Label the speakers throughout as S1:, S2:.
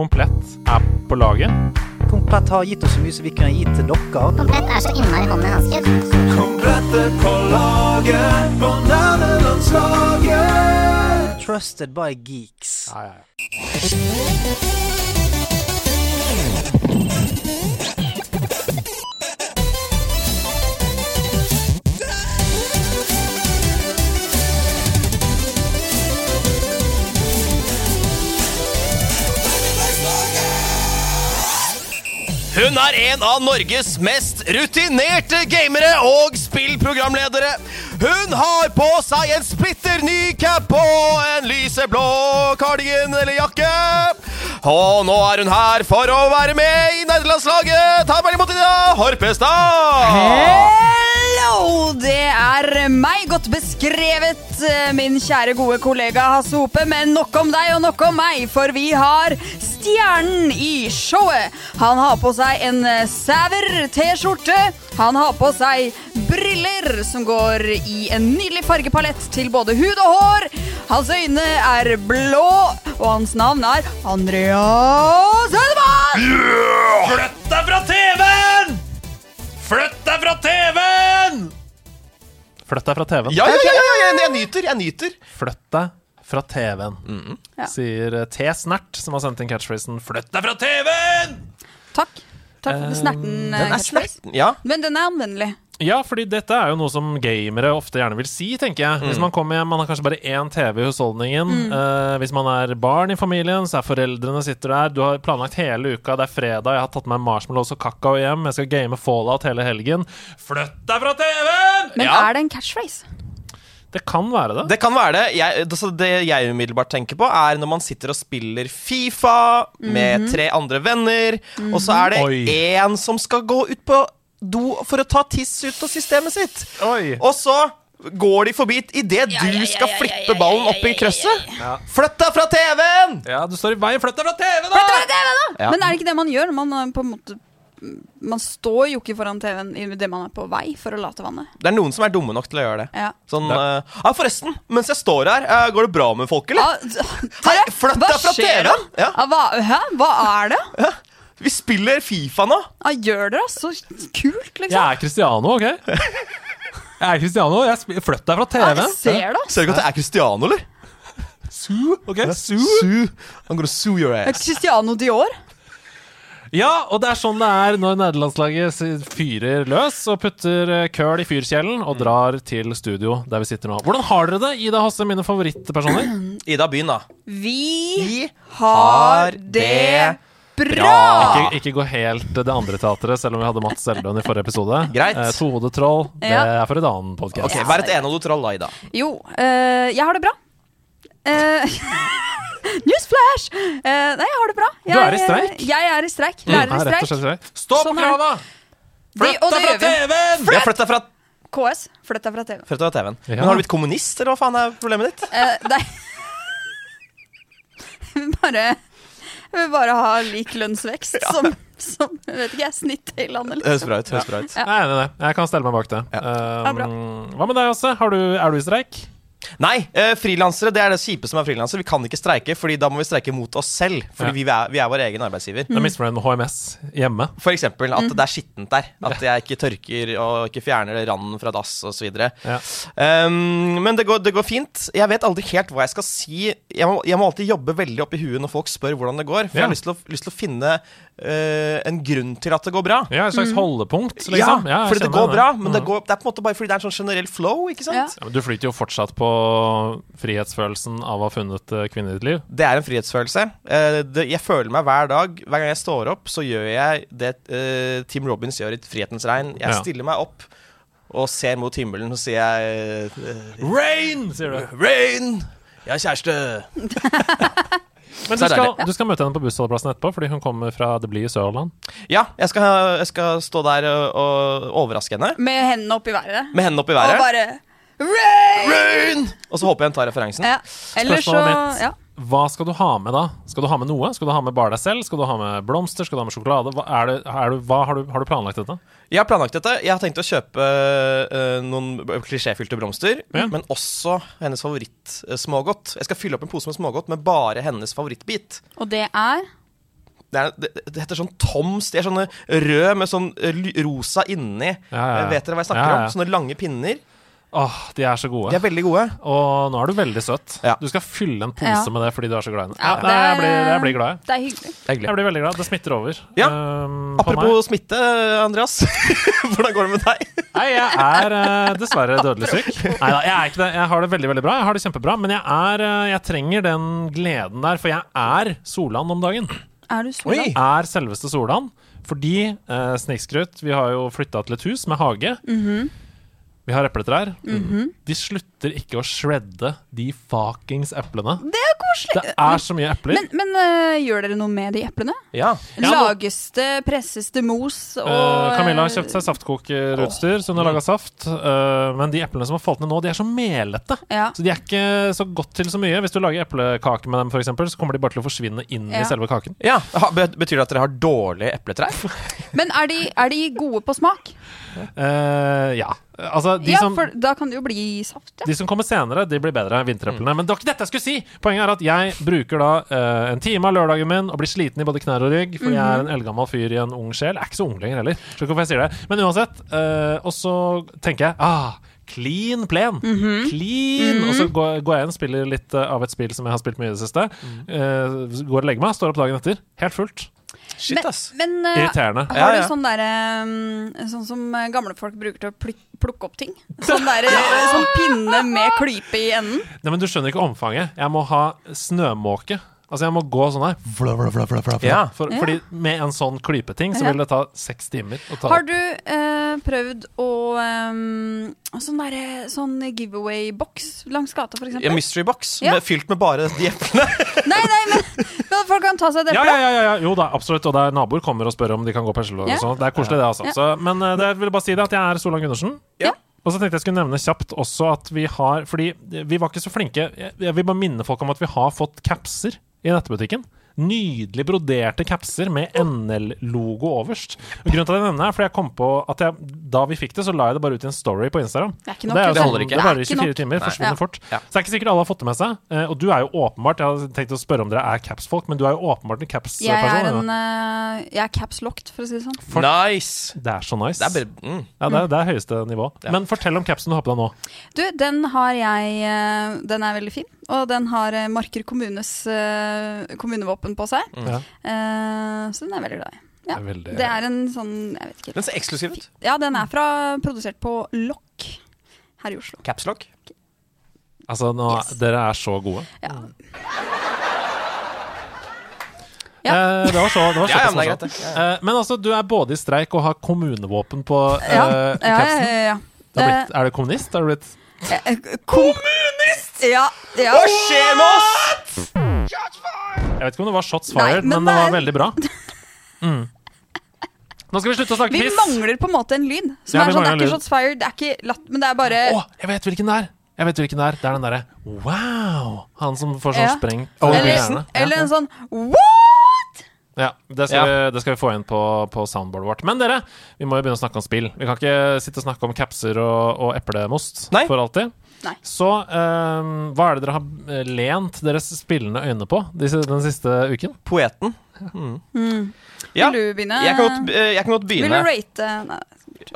S1: Komplett er på laget.
S2: Komplett har gitt oss så mye som vi kunne gi til dere.
S3: Komplett er så innmari hånd i hanske.
S4: Komplettet på laget, bananlandslaget.
S2: Trusted by geeks.
S1: Ja, ja, ja.
S5: Hun er en av Norges mest rutinerte gamere og spillprogramledere. Hun har på seg en splitter ny cap og en lyseblå kardigan eller jakke. Og nå er hun her for å være med i nerdelandslaget. Ta vel imot Ida Horpestad!
S6: Hello! Det er meg, godt beskrevet, eh, min kjære gode kollega Hasse Hope. Men nok om deg og nok om meg, for vi har stjernen i showet. Han har på seg en eh, sæver T-skjorte. Han har på seg briller som går i en nydelig fargepalett til både hud og hår. Hans øyne er blå, og hans navn er Andreas Hødemann!
S5: Flytt deg fra TV-en! Flytt deg fra TV-en!
S1: Flytt deg fra TV-en.
S5: Ja, ja, ja, ja, ja, jeg, jeg nyter. Jeg nyter.
S1: Flytt deg fra TV-en,
S6: Ja.
S1: sier eh, T. Snert, som har sendt inn catchphrasen 'Flytt deg fra TV'.
S5: TV-en!
S6: Takk. Takk for snerten. eh,
S5: Den er
S6: catchphrase.
S5: snerten. Ja.
S6: Men den er anvendelig.
S1: Ja, fordi dette er jo noe som gamere ofte gjerne vil si, tenker jeg. Hvis man kommer hjem, man har kanskje bare én TV i husholdningen.
S6: Mm.
S1: Eh, hvis man er barn i familien, så er foreldrene sitter der. Du har planlagt hele uka, det er fredag, jeg har tatt med meg marshmallows og kakao hjem. Jeg skal game Fallout hele helgen. Flytt deg fra TV-en!
S6: Men
S5: Ja.
S6: er det en catchphrase?
S1: Det kan være det.
S5: Det kan være det. Jeg, altså det jeg umiddelbart tenker på, er når man sitter og spiller Fifa med tre andre venner, og så er
S1: Mhm. Oi.
S5: det én som skal gå ut på do for å ta tiss ut av systemet sitt.
S1: Oi.
S5: Og så går de forbi idet du skal flippe ballen opp i krøsset. Flytt deg fra TV-en!
S1: Ja, du står i veien. Flytt deg fra TV-en,
S6: Det
S1: da!
S6: var det jeg mente!
S5: Ja.
S6: Men er det ikke det man gjør? Man, eh, på en måte, man står jo ikke foran TV-en idet man er på vei for å late vannet.
S5: Det er noen som er dumme nok til å gjøre det.
S6: Ja.
S5: Sånn eh, Ja, forresten, mens jeg står her, eh, går det bra med folk, eller?
S6: Ah, d- dere,
S5: flytt
S6: hva
S5: deg fra
S6: skjer
S5: TV-en!
S6: da?
S5: Ja.
S6: Ah, hva, hæ? hva er det?
S5: Vi spiller Fifa nå!
S6: Ah, gjør dere altså? Så kult, liksom.
S1: Jeg er Cristiano, OK? Jeg er Cristiano. Jeg sp- Flytt deg fra
S6: Ah,
S1: TV-en.
S6: jeg ser det.
S5: Ser du ikke at det er Cristiano, eller?
S1: Sue, OK? Sue.
S5: Sue. I'm gonna sue your ass.
S6: Eh, Cristiano Dior.
S1: Ja, og det er sånn det er når nederlandslaget s- fyrer løs og putter eh, køl i fyrkjelen
S6: Mm.
S1: og drar til studio der vi sitter nå. Hvordan har dere det, Ida Hosse, mine favorittpersoner?
S5: Ida, begynn, da.
S6: Vi
S5: Vi
S6: har det bra!
S1: Ikke, ikke gå helt det andre teatret, selv om vi hadde Mats Eldøen i forrige episode.
S5: Greit.
S1: Eh, Tohodet troll, det
S6: Ja.
S1: er for en annen podkast.
S5: Ok, Vær et enhodet troll, da, Ida.
S6: Jo, eh, jeg har det bra. Eh, newsflash! Eh, nei, jeg har det bra. Jeg,
S1: er i streik.
S6: Jeg er i streik.
S1: Ja,
S6: Lærer i
S1: rett og
S6: streik.
S1: slett rett. Stå på
S6: Sånn er det.
S1: krava!
S6: Det- og det gjør vi.
S5: TV-en! Jeg flytta fra,
S6: KS, flytt deg fra TV.
S5: flytta fra TV-en.
S1: Ja.
S5: Men har du blitt kommunist, eller hva faen er problemet ditt?
S6: Eh, nei. Jeg vil bare Jeg vil bare ha lik lønnsvekst som, som jeg vet ikke, jeg, snittet i landet.
S1: Eh,
S6: liksom.
S5: Det høres bra ut. høres bra ut
S1: Jeg er enig i det. Jeg kan stelle meg bak det.
S6: Ja, bra.
S1: Um, hva med deg, Hosse? Har du, er du i streik?
S5: Nei, eh, frilansere det er det kjipe som er frilansere. Vi kan ikke streike, Fordi da må vi streike mot oss selv. Fordi
S1: Ja.
S5: vi, er, vi er vår egen arbeidsgiver.
S1: Du er misfornøyd med HMS hjemme?
S5: For eksempel
S1: Mhm.
S5: at det er skittent der. At jeg ikke tørker og ikke fjerner randen fra dass osv.
S1: Ja.
S5: Um, men det går, det går fint. Jeg vet aldri helt hva jeg skal si. Jeg må, jeg må alltid jobbe veldig opp i huet når folk spør hvordan det går. For jeg
S1: Ja.
S5: har lyst til å, lyst til å finne eh, en grunn til at det går bra.
S1: Ja, et slags holdepunkt, liksom?
S5: Mm. Ja,
S1: jeg
S5: fordi det
S1: kjenner
S5: går
S1: det. Mm.
S5: bra, men det, går, det er på en måte bare fordi det er en sånn generell flow, ikke sant?
S1: Ja, men du flyter jo fortsatt på frihetsfølelsen av å ha funnet eh, kvinne i ditt liv.
S5: Det er en frihetsfølelse. Eh, det, jeg føler meg hver dag, hver gang jeg står opp, så gjør jeg det eh, Tim Robbins gjør i Frihetens regn. Jeg
S1: Ja.
S5: stiller meg opp og ser mot himmelen, og så sier jeg eh,
S1: Rain! sier du.
S5: Rain! Jeg har kjæreste!
S1: Men du
S5: Så er det
S1: skal, du skal møte henne på bussholdeplassen etterpå, fordi hun kommer fra Det blide Sørland.
S5: Ja, jeg skal, jeg skal stå der og, og overraske henne
S6: Med hendene opp i været.
S5: med hendene opp i
S6: Og
S5: været.
S6: bare Ray!
S5: Rain! Og så håper jeg hun tar referansen.
S6: Ja. Eller så
S1: Spørsmålet mitt.
S6: ja.
S1: Hva skal du ha med da? Skal du ha med noe? Skal du ha med bare deg selv? Skal du ha med blomster? Skal du ha med sjokolade? Hva, er det, er du, hva har, du, har du planlagt dette?
S5: Jeg har planlagt dette. Jeg har tenkt å kjøpe eh, noen b- klisjéfylte blomster,
S1: Ja.
S5: men også hennes eh, favorittsmågodt. Jeg skal fylle opp en pose med smågodt med bare hennes favorittbit.
S6: Og det er
S5: Det, er, det, det heter sånn Toms. De er sånne røde med sånn eh, ly- rosa inni.
S1: Ja, ja, ja.
S5: Vet dere hva jeg snakker
S1: Ja, ja.
S5: om? Sånne lange pinner.
S1: Åh, de er så
S5: De
S1: gode.
S5: er veldig gode.
S1: Og nå er du veldig søt.
S5: Ja.
S1: Du skal fylle en pose
S6: Ja.
S1: med det fordi du er så glad i den.
S6: Ja,
S1: Ja, nei, jeg,
S6: det er,
S1: blir, jeg
S6: eh,
S1: blir glad, jeg.
S6: Det er hyggelig.
S1: Jeg blir veldig glad. Det smitter over.
S5: Ja.
S1: ehm, på meg.
S5: Apropos smitte, Andreas. Hvordan går det med deg?
S1: Nei, jeg er eh, dessverre dødelig syk. Nei da, jeg er ikke det. Jeg har det veldig veldig bra. Jeg har det kjempebra. Men jeg, er, eh, jeg trenger den gleden der, for jeg er Solan om dagen.
S6: Er du sola?
S5: Oi.
S1: Jeg er selveste Solan. Fordi eh, Snikskrut Vi har jo flytta til et hus med hage.
S6: Mm-hmm.
S1: Vi har epletrær. Mm. De slutter ikke å shredde de fuckings eplene.
S6: Det er koselig.
S1: Det er så mye epler.
S6: Men, men øh, gjør dere noe med de eplene?
S5: Ja.
S1: Ja, nå-
S6: Lages det, presses det mos og
S1: Eh, Camilla har kjøpt seg saftkokerutstyr, så hun har laga saft. Eh, men de eplene som har falt ned nå, de er så melete.
S6: Ja.
S1: Så de er ikke så godt til så mye. Hvis du lager eplekake med dem, for eksempel, så kommer de bare til å forsvinne inn
S6: Ja.
S1: i selve kaken.
S5: ja. Ha, bet- betyr det at dere har dårlige epletrær?
S6: Men er de, er de gode på smak?
S1: Eh, ja. Altså, de,
S6: ja,
S1: som,
S6: for da kan det jo bli saft, ja.
S1: de som kommer senere, de blir bedre. Vintereplene. Men det var ikke dette jeg skulle si! Poenget er at jeg bruker da eh, en time av lørdagen min og blir sliten i både knær og rygg, fordi jeg er en eldgammel fyr i en ung sjel. Jeg er ikke så ung lenger heller. Skjønner ikke hvorfor jeg sier det. Men uansett. eh, og så tenker jeg ah, Clean plen. Clean! Og så går, går jeg inn, spiller litt eh, av et spill som jeg har spilt mye i det siste. Eh, går og legger meg, står opp dagen etter. Helt fullt.
S5: Shit, ass.
S6: Men, men øh,
S1: Irriterende.
S5: Ja,
S6: har du
S5: ja.
S6: sånn derre øh, Sånn som øh, gamle folk bruker til å plik- plukke opp ting? Sånn derre øh, sånn pinne med klype i enden?
S1: Nei, men Du skjønner ikke omfanget. Jeg må ha snømåke. Altså Jeg må gå sånn her. Vla, vla, vla, vla, vla, vla.
S5: Ja.
S1: For, Fordi Med en sånn klypeting så
S6: Ja.
S1: vil det ta seks timer. Å ta
S6: Har du øh, prøvd å øh, Sånn derre sånn giveaway-boks langs gata, for
S5: Ja,
S6: eksempel?
S5: mystery box
S6: Ja.
S5: med, fylt med bare de eplene.
S6: Nei, nei, men, men folk kan ta seg et
S1: ja, ja,
S6: eple.
S1: ja, ja, ja, jo da, absolutt. Og det er naboer kommer og spør om de kan gå på Hesselå.
S6: Ja.
S1: og sånn. Det er koselig, det, altså.
S6: Ja.
S1: Så, men eh, det, jeg ville bare si det at jeg er Solan Gundersen.
S5: Ja.
S1: Og så tenkte jeg skulle nevne kjapt også at vi har Fordi vi var ikke så flinke. Jeg jeg vil bare minne folk om at vi har fått capser i nettbutikken. Nydelig broderte capser med
S6: Oh.
S1: NL-logo øverst. Og grunnen til at jeg nevner det, er fordi jeg kom på at jeg, da vi fikk det, så la jeg det bare ut i en story på Instagram.
S6: Det er ikke
S1: jo
S6: nok, vet du.
S1: sånn-
S5: holder ikke.
S1: Det varer i
S6: Det er ikke
S1: 24 timer,
S5: Nei.
S1: forsvinner
S6: Ja.
S1: fort.
S5: Ja.
S1: Så det er ikke sikkert alle har fått det med seg. eh, Og du er jo åpenbart Jeg hadde tenkt å spørre om dere er caps-folk, men du er jo åpenbart en caps-person. altså.
S6: Jeg er,
S1: Anna.
S6: en, eh, jeg er caps locked, for å si det sånn.
S5: Nice.
S1: Det er så nice.
S5: Det er bare mm.
S1: ja, det, er, det er høyeste nivå.
S5: Ja.
S1: Men fortell om capsen du har på deg nå.
S6: Du, den har jeg eh, Den er veldig fin, og den har eh, Marker kommunes eh, kommunevåpen på seg.
S1: Ja.
S6: Eh, Så den er jeg veldig glad i.
S1: Mm. Det
S6: Ja.
S1: er veldig-
S6: Det er en sånn Jeg vet ikke.
S5: Den ser eksklusiv ut.
S6: Ja, den er fra, produsert på Lokk her i Oslo.
S5: Capslock.
S1: Altså, nå,
S6: Yes.
S1: Dere er så gode.
S6: Ja.
S1: Eh, det var så, det var
S5: Ja, ja, men det
S1: såpass,
S5: er greit, det.
S1: altså.
S5: Ja,
S1: Eh, men altså, du er både i streik og har kommunevåpen på eh,
S6: Ja, ja, ja,
S1: capsen.
S6: ja, ja.
S1: Det er, blitt, er du kommunist? Er du blitt
S6: Eh, eh, Kommunist! Ja, ja.
S5: Hva skjer med oss?
S1: Jeg vet ikke om det var shots
S6: Nei,
S1: fired, men,
S6: men
S1: det var
S6: det
S1: veldig bra. Mm. Nå skal vi slutte å snakke
S6: Vi
S1: piss.
S6: mangler på en måte en lyd. Som
S1: Ja, vi
S6: er sånn, det
S1: mangler
S6: er
S1: en lyd.
S6: ikke shots fired, det er ikke latt, men det er bare
S1: Å, jeg vet hvilken det er! Jeg vet hvilken Det er Det er den derre wow! Han som får sånn
S6: Ja.
S1: spreng.
S6: Eller,
S1: Eller,
S6: eller en sånn What?!
S1: ja, det skal, Vi, det skal vi få inn på, på soundboardet vårt. Men dere, vi må jo begynne å snakke om spill. Vi kan ikke sitte og snakke om capser og, og eplemost
S5: Nei.
S1: for alltid.
S6: Nei.
S1: Så eh, hva er det dere har eh, lent deres spillende øyne på disse, den siste uken?
S5: Poeten. Mm. Ja.
S6: Hmm. Vil du begynne?
S5: Jeg kan godt, eh, jeg kan godt
S6: Vil du
S5: begynne.
S6: rate Nei,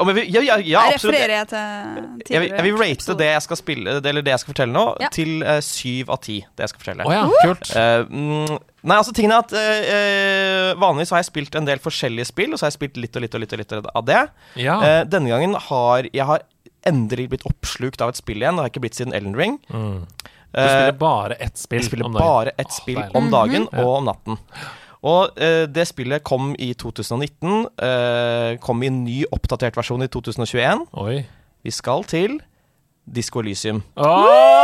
S5: Om jeg vil- ja, ja, ja,
S6: jeg
S5: absolutt.
S6: refererer jeg til
S5: Jeg vil,
S6: tidligere.
S5: jeg vil rate
S6: episoder.
S5: det jeg skal spille Eller det jeg skal fortelle nå,
S6: Ja.
S5: til eh, syv av ti. Det jeg skal fortelle.
S1: Å ja, kult.
S5: Eh, mm, nei, altså tingene er at eh, eh, Vanligvis har jeg spilt en del forskjellige spill, og så har jeg spilt litt og litt og litt av det.
S1: Ja.
S5: Eh, denne gangen har jeg har endelig blitt oppslukt av et spill igjen. Det har jeg ikke blitt siden Elden Ring.
S1: Mm. Du
S5: Eh,
S1: spiller bare ett spill.
S5: jeg spiller
S1: om dagen.
S5: bare ett
S1: Åh,
S5: spill
S1: deilig. Mm-hmm.
S5: om dagen
S1: Ja.
S5: og om natten. Og eh, det spillet kom i 2019. eh, kom i en ny oppdatert versjon i 2021.
S1: Oi.
S5: Vi skal til Disco Elysium.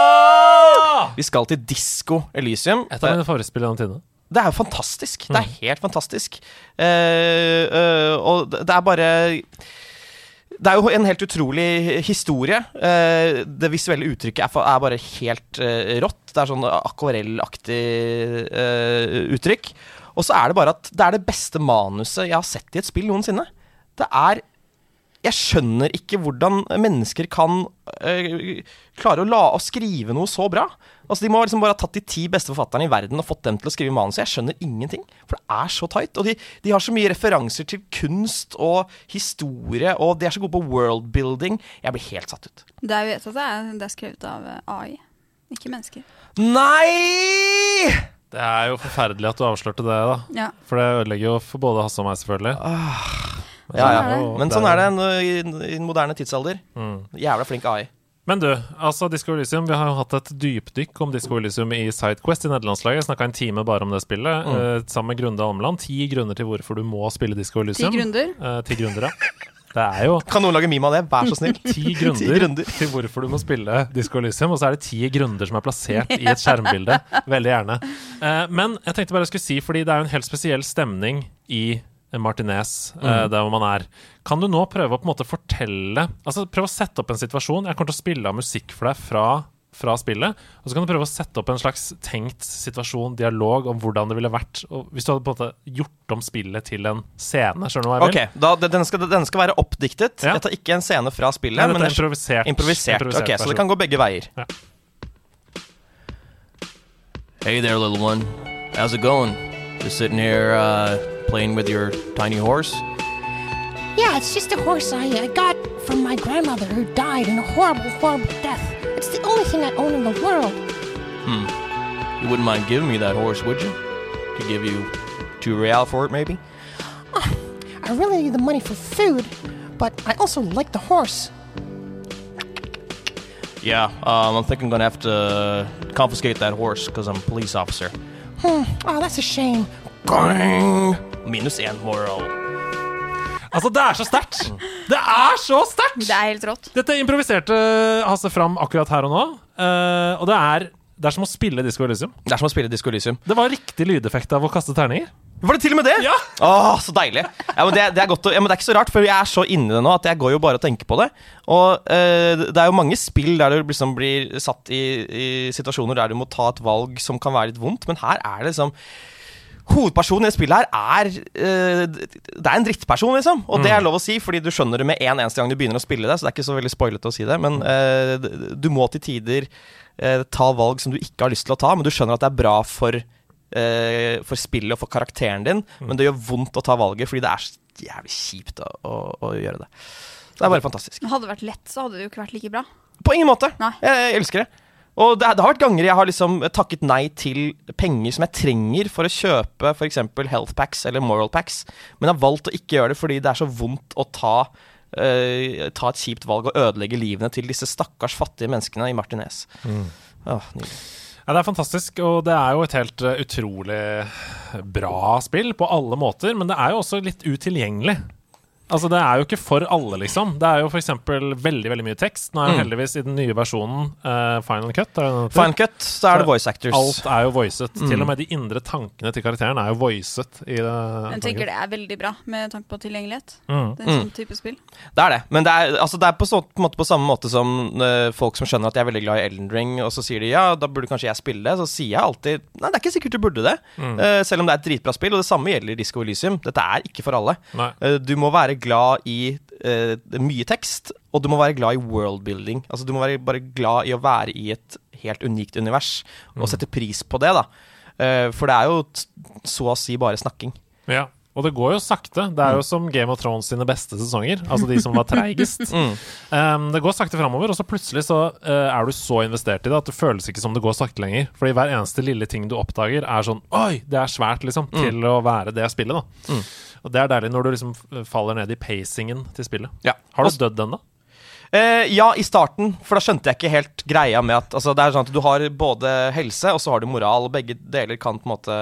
S1: Åh!
S5: Vi skal til Disco Elysium.
S1: Et av mine favorittspill gjennom tidene.
S5: Det er jo fantastisk. Det er helt fantastisk. Eh, eh, og det det er bare det er jo en helt utrolig historie. Eh, det visuelle uttrykket er, fa- er bare helt eh, rått. Det er sånn akvarellaktig eh, uttrykk. Og så er det bare at det er det beste manuset jeg har sett i et spill noensinne. Det er Jeg skjønner ikke hvordan mennesker kan eh, klare å la å skrive noe så bra. Altså, De må liksom bare ha tatt de ti beste forfatterne i verden og fått dem til å skrive manuset. Jeg skjønner ingenting, for det er så tight. Og de, de har så mye referanser til kunst og historie, og de er så gode på worldbuilding. Jeg blir helt satt ut.
S6: Det er jo vet at det er, det er skrevet av eh, AI, ikke mennesker.
S5: Nei!
S1: Det er jo forferdelig at du avslørte det, da.
S6: Ja.
S1: For det ødelegger jo for både Hasse og meg, selvfølgelig.
S5: Ja, ja.
S1: er det.
S5: Men sånn er det nå i i den moderne tidsalder. Jævla flink AI.
S1: Men du, altså Disco Elysium, vi har jo hatt et dypdykk om Disco Elysium i Sidequest i nederlandslaget. Snakka en time bare om det spillet,
S5: Mm.
S1: eh, sammen med Grunde Almeland. Ti grunner til hvorfor du må spille Disco Elysium.
S5: Liksom.
S6: grunder?
S1: Eh, ti grunner, ja. Det er jo
S5: Kan noen lage meme av det? Vær så snill.
S1: ti grunner,
S5: grunner.
S1: til hvorfor du må spille Disco Elysium, og så er det ti grunner som er plassert i et skjermbilde. Veldig gjerne. Eh, men jeg tenkte bare jeg skulle si, fordi det er jo en helt spesiell stemning i Martinez, eh,
S5: Mm.
S1: der hvor man er. Kan du nå prøve å på en måte fortelle Altså prøve å sette opp en situasjon? Jeg kommer til å spille av musikk for deg fra fra spillet, og så kan du prøve å sette opp en slags tenkt situasjon, dialog, om hvordan det ville vært og hvis du hadde på en måte gjort om spillet til en scene. Skjønner du hva jeg vil?
S5: Ok, da, den- den, skal, den skal være oppdiktet.
S1: Ja.
S5: Jeg tar ikke en scene fra spillet.
S1: Nei,
S5: men
S1: dette er
S5: jeg-
S1: improvisert.
S5: improvisert. Ok, Så
S1: versjon.
S5: det kan gå begge veier.
S1: Ja.
S5: Hey there, little one. How's it going? Just sitting here uh, playing with your tiny horse?
S7: Yeah, it's just a horse I uh, got from my grandmother who died in a horrible, horrible death. It's the only thing I own in the world.
S5: You wouldn't mind giving me that horse, would you? Could give you two real for it, maybe?
S7: I really need the money for food, but I also like the horse.
S5: Yeah, um, I think I'm gonna have to confiscate that horse because I'm a police officer.
S7: Oh, that's a shame.
S5: Gang! Minus én moral.
S1: Altså, det er så sterkt! Det er så
S6: Det
S1: sterkt!
S6: er helt rått.
S1: Dette improviserte Hasse fram akkurat her og nå. eh, og det er, det er som å spille Disco Elysium.
S5: Det er som å spille Disco Elysium.
S1: Det var riktig lydeffekt av å kaste terninger.
S5: Var det til og med det?
S1: Ja.
S5: Åh, så deilig. Ja, men det, det er godt å, ja, men det er ikke så rart, for jeg er så inni det nå at jeg går jo bare og tenker på det. Og eh, det er jo mange spill der du liksom blir satt i, i situasjoner der du må ta et valg som kan være litt vondt, men her er det liksom Hovedpersonen i det spillet her er eh, Det er en drittperson, liksom. Og det er lov å si, fordi du skjønner det med en eneste gang du begynner å spille det. Så det er ikke så veldig spoilete å si det. Men eh, d- du må til tider eh, ta valg som du ikke har lyst til å ta, men du skjønner at det er bra for, eh, for spillet og for karakteren din. Men det gjør vondt å ta valget, fordi det er så jævlig kjipt å, å, å gjøre det. Det er bare fantastisk.
S6: Hadde det vært lett, så hadde det jo ikke vært like bra.
S5: På ingen måte.
S6: Nei.
S5: Jeg, jeg elsker det. Og det, er- det har vært ganger jeg har liksom takket nei til penger som jeg trenger for å kjøpe f.eks. health packs eller moral packs, men jeg har valgt å ikke gjøre det fordi det er så vondt å ta, eh, ta et kjipt valg og ødelegge livene til disse stakkars fattige menneskene i Martinez. Åh, nydelig.
S1: Ja, det er fantastisk, og det er jo et helt eh, utrolig bra spill på alle måter. Men det er jo også litt utilgjengelig. Altså, Det er jo ikke for alle, liksom. Det er jo f.eks. veldig veldig mye tekst. Nå er jo heldigvis i den nye versjonen eh, Mm. Final Mm. Cut. Er det den heter?
S5: Fine cut, så er det voice actors.
S1: Alt er jo voicet. Til og med de indre tankene til karakteren er jo voicet. I eh, det,
S6: Jeg tenker det er veldig bra med tanke på tilgjengelighet.
S1: Mm.
S6: Den sånn type spill.
S5: Det er det. Men det er, altså, det er på, så, på, en måte, på samme måte som eh, folk som skjønner at jeg er veldig glad i Elden Ring, og så sier de ja, da burde kanskje jeg spille det. Så sier jeg alltid nei, det er ikke sikkert du burde det.
S1: Mm.
S5: Eh, selv om det er et dritbra spill. Og det samme gjelder Disco Elysium. Dette er ikke for alle.
S1: Nei.
S5: Eh, du må være glad i eh, mye tekst, og du må være glad i worldbuilding. Altså, du må være bare glad i å være i et helt unikt univers,
S1: Mm.
S5: og sette pris på det, da. Eh, for det er jo t- så å si bare snakking.
S1: Ja, og det går jo sakte. Det er jo som Game of Thrones sine beste sesonger. Altså de som var treigest. Um, det går sakte framover, og så plutselig så eh, er du så investert i det at det føles ikke som det går sakte lenger. Fordi hver eneste lille ting du oppdager, er sånn Oi, det er svært, liksom. Til å være det spillet, da. Og det er deilig når du liksom f- faller ned i pacingen til spillet.
S5: Ja.
S1: Har du dødd ennå?
S5: Eh, ja, i starten, for da skjønte jeg ikke helt greia med at altså, Det er sånn at du har både helse og så har du moral, og begge deler kan på en måte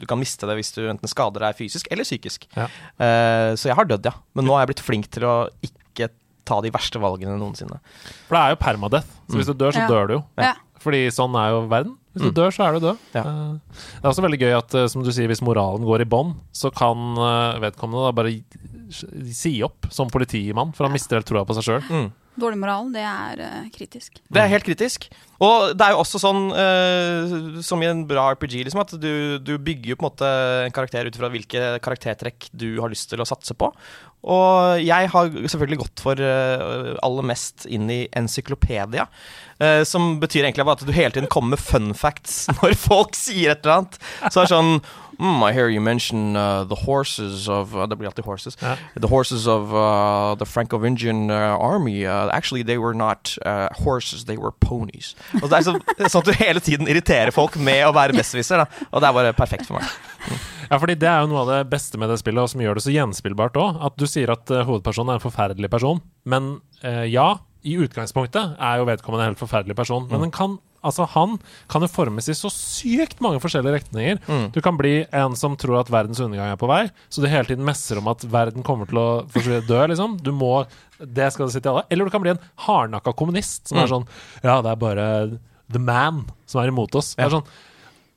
S5: Du kan miste det hvis du enten skader deg fysisk eller psykisk.
S1: Ja.
S5: Eh, så jeg har dødd, ja. Men nå har jeg blitt flink til å ikke ta de verste valgene noensinne.
S1: For det er jo permadeath. Så hvis du dør, så
S6: Ja.
S1: dør du jo.
S6: Ja.
S1: Fordi sånn er jo verden. Hvis du dør, så er du død.
S5: Ja.
S1: Eh, Det er også veldig gøy at eh, som du sier, hvis moralen går i bånn, så kan eh, vedkommende da bare gi- si opp som politimann, for han mister helt troa på seg sjøl.
S5: Mm.
S6: Dårlig moral, det er eh, kritisk.
S5: Det er helt kritisk. Og det er jo også sånn, eh, som i en bra RPG, liksom, at du, du bygger jo på en måte en karakter ut fra hvilke karaktertrekk du har lyst til å satse på. Og jeg har selvfølgelig gått for eh, aller mest inn i Encyklopedia. eh, som betyr egentlig bare at du hele tiden kommer med fun facts når folk sier et eller annet. Så er det sånn mm, I hear you mention uh, the horses of uh, Det blir alltid horses.
S1: Ja.
S5: The horses of uh, the Franco-Vingian uh, army. Uh, actually, they were not uh, horses, they were ponies. Og det er så, sånn at du hele tiden irriterer folk med å være besserwisser. da. Og det er bare perfekt for meg.
S1: Ja, fordi Det er jo noe av det beste med det spillet, og som gjør det så gjenspillbart òg. At du sier at eh, hovedpersonen er en forferdelig person. Men eh, ja, i utgangspunktet er jo vedkommende en helt forferdelig person. Men den kan, altså, han kan jo formes i så sykt mange forskjellige retninger. Du kan bli en som tror at verdens undergang er på vei, så du hele tiden messer om at verden kommer til å forsvinne- dø, liksom. Du må Det skal det si til alle. Eller du kan bli en hardnakka kommunist som er sånn Ja, det er bare the man som er imot oss. Det er sånn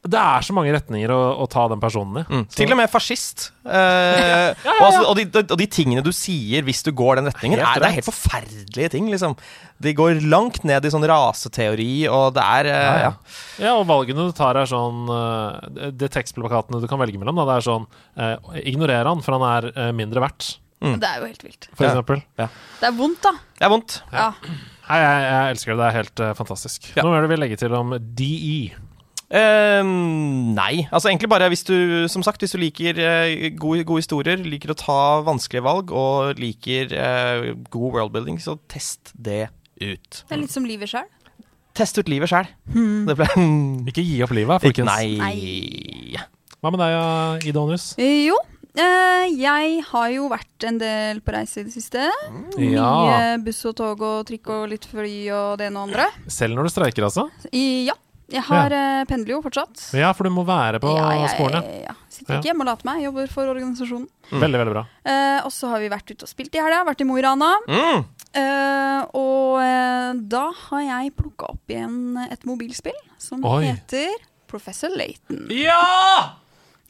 S1: det er så mange retninger å, å ta den personen i. Mm, Så-
S5: Til og med fascist. Eh, Og, altså, og, de, og de tingene du sier hvis du går den retningen,
S1: Helt
S5: er, det
S1: rett.
S5: er helt forferdelige ting. liksom. De går langt ned i sånn raseteori, og det er eh, ja.
S1: Ja, og valgene du tar er sånn eh, Det tekstplakatene du kan velge mellom, da, det er sånn eh, Ignorer han, for han er eh, mindre verdt,
S5: Mm.
S6: Det er jo helt vilt.
S1: for
S5: Ja.
S1: eksempel.
S6: Det er vondt, da.
S5: Det er vondt.
S6: Ja.
S1: Nei, jeg, jeg elsker det. Det er helt eh, fantastisk.
S5: Ja.
S1: Nå er det vi legger til om E? DE.
S5: Eh, nei. Altså egentlig bare hvis du Som sagt, hvis du liker eh, gode, gode historier, liker å ta vanskelige valg og liker eh, god worldbuilding, så test det ut.
S6: Det er Hmm. litt som livet sjøl.
S5: Test ut livet sjæl. Det ble
S1: Ikke gi opp livet, folkens.
S5: Nei.
S1: Hva med deg, eh, Idonius?
S6: Jo, eh, jeg har jo vært en del på reise i det siste.
S1: Ja.
S6: Mye buss og tog og trikk og litt fly og det ene og andre.
S1: Selv når du streiker, altså?
S6: I, ja. Jeg har eh, pendler jo fortsatt.
S1: Ja, for du må være på
S6: ja, jeg-
S1: sporene.
S6: ja. Sitter ikke hjemme og later meg. Jobber for organisasjonen.
S1: Veldig, veldig bra.
S6: Eh, og så har vi vært ute og spilt i helga. Vært i Mo i Rana.
S5: Mm.
S6: Eh, og eh, da har jeg plukka opp igjen et mobilspill som
S1: Oi.
S6: heter Professor Layton.
S5: Ja!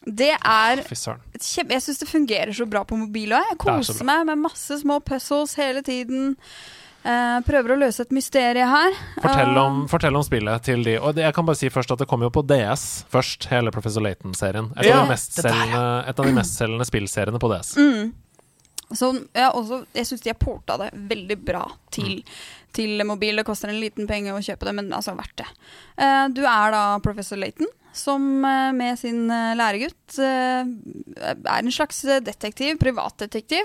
S6: Det er
S1: Fy søren.
S6: et kjempe... Jeg syns det fungerer så bra på mobil òg. Jeg
S1: er så
S6: koser meg med masse små puzzles hele tiden. Eh, prøver å løse et mysterium her.
S1: Fortell
S6: Eh,
S1: om, fortell om spillet til de. Og det, jeg kan bare si først at det kom jo på DS først, hele Professor Layton-serien. Et,
S5: Ja,
S1: av de mestselgende- et av de mestselgende spillseriene på DS.
S6: Så jeg, også, jeg syns de har porta det veldig bra til, til mobil. Det koster en liten penge å kjøpe det, men altså verdt det. Eh, du er da professor Layton, som eh, med sin eh, læregutt eh, er en slags eh, detektiv, privatdetektiv,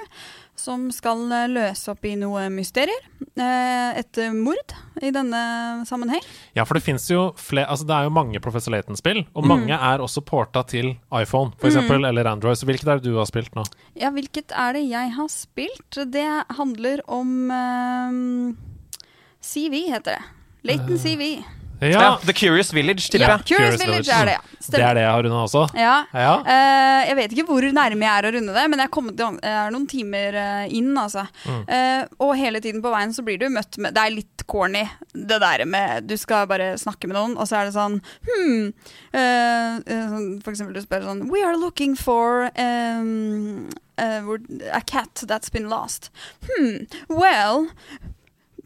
S6: som skal eh, løse opp i noe mysterier. Eh, et eh, mord i denne sammenheng.
S1: Ja, for det finnes jo flere Altså, det er jo mange Professor Layton-spill, og mange
S6: Mm.
S1: er også porta til iPhone, for eksempel, eller Android. Så hvilket er det du har spilt nå?
S6: Ja, hvilket er det jeg har spilt? Det handler om eh, CV, heter det. Layton CV.
S5: ja.
S1: Ja,
S5: The Curious Village, tipper
S6: Ja,
S5: jeg.
S6: Curious Village er det, ja.
S1: mm. det er
S6: Stemmer.
S1: det jeg har unna også.
S6: Ja.
S1: Ja.
S6: Eh, jeg vet ikke hvor nærme jeg er å runde det, men jeg er, kommet, jeg er noen timer eh, inn. Altså. Eh, og hele tiden på veien så blir du møtt med Det er litt corny, det der med du skal bare snakke med noen, og så er det sånn hmm, eh, eh, sånn, For eksempel du spør sånn We are looking for um, eh, hvor- a cat that's been lost. Hmm, well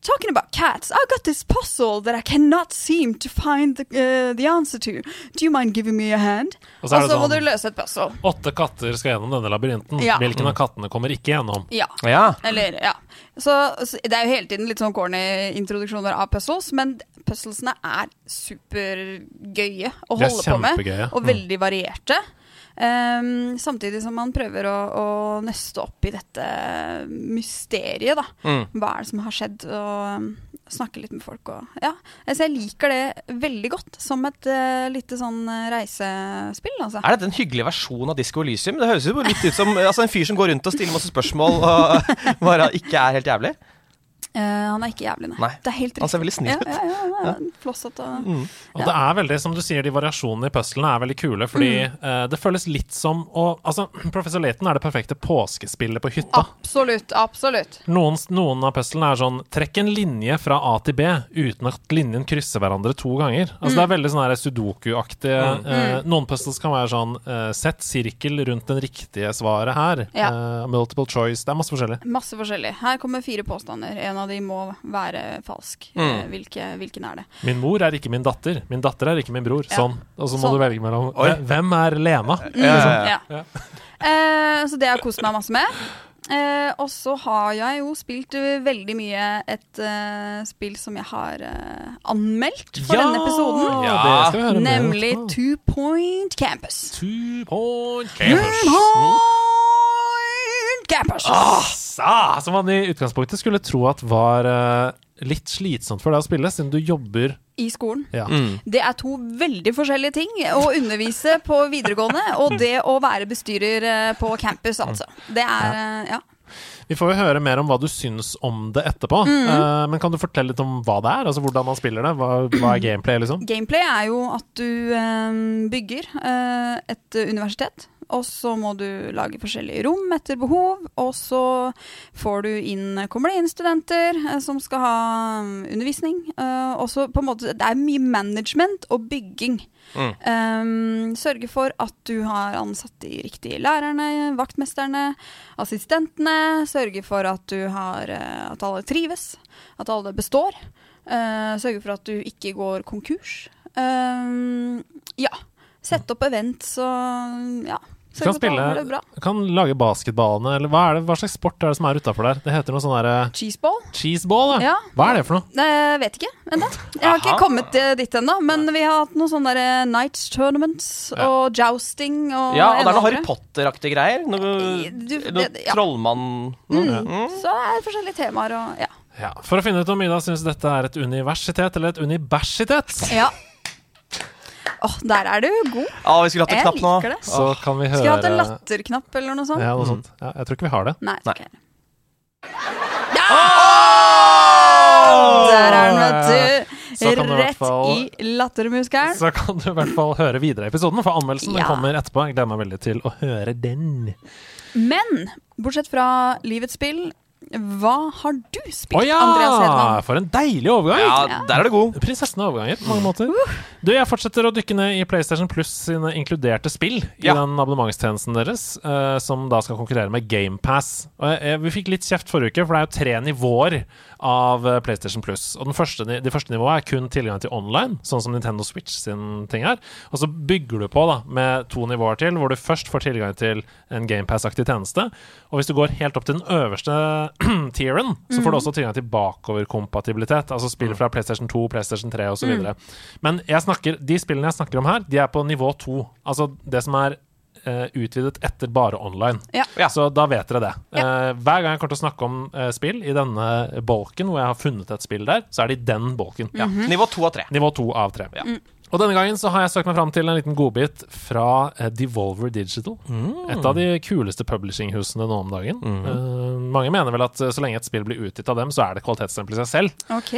S6: Talking about cats, I got this puzzle that I cannot seem to find the, eh, the answer to. Do you mind giving me a hand?
S1: Og så er
S6: og så må du
S1: det sånn
S6: løse et puzzle.
S1: Åtte katter skal gjennom denne labyrinten.
S6: Ja.
S1: Hvilken av kattene kommer ikke gjennom?
S6: Ja.
S5: Ja.
S6: Eller, ja. Så, så det er jo hele tiden litt sånn corny introduksjoner av puzzles, men puzzlesene er supergøye
S1: De
S6: å
S1: er
S6: holde på med,
S1: kjempegøye. Mm.
S6: og veldig varierte. Ehm, samtidig som man prøver å, å nøste opp i dette mysteriet, da.
S5: Mm.
S6: Hva er det som har skjedd, og um, snakke litt med folk og Ja. Altså, jeg liker det veldig godt som et eh, lite sånn eh, reisespill, altså.
S5: Er dette en hyggelig versjon av Disco Elysium? Det høres jo litt ut som altså, en fyr som går rundt og stiller masse spørsmål og bare ikke er helt jævlig.
S6: Eh, han er ikke jævlig, nei.
S5: Nei,
S6: Det er helt
S1: Altså,
S5: Han ser veldig snill
S6: Ja,
S5: ut.
S6: ja, ja, ja. Flåsete.
S1: Og det er veldig, som du sier, de variasjonene i puzzlene er veldig kule, fordi
S6: Mm.
S1: eh, det føles litt som å Altså, Professor Layton er det perfekte påskespillet på
S6: Ah.
S1: hytta.
S6: Absolutt, absolutt.
S1: Noen, noen av puzzlene er sånn Trekk en linje fra A til B uten at linjen krysser hverandre to ganger. Altså Det
S6: Mm.
S1: er veldig sånn her sudoku-aktige eh, Noen puzzles kan være sånn eh, Sett sirkel rundt den riktige svaret her.
S6: Ja.
S1: Eh, multiple choice. Det er masse forskjellig.
S6: Masse forskjellig. Her kommer fire påstander. En av av de må være falsk. Eh, Hvilke, hvilken er det?
S1: Min mor er ikke min datter. Min datter er ikke min bror.
S6: Ja.
S1: Sånn. Og så må
S6: Sånn.
S1: du velge mellom
S5: Oi.
S1: Eh, Hvem er Lena?
S5: Ja,
S6: Ja. Eh, så det har jeg kost meg masse med. Eh, og så har jeg jo spilt eh, veldig mye et eh, spill som jeg har eh, anmeldt for denne episoden.
S1: Ja,
S5: Ja.
S1: det skal vi høre mer om
S6: Nemlig
S1: etterpå.
S6: Two Point Campus.
S1: Two point
S6: Two
S1: campus. Ah!
S6: Point Campus!
S1: Sa, som man i utgangspunktet skulle tro at var eh, litt slitsomt for deg å spille, siden du jobber
S6: I skolen.
S1: ja.
S6: Det er to veldig forskjellige ting. Å undervise på videregående og det å være bestyrer eh, på campus, altså. Det er eh, Ja.
S1: Vi får jo høre mer om hva du syns om det etterpå. Eh, men kan du fortelle litt om hva det er? Altså Hvordan man spiller det? Hva, hva er gameplay, liksom?
S6: Gameplay er jo at du eh, bygger eh, et universitet. Og så må du lage forskjellige rom etter behov, og så får du inn, kommer det inn studenter eh, som skal ha mm, undervisning. eh, og så på en måte, det er mye management og bygging. Eh, sørge for at du har ansatt de riktige lærerne, vaktmesterne, assistentene. Sørge for at, du har, eh, at alle trives, at alle består. Eh, sørge for at du ikke går konkurs. Eh, ja. Sette opp events og ja.
S1: Du kan
S6: Sørge for at alle har det bra.
S1: spille Kan lage basketballene, eller hva, er det, hva slags sport er det som er utafor der? Det heter noe sånn derre
S6: Cheeseball?
S1: cheeseball, ja.
S6: Ja.
S1: Hva er det for noe?
S6: Jeg vet ikke ennå. Jeg har ikke kommet eh, dit ennå. Men vi har hatt noen sånne der eh, nights tournaments
S1: Ja.
S6: og jousting og
S5: ja, og det er
S6: ene
S5: noe Harry
S6: andre.
S5: Potter-aktige greier. Noe,
S6: Du-
S5: noe
S6: det- ja.
S5: trollmann... Noe.
S6: Så det er forskjellige temaer og ja.
S1: Ja. For å finne ut om Ida syns dette er et universitet eller et universitet,
S6: ja. Åh, der er du god.
S5: Ja, vi skulle hatt en
S6: Jeg
S5: knapp nå.
S6: liker det.
S1: så kan vi høre
S6: Skulle jeg hatt en latterknapp eller noe sånt.
S1: Ja, noe sånt. Ja, jeg tror ikke vi har det.
S6: Nei.
S5: Nei.
S6: ok. Ja! Der er den,
S1: Så
S6: vet
S1: Sånn kan
S6: du.
S1: du i hvert
S6: Rett
S1: fall-
S6: i lattermuskelen.
S1: Så kan du i hvert fall høre videre i episoden, for anmeldelsen
S6: Ja.
S1: kommer etterpå. Jeg gleder meg veldig til å høre den.
S6: Men bortsett fra livets spill, hva har du spilt,
S1: Å ja!
S6: Andreas Hedman?
S1: For en deilig overgang!
S5: Ja, der er det god.
S1: Prinsessen av overganger på
S6: Mm.
S1: mange
S6: Uh.
S1: måter. Du, jeg fortsetter å dykke ned i PlayStation Pluss sine inkluderte spill i
S5: Ja.
S1: den abonnementstjenesten deres, eh, som da skal konkurrere med GamePass. Vi fikk litt kjeft forrige uke, for det er jo tre nivåer av eh, PlayStation Pluss. Og den første, ni- de første nivåene er kun tilgang til online, sånn som Nintendo Switch sin ting er. Og så bygger du på da, med to nivåer til, hvor du først får tilgang til en GamePass-aktig tjeneste. Og hvis du går helt opp til den øverste tieren, så får du også tilgang til bakoverkompatibilitet. Altså spill fra PlayStation 2, PlayStation 3 osv. videre Men jeg snakker, de spillene jeg snakker om her, de er på nivå 2. Altså det som er eh, utvidet etter bare online.
S6: Ja.
S5: Ja.
S1: Så da vet dere det. Eh, hver gang jeg kommer til å snakke om eh, spill i denne bolken, hvor jeg har funnet et spill der, så er det i den bolken.
S5: Ja.
S6: Mhm.
S5: Nivå to av tre.
S1: Nivå to av tre.
S5: Ja.
S1: Og denne gangen så har jeg søkt meg fram til en liten godbit fra eh, Devolver Digital.
S5: Mm.
S1: Et av de kuleste publishinghusene nå om dagen.
S5: Mhm.
S1: Eh, mange mener vel at eh, så lenge et spill blir utgitt av dem, så er det kvalitetsstempel i seg selv.
S6: Ok.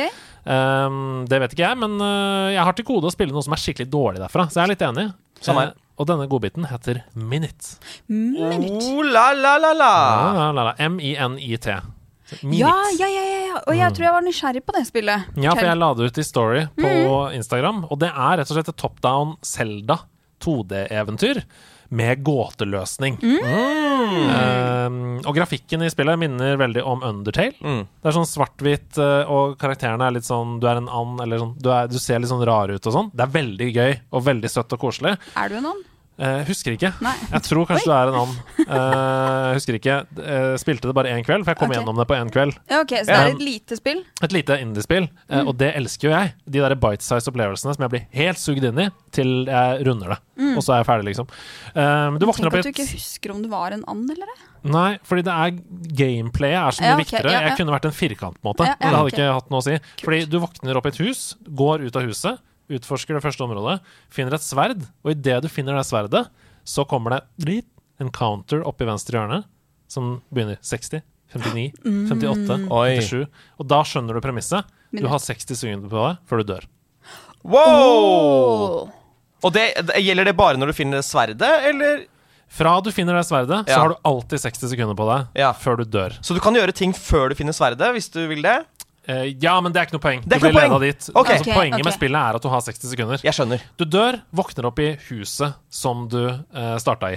S1: Ehm, det vet ikke jeg, men eh, jeg har til gode å spille noe som er skikkelig dårlig derfra, så jeg er litt enig.
S5: Samme her.
S1: Eh, og denne godbiten heter Minute.
S6: Minutt.
S5: Oh, la, la, la, la.
S1: La, la, la, M-I-N-I-T. Minute. Mm.
S6: Ja, ja, ja, ja, ja. Og jeg tror jeg var nysgjerrig på det spillet.
S1: Ja, for
S6: Fortell.
S1: jeg la det ut i story på
S6: Mhm.
S1: Instagram, og det er rett og slett et top down Selda 2D-eventyr med gåteløsning.
S6: Mm.
S1: Um, og grafikken i spillet minner veldig om Undertale.
S5: Mm.
S1: Det er sånn svart-hvitt, eh, og karakterene er litt sånn Du er en and, eller sånn Du, er, du ser litt sånn rar ut og sånn. Det er veldig gøy og veldig søtt og koselig.
S6: Er du en annen?
S1: Eh, husker ikke.
S6: Nei.
S1: Jeg tror kanskje du er en and. Eh, husker ikke. Eh, spilte det bare én kveld, for jeg kom
S6: Ok.
S1: gjennom det på én kveld.
S6: Ja, ok, Så det er et lite spill?
S1: Et lite indiespill, eh,
S6: Mm.
S1: og det elsker jo jeg. De der bite-size opplevelsene som jeg blir helt sugd inn i til jeg runder det. Og så er jeg ferdig, liksom. Um, du våkner
S6: Mm. Tenk
S1: opp
S6: at
S1: i
S6: du ikke
S1: et
S6: husker om du var en and eller det.
S1: Nei, fordi det er gameplayet er så mye
S6: Ja, ok,
S1: viktigere.
S6: ja, ja.
S1: Jeg kunne vært en firkant, på en måte.
S6: Ja, ja,
S1: det hadde
S6: ok.
S1: ikke hatt noe å si. Fordi du våkner opp i et hus, går ut av huset, utforsker det første området, finner et sverd, og idet du finner det sverdet, så kommer det litt en counter opp i venstre hjørne som begynner 60, 59,
S6: Mm.
S1: 58,
S5: Oi.
S1: 57. Og da skjønner du premisset. Du
S6: Minutt.
S1: har 60 sekunder på deg før du dør.
S5: Wow! Og det, det, gjelder det bare når du finner sverdet, eller?
S1: Fra du finner det sverdet,
S5: Ja.
S1: så har du alltid 60 sekunder på deg
S5: Ja.
S1: før du dør.
S5: Så du kan gjøre ting før du finner sverdet, hvis du vil det?
S1: Eh, ja, men det er ikke noe poeng.
S5: Det er
S1: du
S5: ikke
S1: blir ledet
S5: noe poeng.
S1: dit.
S5: Ok.
S1: Altså,
S6: Ok,
S1: poenget
S6: ok.
S1: med spillet er at du har 60 sekunder.
S5: Jeg skjønner.
S1: Du dør, våkner opp i huset som du uh, starta i.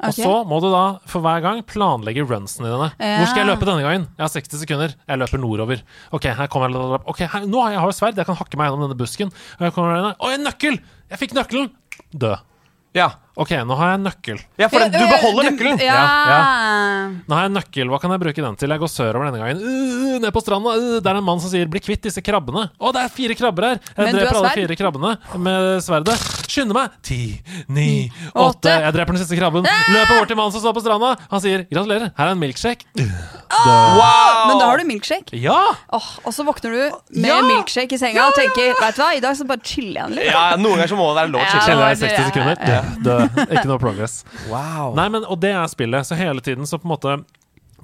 S1: Og
S6: Ok.
S1: så må du da for hver gang planlegge runsene dine.
S6: Ja.
S1: Hvor skal jeg løpe denne gangen? Jeg har 60 sekunder. Jeg løper nordover. Ok, her kommer jeg Ok, her, nå har jeg har jo sverd. Jeg kan hakke meg gjennom denne busken. Og jeg kommer denne. Å, en nøkkel! Jeg fikk nøkkelen! Dø.
S5: Ja,
S1: Ok, nå har jeg en nøkkel.
S5: ja for det, du beholder nøkkelen.
S6: øh, Ja.
S1: Nå har jeg en nøkkel, hva kan jeg bruke den til? Jeg går sørover denne gangen. Uh, ned på stranda, uh, det er en mann som sier 'bli kvitt disse krabbene'. Å, det er fire krabber her! Jeg
S6: Men du
S1: dreper
S6: har
S1: alle
S6: sverd?
S1: fire krabbene med sverdet. Skynde meg! Ti, ni, åtte
S6: åtte. Ah!
S1: Jeg dreper den siste krabben. Løper bort til mannen som står på stranda. Han sier 'gratulerer, her er en milkshake'.
S5: Wow!
S6: Men da har du milkshake.
S1: Ja!
S6: Åh, og så våkner du med
S1: Ja!
S6: milkshake i senga og tenker Vet du hva, i dag så bare chiller jeg litt.
S5: Ja, ja, noen ganger så må det være lov å
S6: Ja.
S5: chille.
S1: Kjenner jeg
S6: det er
S1: 60 sekunder. Dø. Dø. Ikke noe progress.
S5: Wow.
S1: Nei, men, og det er spillet. Så hele tiden så på en måte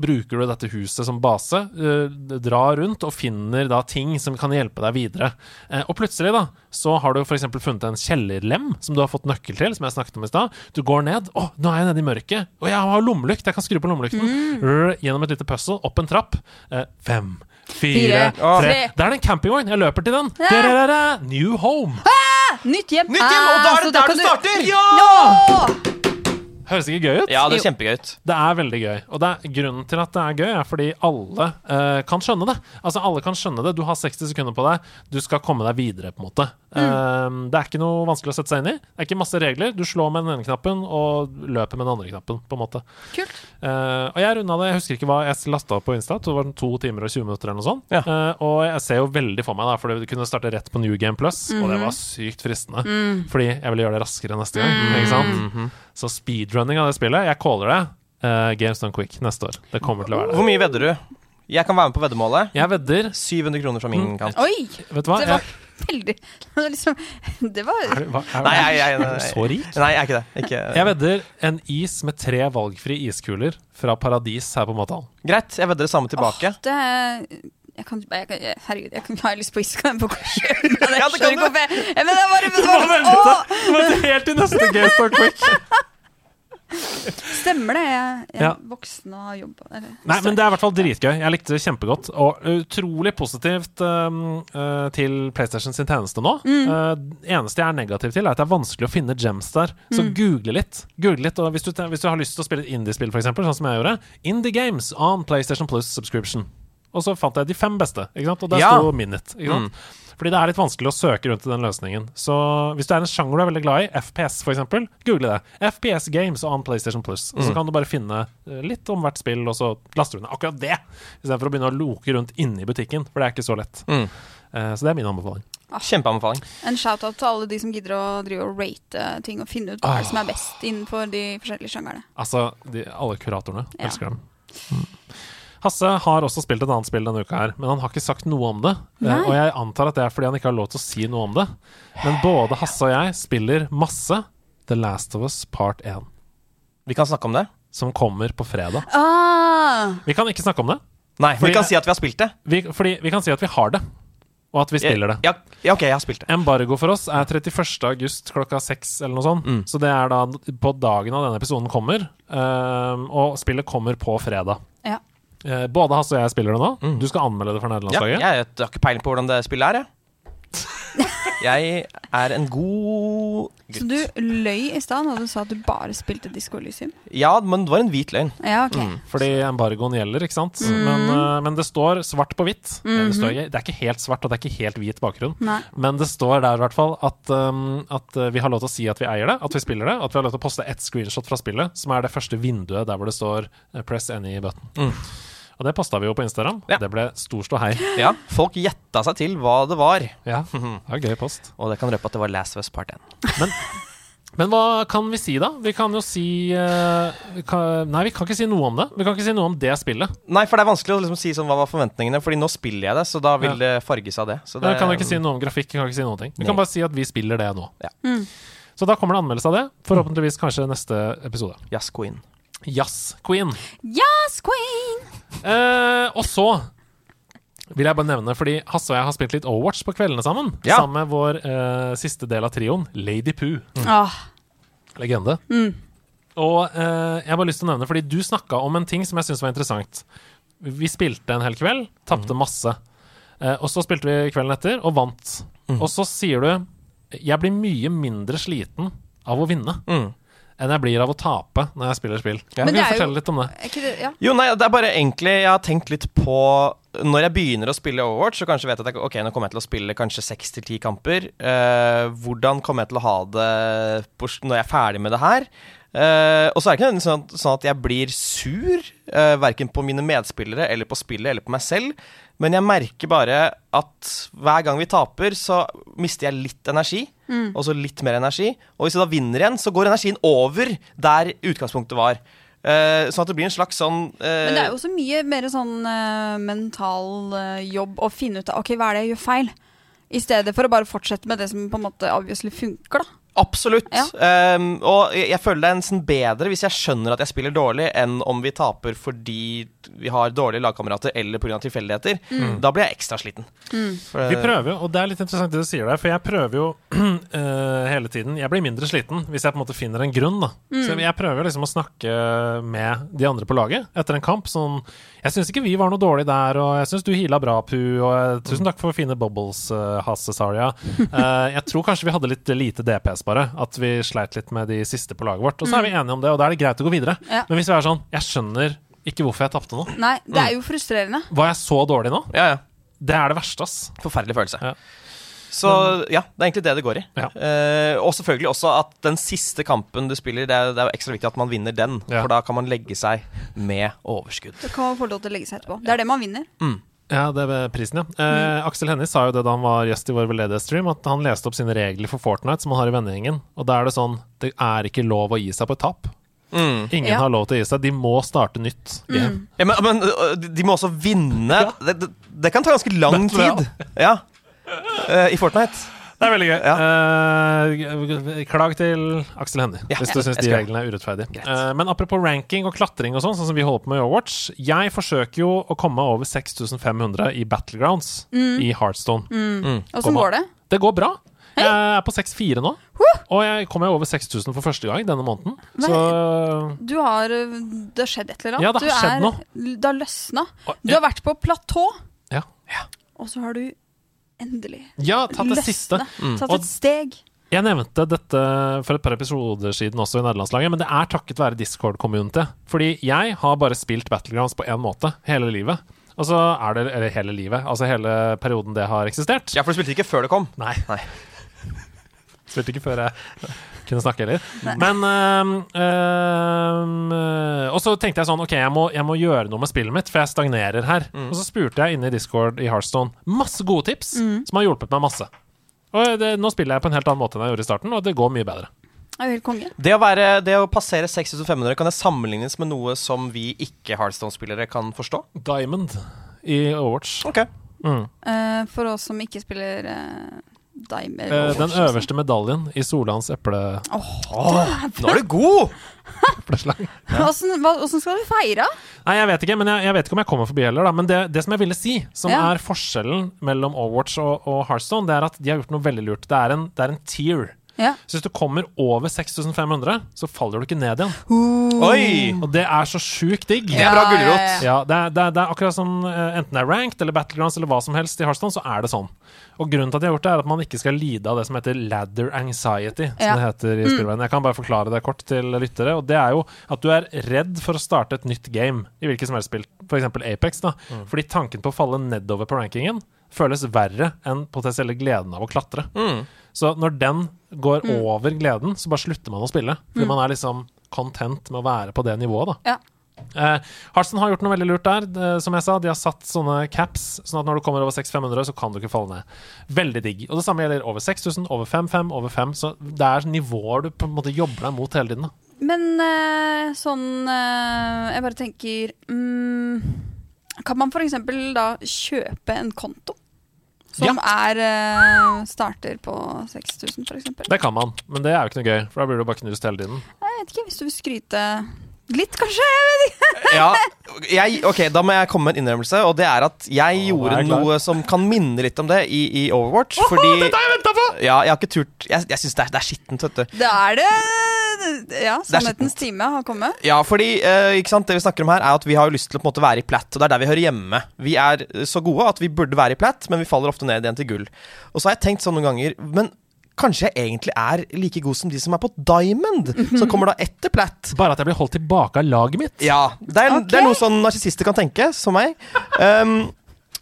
S1: bruker du dette huset som base, eh, drar rundt og finner da ting som kan hjelpe deg videre. Eh, og plutselig da, så har du for eksempel funnet en kjellerlem som du har fått nøkkel til, som jeg snakket om i stad. Du går ned, å, nå er jeg nede i mørket, og jeg har lommelykt, jeg kan skru på lommelykten. Rr, Gjennom et lite puzzle, opp en trapp. Eh, fem, fire,
S6: Fire,
S1: tre.
S6: tre.
S1: Der er det en campingvogn, jeg løper til den. Da-da-da-da, New home.
S6: Nytt hjem.
S5: Nytt hjem, og da
S6: Ah,
S5: er
S6: så
S5: det
S6: da
S5: der
S6: kan
S5: du starter! Ja!
S6: Åh!
S1: Høres ikke gøy ut?
S5: Ja, det er
S6: Jo.
S5: kjempegøy ut.
S1: Det er veldig gøy. Og det er, grunnen til at det er gøy, er fordi alle eh, kan skjønne det. Altså, alle kan skjønne det. Du har 60 sekunder på deg. Du skal komme deg videre, på en måte. Eh, det er ikke noe vanskelig å sette seg inn i. Det er ikke masse regler. Du slår med den ene knappen og løper med den andre knappen, på en måte.
S6: Kult.
S1: Eh, og jeg runda det. Jeg husker ikke hva jeg lasta opp på Insta. Det var den to timer og 20 minutter eller noe sånt.
S5: Ja.
S1: Eh, og jeg ser jo veldig for meg, da, for det kunne starte rett på New Game Plus, og det var sykt fristende. Fordi jeg ville gjøre det raskere neste gang. Ikke sant? Så speedrunning av det spillet, jeg caller det eh, Games Done Quick neste år. Det kommer til å være det.
S5: Hvor mye vedder du? Jeg kan være med på veddemålet.
S1: Jeg vedder
S5: 700 kroner fra min kant.
S6: Mm. Oi!
S1: Vet du hva?
S6: Det
S1: Jeg,
S6: var veldig Det var liksom Det
S1: er
S6: var
S1: du, hva er,
S5: Nei, jeg, jeg,
S1: er du
S5: nei,
S1: så rik?
S5: nei, jeg er ikke det. Ikke.
S1: Jeg vedder en is med tre valgfrie iskuler fra Paradis her på Matalen.
S5: Greit, jeg vedder det samme tilbake.
S6: Det er- jeg kan, jeg kan, jeg- herregud, jeg kan, har jeg lyst på is, kan jeg bare gå og kjøpe den? Jeg
S5: Ja, det kan
S6: skjønner ikke
S5: du.
S6: hvorfor jeg- Men det var, det var, Åh,
S1: Helt til neste Games Done Quick!
S6: stemmer det? Jeg, jeg
S1: Ja.
S6: er voksen og har jobb eller-
S1: Nei, men det er i hvert fall dritgøy. Jeg likte det kjempegodt. Og utrolig positivt um, uh, til PlayStation sin tjeneste nå. Uh, eneste jeg er negativ til, er at det er vanskelig å finne gems der. Så google litt. Google litt, og hvis du, te- hvis du har lyst til å spille et indiespill, f.eks., sånn som jeg gjorde, Indie Games on PlayStation Plus subscription. Og så fant jeg de fem beste, ikke sant? og der
S5: Ja.
S1: sto Minute. Ikke sant? Fordi det er litt vanskelig å søke rundt i den løsningen. Så hvis det er en sjanger du er veldig glad i, FPS f.eks., google det. FPS Games on PlayStation Plus. Og så kan du bare finne eh, litt om hvert spill, og så laster du ned akkurat det. Istedenfor å begynne å loke rundt inne i butikken, for det er ikke så lett.
S5: Mm.
S1: Eh, Så det er min anbefaling.
S5: Kjempeanbefaling.
S6: En shout-out til alle de som gidder å drive og rate eh, ting og finne ut hva er det som er best innenfor de forskjellige sjangerne.
S1: Altså, de, alle kuratorene.
S6: Ja.
S1: Elsker dem. Mm. Hasse har også spilt et annet spill denne uka her, men han har ikke sagt noe om det. Eh,
S6: Nei.
S1: Og jeg antar at det er fordi han ikke har lov til å si noe om det. Men både Hasse og jeg spiller masse The Last of Us Part 1,
S5: Vi kan snakke om det.
S1: som kommer på fredag.
S6: Ah,
S1: Vi kan ikke snakke om det,
S5: Nei,
S1: Fordi-
S5: vi kan si at vi har spilt det.
S1: vi, fordi vi kan si at vi har det, og at vi spiller det.
S5: Ja, ja, ok, jeg har spilt det.
S1: Embargo for oss er 31. august klokka seks eller noe sånt. Så det er da på dagen av denne episoden kommer, ehm, og spillet kommer på fredag.
S6: ja.
S1: Eh, Både Hasse og jeg spiller det nå. Du skal anmelde det for
S5: Ja,
S1: nederlandslaget.
S5: jeg har ikke peiling på hvordan det spillet er, jeg. Jeg er en god
S6: Så
S5: gutt.
S6: du løy i stad da du sa at du bare spilte Disco Elysium?
S5: Ja, men det var en hvit løgn.
S6: Ja, ok.
S1: Fordi embargoen gjelder, ikke sant? Men, eh, men det står svart på hvitt. Eh, det, står, ikke- det er ikke helt svart, og det er ikke helt hvit bakgrunn.
S6: Nei.
S1: Men det står der i hvert fall at, um, at eh, vi har lov til å si at vi eier det, at vi spiller det. At vi har lov til å poste ett screenshot fra spillet, som er det første vinduet der hvor det står eh, 'press any button'. Og det posta vi jo på Instagram.
S5: Ja.
S1: Det ble stor ståhei.
S5: Ja, Folk gjetta seg til hva det var.
S1: Ja, det var gøy post.
S5: Og det kan røpe at det var Last West Part 1.
S1: Men hva kan vi si, da? Vi kan jo si eh, vi kan, Nei, vi kan ikke si noe om det. Vi kan ikke si noe om det spillet.
S5: Nei, for det er vanskelig å liksom si sånn, hva var forventningene, Fordi nå spiller jeg det, så da vil
S1: Ja.
S5: det farges av det. Så
S1: Det,
S5: det
S1: kan jo ikke si noe om grafikk. Vi kan ikke si noen ting Vi kan
S5: Nei.
S1: bare si at vi spiller det nå.
S5: Ja. Mm.
S1: Så da kommer det anmeldelse av det. Forhåpentligvis kanskje neste episode.
S5: Yes, queen.
S1: Jazz Queen.
S6: Yes, queen!
S1: Eh, og så vil jeg bare nevne, fordi Hasse og jeg har spilt litt Overwatch på kveldene sammen.
S5: Ja.
S1: Sammen med vår eh, siste del av trioen, Lady Poo.
S6: Ah,
S1: Legende.
S6: Mm.
S1: Og eh, jeg har bare lyst til å nevne, fordi du snakka om en ting som jeg syns var interessant. Vi spilte en hel kveld, tapte masse. Eh, og så spilte vi kvelden etter, og vant. Og så sier du 'Jeg blir mye mindre sliten av å vinne'.
S5: Mm.
S1: enn jeg blir av å tape når jeg spiller spill.
S5: Ja.
S1: Kan
S6: Men
S1: du
S6: det er jo-
S1: fortelle litt om det?
S6: Er ikke det, ja.
S5: Jo, nei, det er bare egentlig Jeg har tenkt litt på Når jeg begynner å spille Overwatch, så kanskje vet jeg at jeg, ok, nå kommer jeg til å spille kanskje seks til ti kamper. Eh, hvordan kommer jeg til å ha det på, s- når jeg er ferdig med det her? Eh, og så er det ikke nødvendigvis sånn, at- sånn at jeg blir sur, uh, verken på mine medspillere eller på spillet eller på meg selv, men jeg merker bare at hver gang vi taper, så mister jeg litt energi, og så litt mer energi. Og hvis jeg da vinner igjen, så går energien over der utgangspunktet var. Eh, sånn at det blir en slags sånn eh,
S6: Men det er jo også mye mer sånn eh, mental eh, jobb å finne ut av OK, hva er det jeg gjør feil? I stedet for å bare fortsette med det som på en måte obviously funker, da.
S5: Absolutt.
S6: Ja.
S5: Ehm, og jeg, jeg føler det er nesten bedre hvis jeg skjønner at jeg spiller dårlig, enn om vi taper fordi vi har dårlige lagkamerater eller pga. tilfeldigheter.
S6: Mm.
S5: Da blir jeg ekstra sliten. For,
S1: Vi prøver jo, og det er litt interessant det du sier der, for jeg prøver jo eh, hele tiden Jeg blir mindre sliten hvis jeg på en måte finner en grunn, da. Så jeg prøver liksom å snakke med de andre på laget etter en kamp. Sånn Jeg syns ikke vi var noe dårlig der, og jeg syns du heala bra, Pu, og eh, tusen takk for fine bubbles, eh, Hasse Saria. Eh, jeg tror kanskje vi hadde litt lite DPS, bare. At vi sleit litt med de siste på laget vårt. Og så er vi enige om det, og da er det greit å gå videre.
S6: Ja.
S1: Men hvis vi er sånn Jeg skjønner ikke hvorfor jeg tapte nå.
S6: Nei, det
S1: Mm.
S6: er jo frustrerende.
S1: Var jeg så dårlig nå?
S5: ja, ja.
S1: Det er det verste, ass.
S5: Forferdelig følelse.
S1: Ja.
S5: Så ja, det er egentlig det det går i.
S1: Ja.
S5: Eh, og selvfølgelig også at den siste kampen du spiller, det er, det er jo ekstra viktig at man vinner den.
S1: Ja.
S5: For da kan man legge seg med overskudd.
S6: Det kan man få lov til å legge seg etterpå. Det er det man vinner.
S5: Mm.
S1: Ja, det er prisen, ja. Eh, Aksel Hennie sa jo det da han var gjest i vår veldedighetsstream, at han leste opp sine regler for Fortnite som han har i vennegjengen. Og da er det sånn Det er ikke lov å gi seg på et tap. Ingen
S6: Ja.
S1: har lov til å gi seg. De må starte nytt. game.
S5: Ja, men, men øh, de de må også vinne. Det, det, det kan ta ganske lang
S1: Battle Royale.
S5: tid. Ja. Eh, I Fortnite.
S1: Det er veldig gøy. Eh, klag til Aksel Hennie
S5: Ja,
S1: hvis du syns
S5: jeg
S1: de
S5: skal.
S1: reglene er urettferdige.
S5: Greit.
S1: Eh, men apropos ranking og klatring og sånn, sånn som vi holder på med i Overwatch. Jeg forsøker jo å komme over 6500 i Battlegrounds i Heartstone.
S6: Åssen går det?
S1: Det går bra. Jeg er på 6-4 nå. Og jeg kom meg over 6000 for første gang denne måneden. Så eh,
S6: Du har øh, Det har skjedd et eller annet.
S1: Ja, det har
S6: Du
S1: skjedd
S6: er-
S1: noe.
S6: Det har løsna.
S1: Og-
S6: Du har vært på platå,
S1: ja.
S6: og så har du endelig
S1: Ja, tatt det
S6: løsna.
S1: siste. Mm.
S6: Tatt
S1: Og-
S6: et steg.
S1: Jeg nevnte dette for et par episoder siden også i nederlandslaget, men det er takket være Discord-community. Fordi jeg har bare spilt Battlegrounds på én måte hele livet. Og så er det Eller hele livet. Altså hele perioden det har eksistert.
S5: Ja, for du spilte ikke før det kom.
S1: Nei.
S5: Nei.
S1: Spilte ikke før jeg kunne snakke heller. Men øhm, øhm, øh, Og så tenkte jeg sånn Ok, jeg må, jeg må gjøre noe med spillet mitt, for jeg stagnerer her. Og så spurte jeg inne i Discord i Heartstone masse gode tips som har hjulpet meg masse. Og det, nå spiller jeg på en helt annen måte enn jeg gjorde i starten, og det går mye bedre.
S6: Det er jo helt konge.
S5: Det å, være, det å passere 6500 kan det sammenlignes med noe som vi ikke Heartstone-spillere kan forstå.
S1: Diamond i Overwatch.
S5: Ok
S1: Mm.
S6: Eh, for oss som ikke spiller uh, Dimer.
S1: Eh, Den
S6: liksom.
S1: øverste medaljen i Solans eple...
S5: Nå er du god!
S6: Åssen hva- åssen skal du feire?
S1: Nei, jeg vet ikke, men jeg, jeg vet ikke om jeg kommer forbi heller, da. Men det, det som jeg ville si, som
S6: Ja.
S1: er forskjellen mellom Overwatch og, og Heartstone, det er at de har gjort noe veldig lurt. Det er en, det er en tier.
S6: Ja.
S1: Så hvis du kommer over 6500, så faller du ikke ned igjen.
S5: Oi!
S1: Og det er så sjukt digg.
S5: Det er bra gulrot.
S6: ja,
S1: Ja, det er, det, er, det er akkurat som eh, enten det er ranked eller battlegrounds eller hva som helst i Heartstone, så er det sånn. Og grunnen til at de har gjort det, er at man ikke skal lide av det som heter ladder anxiety, som
S6: Ja.
S1: det heter i spillverden. Jeg kan bare forklare det kort til lyttere, og det er jo at du er redd for å starte et nytt game i hvilket som helst spill, f.eks. Apex, da. Fordi tanken på å falle nedover på rankingen føles verre enn potensielle gleden av å klatre.
S5: Mm.
S1: Så når den går over gleden, så bare slutter man å spille. Fordi man er liksom content med å være på det nivået, da.
S6: Ja.
S1: Eh, Harsen har gjort noe veldig lurt der. Eh, som jeg sa, De har satt sånne caps, sånn at når du kommer over 6500, så kan du ikke falle ned. Veldig digg. Og det samme gjelder over 6000, over 5500, over 5 Så det er nivåer du på en måte jobber deg mot hele tiden. Da.
S6: Men eh, sånn eh, Jeg bare tenker mm, Kan man for eksempel da kjøpe en konto? Som er eh, starter på 6000, for eksempel.
S1: Det kan man, men det er jo ikke noe gøy, for da blir du bare knust hele tiden.
S6: Jeg vet ikke, hvis du vil skryte litt, kanskje? Jeg vet ikke.
S5: Ja, jeg, ok, Da må jeg komme med en innrømmelse, og det er at jeg gjorde
S1: er jeg klar.
S5: noe som kan minne litt om det i, i Overwatch. Fordi
S1: Dette har jeg venta på!
S5: ja, jeg har ikke turt Jeg, jeg syns det, er- det er skittent, vet du.
S6: Det er det Ja, sannhetens time har kommet.
S5: Ja, fordi eh, ikke sant? det vi snakker om her er at vi har jo lyst til å på en måte være i platt, og det er der vi hører hjemme. Vi er eh, så gode at vi burde være i platt, men vi faller ofte ned igjen til gull. Og så har jeg tenkt sånn noen ganger, men Kanskje jeg egentlig er like god som de som er på Diamond, som kommer da etter Platt.
S1: Bare at jeg blir holdt tilbake av laget mitt.
S5: Ja, det er, det er noe sånn narsissister kan tenke, som meg. Um,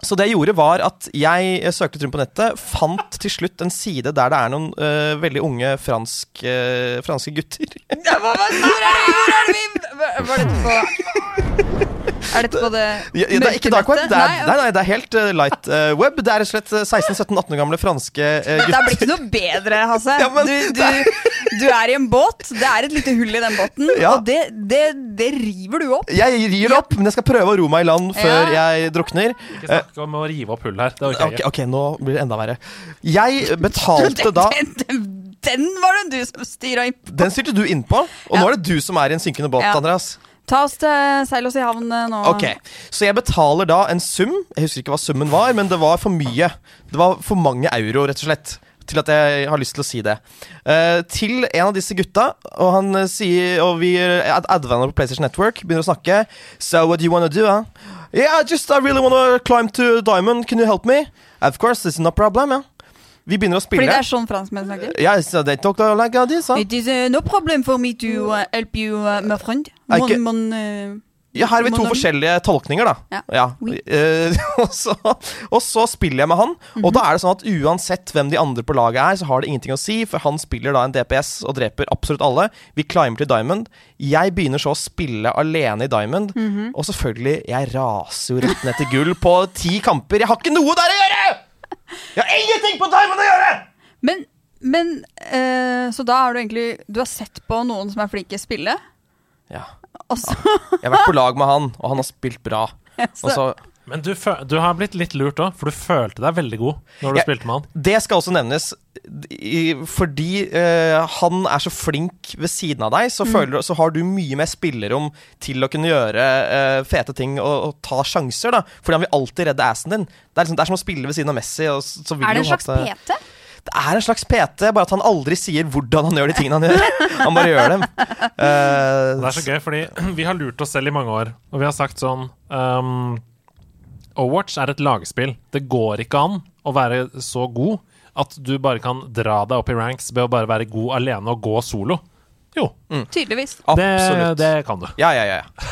S5: så det jeg gjorde, var at jeg eh, søkte litt rundt på nettet, fant til slutt en side der det er noen eh, veldig unge fransk, eh, franske gutter.
S6: Hva, hva, hvor er det, sånn, hvor er det vi hva- Var dette på Er dette på det
S5: Ja, ja, det er ikke dark web, det er, nei, nei, det er helt eh, light eh, web. Det er rett og slett eh, 16-17-18 år gamle franske eh,
S6: Det
S5: gutter.
S6: blir ikke noe bedre, Hasse.
S5: Ja, men
S6: du,
S5: det
S6: du, du er i en båt, det er et lite hull i den båten,
S5: Ja.
S6: og det, det, det river du opp.
S5: Jeg rir det opp, men jeg skal prøve å ro meg i land før jeg drukner.
S1: Ikke snakk om å rive opp hull her. Det orker jeg
S5: Eh. Ok,
S1: ikke.
S5: ok, nå blir det enda verre. Jeg betalte
S6: Den,
S5: da
S6: den, den, den var det du som styra inn.
S5: Den styrte du innpå, og nå er det du som er i en synkende båt,
S6: Ja.
S5: Andreas.
S6: Ta oss til seil oss i havn eh, nå.
S5: Ok, Så jeg betaler da en sum. Jeg husker ikke hva summen var, men det var for mye. Det var for mange euro, rett og slett. Til at jeg har lyst til å si det. Eh, til en av disse gutta, og han eh, sier Og vi eh, ad advaner på PlayStation Network, begynner å snakke. So what do you wanna do, huh? Yeah, just I really wanna climb to diamond. Can you help me? Of course, it's no problem, yeah. Vi begynner å spille.
S6: Fordi det er sånn franskmenn snakker?
S5: Yeah, so they talk like this, huh?
S6: It is eh, no problem for me to eh, help you, eh, my friend.
S5: Er
S6: Mon,
S5: ikke-
S6: mon, eh,
S5: Ja, her har vi to
S6: Monolog.
S5: forskjellige tolkninger, da.
S6: Ja. Oui.
S5: Eh, og, så, og så spiller jeg med han,
S6: Mhm.
S5: og da er det sånn at uansett hvem de andre på laget er, så har det ingenting å si, for han spiller da en DPS og dreper absolutt alle. Vi climber til Diamond. Jeg begynner så å spille alene i Diamond,
S6: Mhm.
S5: og selvfølgelig, jeg raser jo rett ned til gull på ti kamper. Jeg har ikke noe der å gjøre! Jeg har ingenting på Diamond å gjøre!
S6: Men, men eh, Så da har du egentlig Du har sett på noen som er flinke i spillet,
S5: Ja.
S6: og så
S5: Jeg har vært på lag med han, og han har spilt bra. Og så
S1: Men du, fø- du har blitt litt lurt òg, for du følte deg veldig god når du
S5: Jeg-
S1: spilte med han.
S5: Det skal også nevnes. I, fordi eh, han er så flink ved siden av deg, så,
S6: Mm.
S5: føler, du- så har du mye mer spillerom til å kunne gjøre eh, fete ting og, og ta sjanser. da Fordi han vil alltid redde assen din. Det er, liksom, det er som å spille ved siden av Messi. Og så, så vil
S6: Er det
S5: du
S6: en slags
S5: på en måte-
S6: PT?
S5: Det er en slags PT, bare at han aldri sier hvordan han gjør de tingene han gjør. Han bare gjør dem. Eh,
S1: Det er så gøy, fordi vi har lurt oss selv i mange år, og vi har sagt sånn um, Overwatch er et lagspill. Det går ikke an å være så god at du bare kan dra deg opp i ranks ved å bare være god alene og gå solo. Jo,
S6: Tydeligvis.
S1: det,
S5: absolutt.
S1: det kan du.
S5: Ja, ja, ja, ja.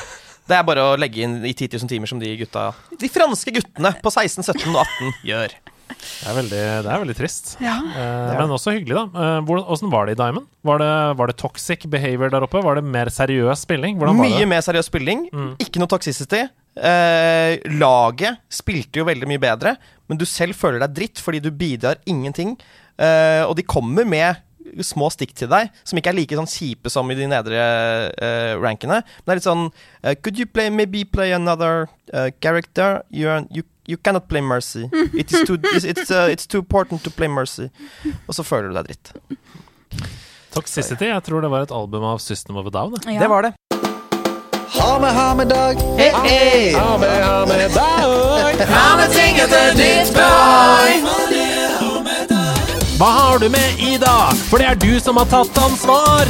S5: Det er bare å legge inn i 10 000 timer som de gutta De franske guttene på 16, 17 og 18 gjør.
S1: Det er veldig, det er veldig trist.
S6: Ja.
S1: Eh, men også hyggelig, da. Eh, hvordan, hvordan var det i Diamond? Var det, var det toxic behavior der oppe? Var det mer seriøs spilling? Hvordan var
S5: Mye
S1: det? Mm.
S5: mer seriøs spilling. Ikke noe toxicity. Eh, laget spilte jo veldig mye bedre, men du selv føler deg dritt fordi du bidrar ingenting. Eh, og de kommer med små stikk til deg, som ikke er like sånn kjipe som i de nedre eh, rankene. Men det er litt sånn eh, Could you play, maybe play another eh, character? You, are, you, you cannot play Mercy. It is too, it's, it's, eh, it's too important to play Mercy. Og så føler du deg dritt.
S1: Toxicity? Jeg tror det var et album av System of a Down. det.
S6: Ja.
S5: Det var det.
S4: Ha med, ha med dag.
S1: Hva har du med i dag? For det er du som har tatt ansvar.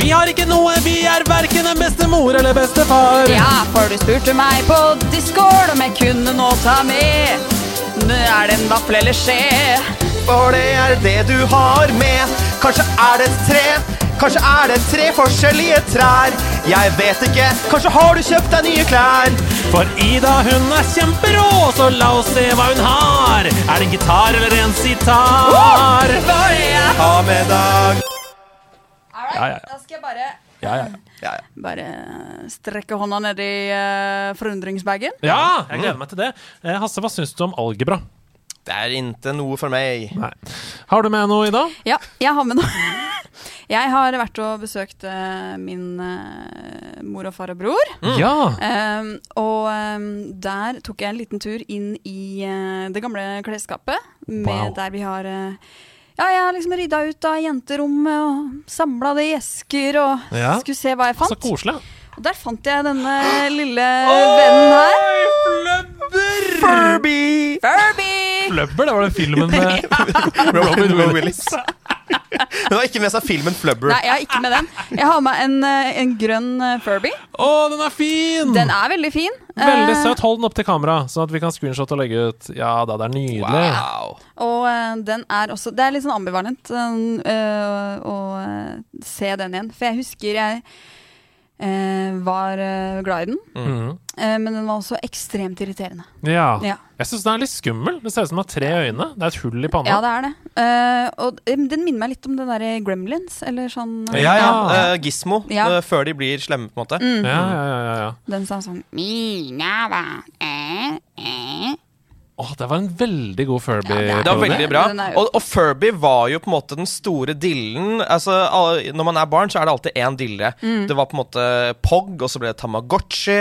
S1: Vi har ikke noe, vi er verken en bestemor eller bestefar.
S6: Ja, for du spurte meg på Discord om jeg kunne nå ta med. Nå er det en vaffel eller skje.
S5: For det er det du har med. Kanskje er det et tre. Kanskje er det tre forskjellige trær. Jeg vet ikke. Kanskje har du kjøpt deg nye klær.
S1: For Ida hun er kjemperå, så la oss se hva hun har. Er det en gitar eller en sitar?
S5: Ha med dag.
S1: Ja, ja, ja.
S6: Da skal jeg bare,
S1: Ja, ja.
S5: Ja, ja.
S6: bare strekke hånda ned i eh, forundringsbagen.
S1: ja jeg gleder meg til det. Eh, Hasse, hva syns du om algebra?
S5: Det er ikke noe for meg.
S1: Nei. Har du med noe, Ida?
S6: Ja, jeg har med noe. Jeg har vært og besøkt eh, min eh, mor og far og bror.
S1: Ja.
S6: Ehm, og ehm, der tok jeg en liten tur inn i eh, det gamle klesskapet. Med
S1: Wow.
S6: Der vi har eh, Ja, jeg har liksom rydda ut av jenterommet og samla det i esker og
S1: Ja.
S6: skulle se hva jeg
S1: Så
S6: fant.
S1: koselig.
S6: Og der fant jeg denne lille vennen her.
S5: Furby.
S6: Furby!
S1: Flubber, det var den filmen med
S5: Robin Willis. Hun har ikke med seg filmen Flubber.
S6: Nei, jeg har ikke med den. Jeg har med en, eh, en grønn eh, Furby.
S1: Å, den er fin!
S6: Den er veldig fin.
S1: Veldig
S6: Eh,
S1: søt. Hold den opp til kamera, sånn at vi kan screenshot og legge ut. Ja da, det er nydelig.
S5: Wow.
S6: Og eh, den er også Det er litt sånn ambivalent eh, øh, å eh, se den igjen. For jeg husker jeg eh, var eh, glad i den,
S5: Mm.
S1: Mhm.
S6: eh, men den var også ekstremt irriterende.
S1: Ja.
S6: Ja.
S1: Jeg syns den er litt skummel. Det ser ut som den har tre øyne. Det er et hull i panna.
S6: Ja, det er det. Eh, og eh, den minner meg litt om den derre Gremlins, eller sånn eh,
S5: Ja, ja.
S1: Ja.
S5: eh, Gismo.
S6: Ja.
S5: eh, før de blir slemme, på en måte.
S1: ja, ja, ja, ja, ja.
S6: Den som er sånn Eh,
S1: Å, det var en veldig god Furby-periode.
S5: Det var veldig bra.
S6: Den er jo-
S5: Og, og Furby var jo på en måte den store dillen. Altså, al- når man er barn, så er det alltid én dille.
S6: Mm.
S5: Det var på en måte Pog, og så ble det Tamagotchi,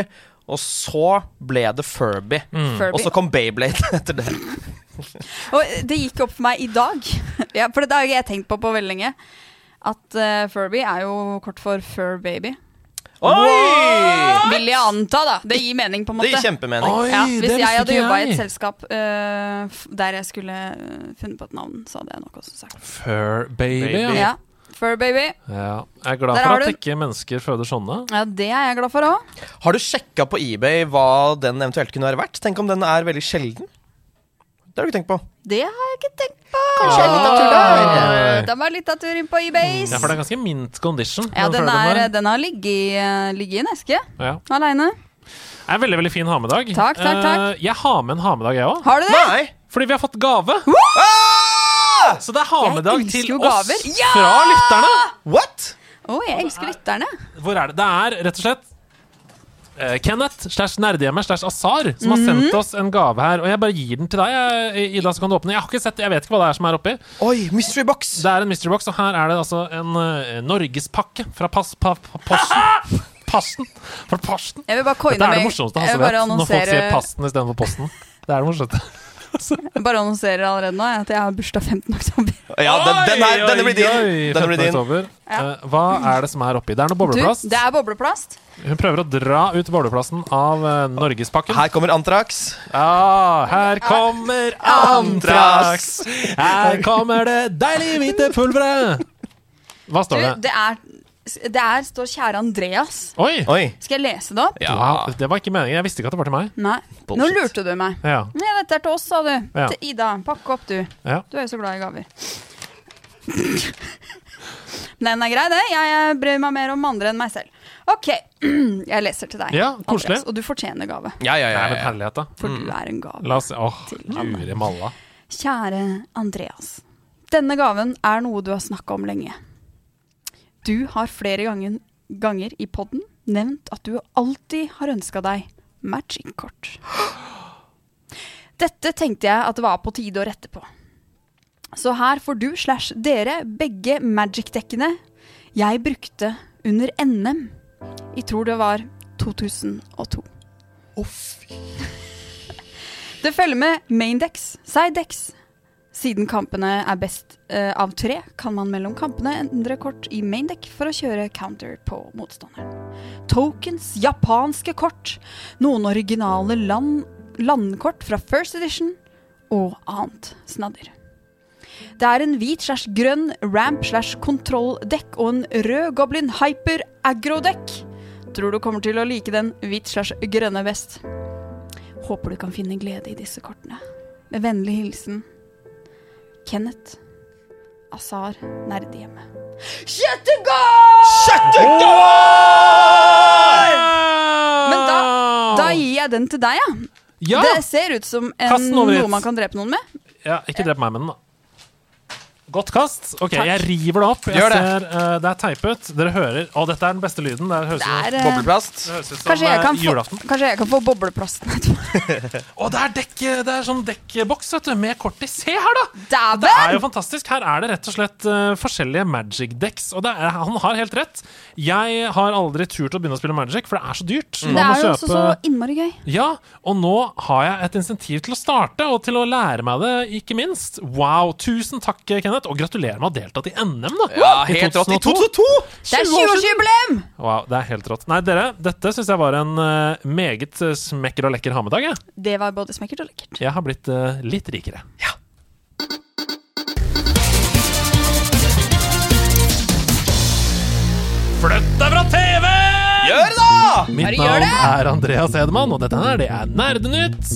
S5: og så ble det Furby. Og
S1: Mm.
S6: Furby.
S5: så kom Beyblade etter det.
S6: Og det gikk opp for meg i dag, ja, for det har jeg tenkt på på veldig lenge, at eh, Furby er jo kort for Fur Baby.
S5: Oi!
S6: Vil jeg anta, da. Det gir mening, på
S5: Det
S6: en måte.
S5: gir kjempemening.
S1: Oi,
S6: ja, hvis
S1: det
S6: jeg
S1: visste
S6: hadde
S1: ikke
S6: jobba i et
S1: jeg.
S6: selskap eh, f- der jeg skulle eh, funnet på et navn, så hadde jeg nok også sagt
S1: Furbaby, ja.
S6: ja. Fur Baby.
S1: ja. Jeg er glad
S6: Der har
S1: for
S6: du
S1: at
S6: den.
S1: ikke mennesker føder sånne.
S6: Ja, det er jeg glad for òg.
S5: Har du sjekka på eBay hva den eventuelt kunne være verdt? Tenk om den er veldig sjelden? Det har du ikke tenkt på.
S6: Det har jeg ikke tenkt på.
S1: Kanskje jeg er litt av tur der.
S6: Åh, Den var litt av tur inn på eBays.
S1: Ja, for det er ganske mint condition.
S6: Ja, den,
S1: Furbyen
S6: er,
S1: der.
S6: den har ligget i, eh, ligget i en eske
S1: ja.
S6: aleine.
S1: Det er en veldig veldig fin hamedag.
S6: Takk, takk, takk.
S1: Eh, Jeg har med en hamedag, jeg òg.
S6: Har du det?
S5: Nei!
S1: Fordi vi har fått gave.
S5: Ah!
S1: Så det er hamedag
S6: Jeg elsker
S1: til
S6: jo
S1: oss
S6: gaver. Ja!
S1: fra lytterne.
S5: What?
S6: Å, jeg elsker lytterne.
S1: Hvor er det? Det er rett og slett eh, Kenneth slash Nerdehjemmet slash Asar som har sendt
S6: Mhm.
S1: oss en gave her. Og jeg bare gir den til deg, jeg, Ida, så kan du åpne. Jeg har ikke sett, jeg vet ikke hva det er som er oppi.
S5: Oi, mystery box.
S1: Det er en mystery box, og her er det altså en eh, norgespakke fra pass, pa, pa, Posten. Pasten! Fra Posten.
S6: Jeg vil bare coine
S1: Dette er det
S6: med-
S1: morsomste
S6: jeg
S1: Hasse
S6: vil bare
S1: vet, når folk sier
S6: annonsere-
S1: Pasten istedenfor Posten. Det er det morsomste.
S6: Jeg bare annonserer allerede nå jeg, at jeg har bursdag 15. oktober.
S5: Ja, den, den er, denne blir din.
S1: Oi, oi,
S5: Denne
S1: 15.
S5: blir din.
S1: oktober. Eh, hva er det som er oppi? Det er noe
S6: Du,
S1: bobleplast.
S6: det er bobleplast.
S1: Hun prøver å dra ut bobleplasten av eh, norgespakken.
S5: Her kommer Antrax.
S1: Ja, her kommer Antrax! Her kommer det deilige hvite pulveret! Hva
S6: Du,
S1: står det?
S6: det er Det er, står 'Kjære Andreas'.
S1: Oi!
S5: Oi.
S6: Skal jeg lese det opp?
S1: Wow, det var ikke meningen. Jeg visste ikke at det var til meg.
S6: Nei. Nå
S5: Bullshit.
S6: lurte du meg.
S1: Ja.
S6: Nei, dette er til oss, sa du.
S1: Ja.
S6: Til Ida. Pakk opp, du.
S1: Ja.
S6: Du er jo så glad i gaver. Men Den er grei, det. Jeg bryr meg mer om andre enn meg selv. OK, jeg leser til deg.
S1: Ja, koselig. Mm.
S6: Andreas, og du fortjener gave,
S5: Ja, ja,
S1: Det
S5: ja,
S1: er
S5: ja,
S1: en
S5: ja.
S1: herlighet, da.
S6: for du er en gave.
S1: La oss Åh, lure malla.
S6: Kjære Andreas. Denne gaven er noe du har snakka om lenge. Du har flere ganger, ganger i podden nevnt at du alltid har ønska deg matchingkort. Dette tenkte jeg at det var på tide å rette på. Så her får du slash dere begge magic-dekkene jeg brukte under NM. Jeg tror det var 2002. Det følger med maindex, sidedex. Siden kampene er best eh, av tre, kan man mellom kampene endre kort i maindeck for å kjøre counter på motstanderen. Tokens, japanske kort, noen originale land, landkort fra first edition og annet snadder. Det er en hvit slash grønn ramp slash kontrolldekk og en rød goblin hyper aggro-dekk. Tror du kommer til å like den hvit slash grønne best. Håper du kan finne glede i disse kortene. Med vennlig hilsen Kenneth Azar Nerdehjemmet. Men da, da gir jeg den til deg, ja.
S1: Ja!
S6: Det ser ut som en,
S1: Kast den over hit.
S6: noe man kan drepe noen med.
S1: ja ikke drep meg med den, da. Godt kast. Ok, Jeg river det opp. Jeg
S5: Gjør det.
S1: Ser, eh, det er teipet. Dere hører Å, dette er den beste lyden. Det høres
S6: Det
S1: ut
S6: er, eh,
S5: Bobleplast.
S1: det høres ut som
S6: kanskje, jeg
S1: eh,
S6: kan få,
S1: julaften.
S6: kanskje jeg kan få bobleplasten etterpå.
S1: Å, det er, dekk, det er sånn dekkboks vet du, med kort i. Se her, da! Det er
S6: Dæven!
S1: jo fantastisk. Her er det rett og slett eh, forskjellige magic decks. Og det er, han har helt rett. Jeg har aldri turt å begynne å spille magic, for det er så dyrt. Man
S6: Mm. Det
S1: må
S6: er jo også så
S1: kjøpe-
S6: innmari gøy.
S1: Ja, og nå har jeg et insentiv til å starte, og til å lære meg det, ikke minst. Wow, tusen takk, Kenneth, og gratulerer med å ha deltatt i NM, da.
S5: Ja, helt rått. I 2002!
S6: Det er 20-årsjubileum!
S1: Wow, det er helt rått. Nei, dere, dette syns jeg var en eh, meget eh, smekker og lekker hamedag, jeg.
S6: Det var både smekkert og lekkert.
S1: Jeg har blitt eh, litt rikere. deg fra TV!
S5: Gjør det, da!
S1: Mitt
S6: gjør
S1: navn
S6: det?
S1: er Andreas Hedman, og dette her, det er Nerdenytt.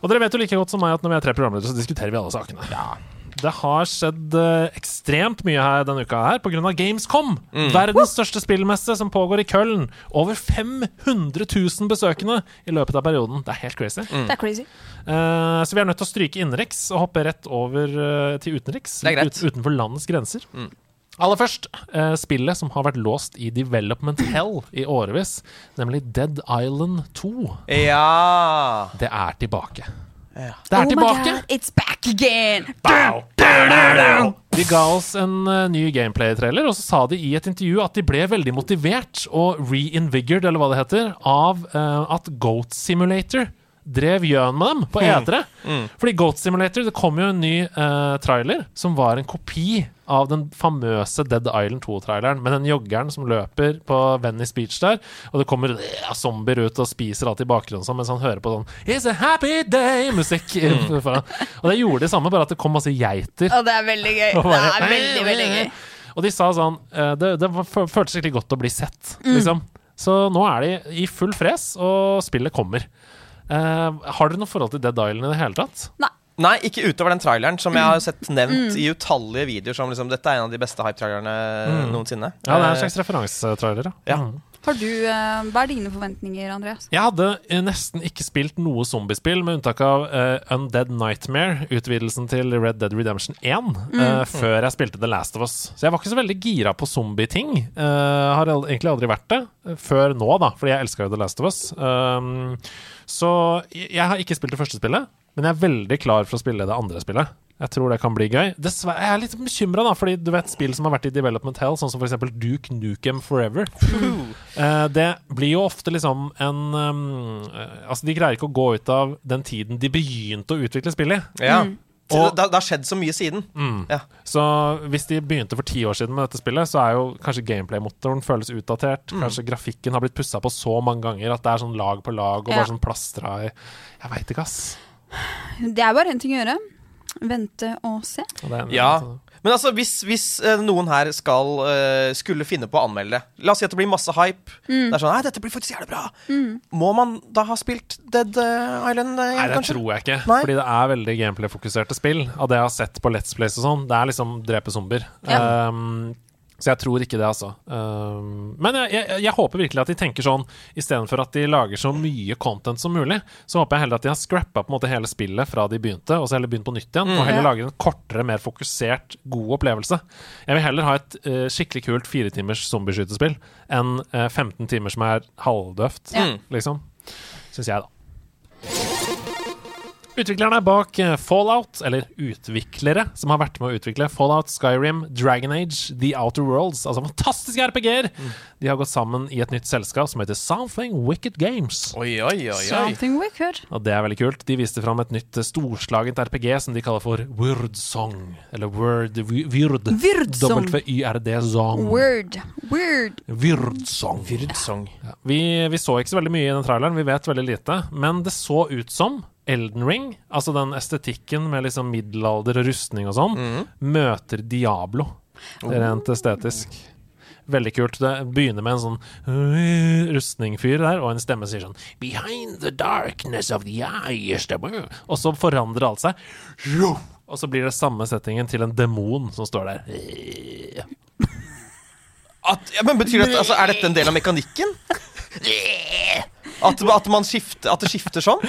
S1: Og dere vet jo like godt som meg at når vi er tre programledere, så diskuterer vi alle sakene. Det har skjedd eh, ekstremt mye her denne uka her pga. Gamescom.
S6: Mm.
S1: Verdens største spillmesse som pågår i Köln. Over 500 000 besøkende i løpet av perioden. Det er helt crazy.
S6: Det er crazy.
S1: Eh, så vi er nødt til å stryke innenriks og hoppe rett over eh, til utenriks.
S5: Det er greit. Mm.
S1: Ut, utenfor landets grenser. Aller først eh, spillet som har vært låst i Development Hell i årevis, nemlig Dead Island 2.
S5: Ja
S1: Det er tilbake. Det er
S6: Oh my
S1: tilbake!
S6: God, it's back again!
S1: De ga oss en eh, ny gameplay-trailer, og så sa de i et intervju at de ble veldig motivert og reinvigored, eller hva det heter, av eh, at Goat Simulator drev gjøn med dem på edre. Fordi Goat Simulator, det kom jo en ny eh, trailer som var en kopi av den famøse Dead Island 2-traileren, med den joggeren som løper på Venice Beach der, og det kommer eh, zombier ut og spiser alt i bakgrunnen sånn, mens han hører på sånn It's a happy day-musikk. Og det gjorde det samme, bare at det kom masse geiter
S6: Og det er veldig gøy.
S1: og
S6: Det
S1: bare,
S6: er veldig, veldig gøy.
S1: Og de sa sånn eh, Det, det var- fø- føltes skikkelig godt å bli sett,
S6: Mm.
S1: liksom. Så nå er de i full fres, og spillet kommer. Eh, har dere noe forhold til Dead Island i det hele tatt?
S6: Nei.
S5: Nei, ikke utover den traileren som jeg har sett nevnt i utallige videoer som liksom Dette er en av de beste hype-trailerne noensinne.
S1: Mm. Ja, det er en
S5: Eh,
S1: slags referansetrailer,
S5: ja.
S1: Mm.
S6: Har du, eh, hva er dine forventninger, Andreas?
S1: Jeg hadde eh, nesten ikke spilt noe zombiespill, med unntak av eh, Undead Nightmare, utvidelsen til Red Dead Redemption 1, eh, før jeg spilte The Last of Us. Så jeg var ikke så veldig gira på zombieting. eh, har al- egentlig aldri vært det, eh, før nå, da, fordi jeg elska jo The Last of Us. Um, så jeg jeg har ikke spilt det første spillet, men jeg er veldig klar for å spille det andre spillet. Jeg tror det kan bli gøy. Dessverre, jeg er litt bekymra, da, fordi du vet spill som har vært i Development Hell, sånn som f.eks. Duke Nukem Forever. Eh, det blir jo ofte liksom en um, eh, Altså, de greier ikke å gå ut av den tiden de begynte å utvikle spillet i.
S5: Ja. Til-
S1: Og-
S5: det, det har skjedd så mye siden. Ja.
S1: Så hvis de begynte for ti år siden med dette spillet, så er jo kanskje gameplay-motoren føles utdatert.
S5: Mm.
S1: Kanskje grafikken har blitt pussa på så mange ganger at det er sånn lag på lag og
S6: Ja.
S1: bare sånn plastra i Jeg veit ikke, ass.
S6: Det er bare én ting å gjøre. Vente og se.
S1: Og det er en-
S5: ja.
S1: altså-
S5: Men altså, hvis, hvis eh, noen her skal, eh, skulle finne på å anmelde det La oss si at det blir masse hype. Det er sånn, nei, dette blir faktisk jævlig bra Må man da ha spilt Dead eh, Island, eh,
S1: Nei, det
S5: kanskje?
S1: tror jeg ikke.
S5: Nei.
S1: Fordi det er veldig gameplay-fokuserte spill. Av det jeg har sett på Let's Plays og sånn, det er liksom drepe zombier. Um, så jeg tror ikke det, altså. Um, men jeg, jeg, jeg håper virkelig at de tenker sånn Istedenfor at de lager så mye content som mulig, så håper jeg heller at de har scrappa på en måte hele spillet fra de begynte, og så heller begynt på nytt igjen. Og heller
S6: Ja.
S1: lager en kortere, mer fokusert, god opplevelse. Jeg vil heller ha et eh, skikkelig kult fire timers zombieskytespill enn eh, 15 timer som er halvdøvt,
S6: Ja.
S1: liksom. Syns jeg, da. Utviklerne bak eh, Fallout, eller utviklere som har vært med å utvikle Fallout, Skyrim, Dragon Age, The Outer Worlds, altså fantastiske RPG-er, de har gått sammen i et nytt selskap som heter Something Wicked Games.
S5: Oi, oi, oi, oi.
S6: Something wicked.
S1: Og det er veldig kult. De viste fram et nytt eh, storslagent RPG som de kaller for Wordsong. Eller Word... Vy- Vyrd.
S6: Vyrdsong.
S1: W-y-r-d-song.
S6: Word. Word.
S1: Vyrdsong.
S5: Song.
S1: Ja. Vi, vi så ikke så veldig mye i den traileren, vi vet veldig lite. Men det så ut som Elden Ring, altså den estetikken med liksom middelalder og rustning og sånn, møter Diablo rent estetisk. Veldig kult. Det begynner med en sånn øh, rustningfyr der, og en stemme sier sånn Behind the darkness of the eye stemmer». Og så forandrer alt seg. Og så blir det samme settingen til en demon som står der.
S5: At, ja, men betyr det at, altså, Er dette en del av mekanikken? At, at, man skifter, at det skifter sånn?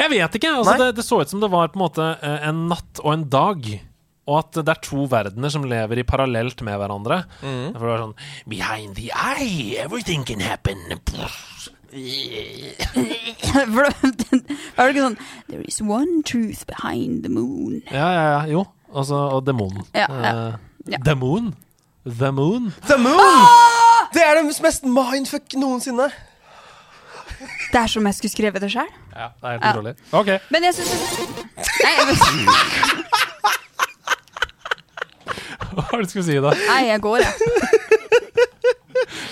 S1: Jeg vet ikke. Altså,
S5: Nei.
S1: det, det så ut som det var på en måte eh, en natt og en dag. Og at det er to verdener som lever i parallelt med hverandre. For det var sånn Behind the eye, everything can happen.
S6: For det er det ikke sånn There is one truth behind the moon.
S1: Ja, ja, ja. Jo. Altså, og demonen.
S6: Ja, ja,
S1: Eh,
S6: ja.
S1: The moon. The moon.
S5: The Moon! Det er det mest mindfuck noensinne.
S6: Det er som jeg skulle skrevet det sjøl.
S1: Ja, det er helt utrolig. Ok.
S6: Men jeg syns Nei, jeg,
S1: Hva var det du skulle si da? Jeg
S6: nei, jeg går, jeg.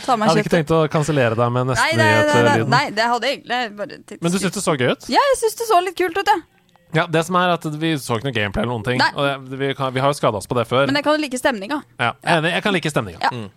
S6: Ta meg
S1: hadde ikke
S6: kjeften.
S1: tenkt å kansellere deg med
S6: Nei,
S1: neste
S6: nei, nei, nei,
S1: nyhet-lyden.
S6: nei, det hadde jeg egentlig bare tids-
S1: Men du syntes det så gøy ut?
S6: Ja, jeg syns det så litt kult ut, jeg.
S1: Ja, det som er at Vi så ikke noe gameplay eller noen ting.
S6: Nei.
S1: Og det, vi, kan, vi har jo skada oss på det før.
S6: Men jeg kan jo like stemninga.
S1: Ja, jeg er enig. Jeg kan like stemninga.
S6: Ja.
S1: Mm.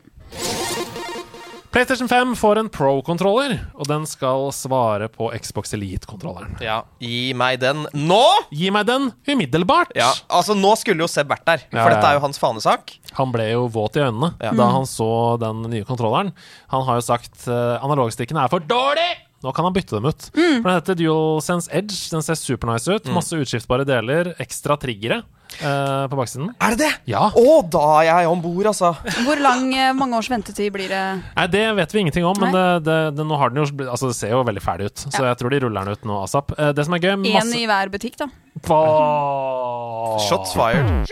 S1: PlayStation 5 får en Pro-kontroller, og den skal svare på Xbox Elite-kontrolleren.
S5: Ja, gi meg den nå!
S1: Gi meg den umiddelbart!
S5: Ja, altså Nå skulle jo Seb vært der, for
S1: Ja, ja.
S5: dette er jo hans fanesak.
S1: Han ble jo våt i øynene
S5: Ja.
S1: da han så den nye kontrolleren. Han har jo sagt uh, analogstikkene er for dårlig! Nå kan han bytte dem ut. For Den heter DualSense Edge. Den ser supernice
S5: Mm.
S1: ut. Masse utskiftbare deler. Ekstra triggere eh, på baksiden.
S5: Er det det?
S1: Ja.
S5: Å, da er jeg om bord, altså.
S6: Hvor lang, eh, mange års ventetid blir det?
S1: Nei, Det vet vi ingenting om, men det, det, det, nå har den jo, altså, det ser jo veldig fæl ut. Så jeg tror de ruller den ut nå asap. Eh, det som er gøy
S6: Én
S1: masse
S6: i hver butikk, da.
S1: på...
S5: Shots fired.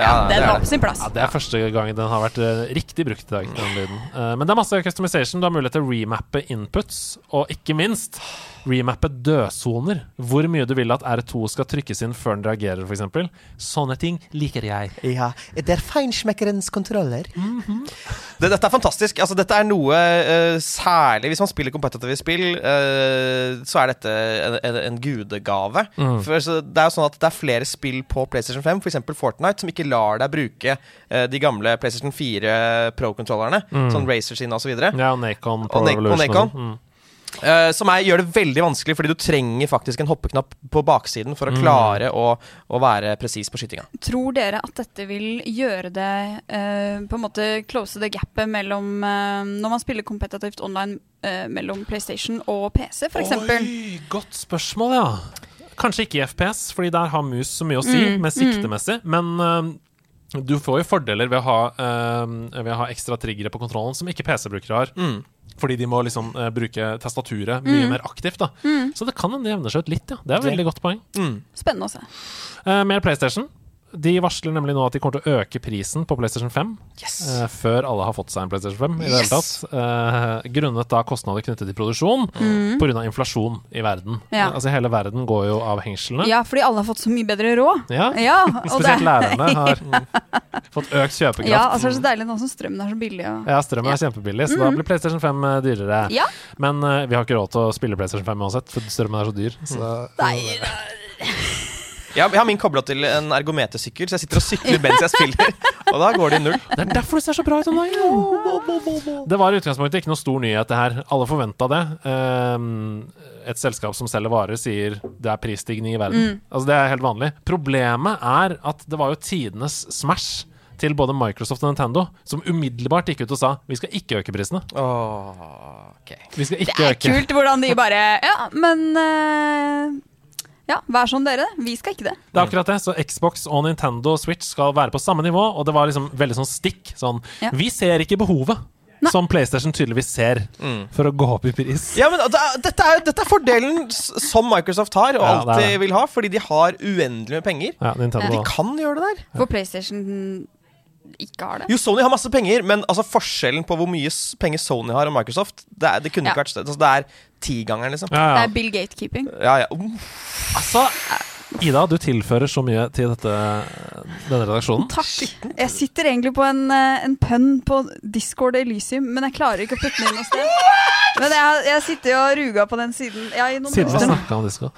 S5: Ja, det
S6: Den
S5: er
S6: var
S5: det.
S6: på sin plass.
S1: Ja, Det er første gang den har vært eh, riktig brukt i dag. Den lyden. Eh, men det er masse customization. Du har mulighet til å remappe inputs, og ikke minst remappe dødsoner. Hvor mye du vil at R2 skal trykkes inn før den reagerer, f.eks. Sånne ting liker jeg.
S4: Ja, det er feinschmeckerens kontroller.
S5: Det, dette er fantastisk. Altså, dette er noe eh, særlig Hvis man spiller kompetitive spill, eh, så er dette en, en, en gudegave. For, så, det er jo sånn at det er flere spill på PlayStation 5, f.eks. Fortnite, som ikke lar deg bruke eh, de gamle PlayStation 4 Pro-kontrollerne, sånn Razer sine osv. videre
S1: Ja, og Nacon Pro
S5: Og Nac- og
S1: Revolution.
S5: Nacon.
S1: sånn. Mm.
S5: Eh, som er, gjør det veldig vanskelig, fordi du trenger faktisk en hoppeknapp på baksiden for å klare å, å være presis på skytinga.
S6: Tror dere at dette vil gjøre det eh, På en måte close det gapet mellom eh, Når man spiller kompetitivt online eh, mellom PlayStation og PC, f.eks.
S1: Oi, godt spørsmål, ja. Kanskje ikke i FPS, fordi der har mus så mye å si med siktemessig. Men eh, du får jo fordeler ved å ha, eh, ved å ha ekstra triggere på kontrollen som ikke PC-brukere har. Fordi de må liksom eh, bruke tastaturet mye mer aktivt. da Så det kan hende det jevner seg ut litt, ja. Det er et veldig godt poeng.
S6: Mm.
S5: Mm.
S6: Spennende å se.
S1: Eh, mer PlayStation. De varsler nemlig nå at de kommer til å øke prisen på PlayStation 5 eh, før alle har fått seg en PlayStation 5. I det hele tatt Eh, Grunnet da kostnader knyttet til produksjon pga. inflasjon i verden.
S6: Mm. Ja.
S1: Eh, Altså Hele verden går jo av hengslene.
S6: Ja, fordi alle har fått så mye bedre råd.
S1: Ja.
S6: Ja, og det,
S1: Spesielt lærerne har mm, fått økt kjøpekraft.
S6: ja, altså, det er så deilig nå som strømmen er så billig. Og...
S1: Ja, strømmen er kjempebillig, så da blir PlayStation 5 dyrere.
S6: Ja.
S1: Men eh, vi har ikke råd til å spille PlayStation 5 uansett, for strømmen er så dyr.
S6: Mm.
S1: Så
S6: Nei,
S5: Jeg, jeg har min kobla til en ergometersykkel, så jeg sitter og sykler mens jeg spiller. Og da går det i null.
S1: Det er derfor det ser så bra ut om dagen! Det var i utgangspunktet ikke noe stor nyhet, det her. Alle forventa det. Ehm, Et selskap som selger varer, sier det er prisstigning i
S6: Mm.
S1: verden. Altså Det er helt vanlig. Problemet er at det var jo tidenes Smash til både Microsoft og Nintendo, som umiddelbart gikk ut og sa vi skal ikke øke prisene.
S5: Åh, ok.
S1: Vi skal
S6: det
S1: ikke
S6: er
S1: øke.
S6: kult hvordan de bare Ja, men eh, Ja, vær sånn dere. Vi skal ikke det.
S1: Det er akkurat det. Så Xbox og Nintendo Switch skal være på samme nivå, og det var liksom veldig sånn stikk. Sånn
S6: Ja.
S1: Vi ser ikke behovet. Som PlayStation tydeligvis ser, for å gå opp i pris.
S5: Ja, men det er- dette, er, dette er fordelen s- som Microsoft har, og
S1: Ja, det er
S5: alltid
S1: det.
S5: vil ha, fordi de har uendelig med penger.
S1: Ja, Nintendo
S5: De
S1: da.
S5: kan gjøre det der.
S6: For PlayStation ikke har det.
S5: Jo, Sony har masse penger, men altså forskjellen på hvor mye s- penger Sony har og Microsoft, det, er, det kunne
S6: Ja.
S5: ikke vært større. Altså, det er tigangeren, liksom.
S1: Ja,
S6: Det
S1: ja.
S6: er Bill Gatekeeping.
S5: Ja, ja. Uff.
S1: Altså, Ida, du tilfører så mye til dette, denne redaksjonen.
S6: Takk. Jeg sitter egentlig på en, eh, en pønn på Discord Elysium, men jeg klarer ikke å putte den inn noe sted. Men jeg, jeg sitter jo og ruga på den siden. Ja, i noen
S1: Siden vi
S6: måneder.
S1: snakket om Discord.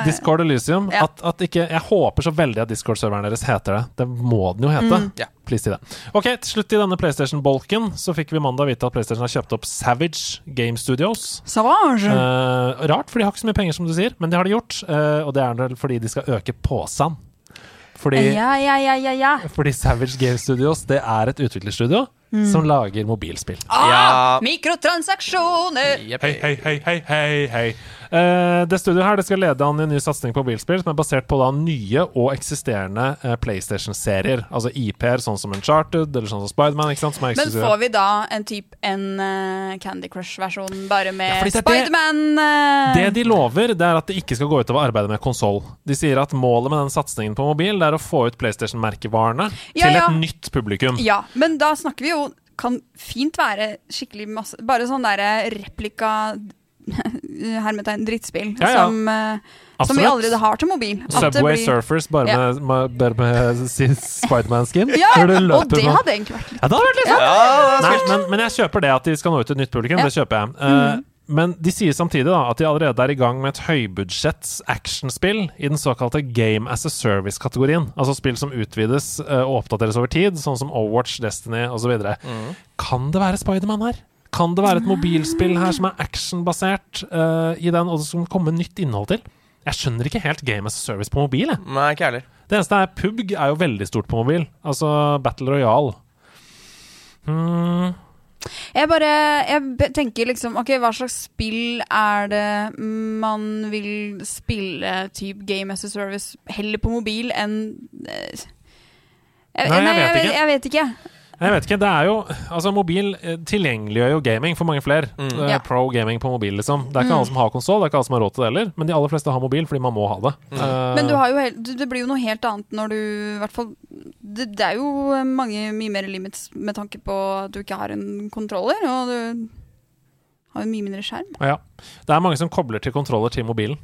S1: Discord Elysium.
S6: Ja.
S1: At, at ikke, jeg håper så veldig at Discord-serveren deres heter det. Det må den jo hete.
S6: Mm.
S5: Ja.
S1: Please si det. Ok, Til slutt i denne PlayStation-bolken så fikk vi mandag vite at PlayStation har kjøpt opp Savage Game Studios.
S6: Savage.
S1: Eh, rart, for de har ikke så mye penger, som du sier, men det har de gjort. eh, og det er vel fordi de skal øke posen. Fordi
S6: Ja, ja, ja, ja, ja.
S1: Fordi Savage Game Studios Det er et utviklerstudio
S6: Mm.
S1: som lager mobilspill.
S5: Ja.
S6: Ah, mikrotransaksjoner!
S5: Jepp.
S1: Hei, hei, hei, hei, hei, hei. Eh, det studioet her det skal lede an i en ny satsing på mobilspill som er basert på da nye og eksisterende eh, PlayStation-serier. Altså IP-er, sånn som Uncharted eller sånn som Spiderman. ikke sant, som er
S6: Men får
S1: eksklusive.
S6: vi da en typ en eh, Candy Crush-versjon, bare
S1: Ja,
S6: med
S1: fordi det er det-
S6: Spiderman eh,
S1: Det de lover, det er at det ikke skal gå utover arbeidet med konsoll. De sier at målet med den satsingen på mobil Det er å få ut PlayStation-merkevarene
S6: Ja,
S1: til
S6: ja.
S1: et nytt publikum.
S6: Ja, men da snakker vi jo Kan fint være skikkelig masse Bare sånn derre replika Hermetegn drittspill
S1: Ja, ja.
S6: Som, eh, som vi
S1: Absolutt.
S6: allerede har til mobil. At det
S1: Subway
S6: blir-
S1: Surfers bare
S6: Ja.
S1: med, med, bare med sin Spiderman-skin.
S6: Ja,
S1: Hvor du
S6: og
S1: løper
S6: det
S1: sånn.
S6: hadde egentlig vært litt
S1: Ja, det hadde vært litt fett. Nei, men, men jeg kjøper det at de skal nå ut til et nytt publikum.
S6: Ja.
S1: Det kjøper jeg. Eh, Men de sier samtidig da at de allerede er i gang med et høybudsjetts actionspill i den såkalte Game as a Service-kategorien. Altså spill som utvides eh, og oppdateres over tid, sånn som Overwatch, Destiny osv. Kan det være Spiderman her? Kan det være et mobilspill her som er actionbasert eh, i den, og det skal komme nytt innhold til? Jeg skjønner ikke helt Game as a Service på mobil. Jeg.
S5: Nei, ikke heller.
S1: Det eneste er PUBG er jo veldig stort på mobil. Altså Battle Royale. Mm,
S6: Jeg bare jeg be- tenker liksom OK, hva slags spill er det man vil spille type Game as a Service heller på mobil enn eh, jeg,
S1: Nei, jeg vet
S6: jeg,
S1: ikke.
S6: jeg vet ikke.
S1: jeg vet ikke. Det er jo Altså, mobil eh, tilgjengeliggjør jo gaming for mange flere. Eh,
S6: Ja. Mm.
S1: Pro gaming på mobil, liksom. Det er ikke alle som har konsoll, det er ikke alle som har råd til det heller. Men de aller fleste har mobil fordi man må ha det. Eh,
S6: Mm. Men du har jo hel, du, det blir jo noe helt annet når du i hvert fall det, det er jo mange mye mer limits med tanke på at du ikke har en kontroller, og du har jo en mye mindre skjerm.
S1: Ja. Det er mange som kobler til kontroller til mobilen.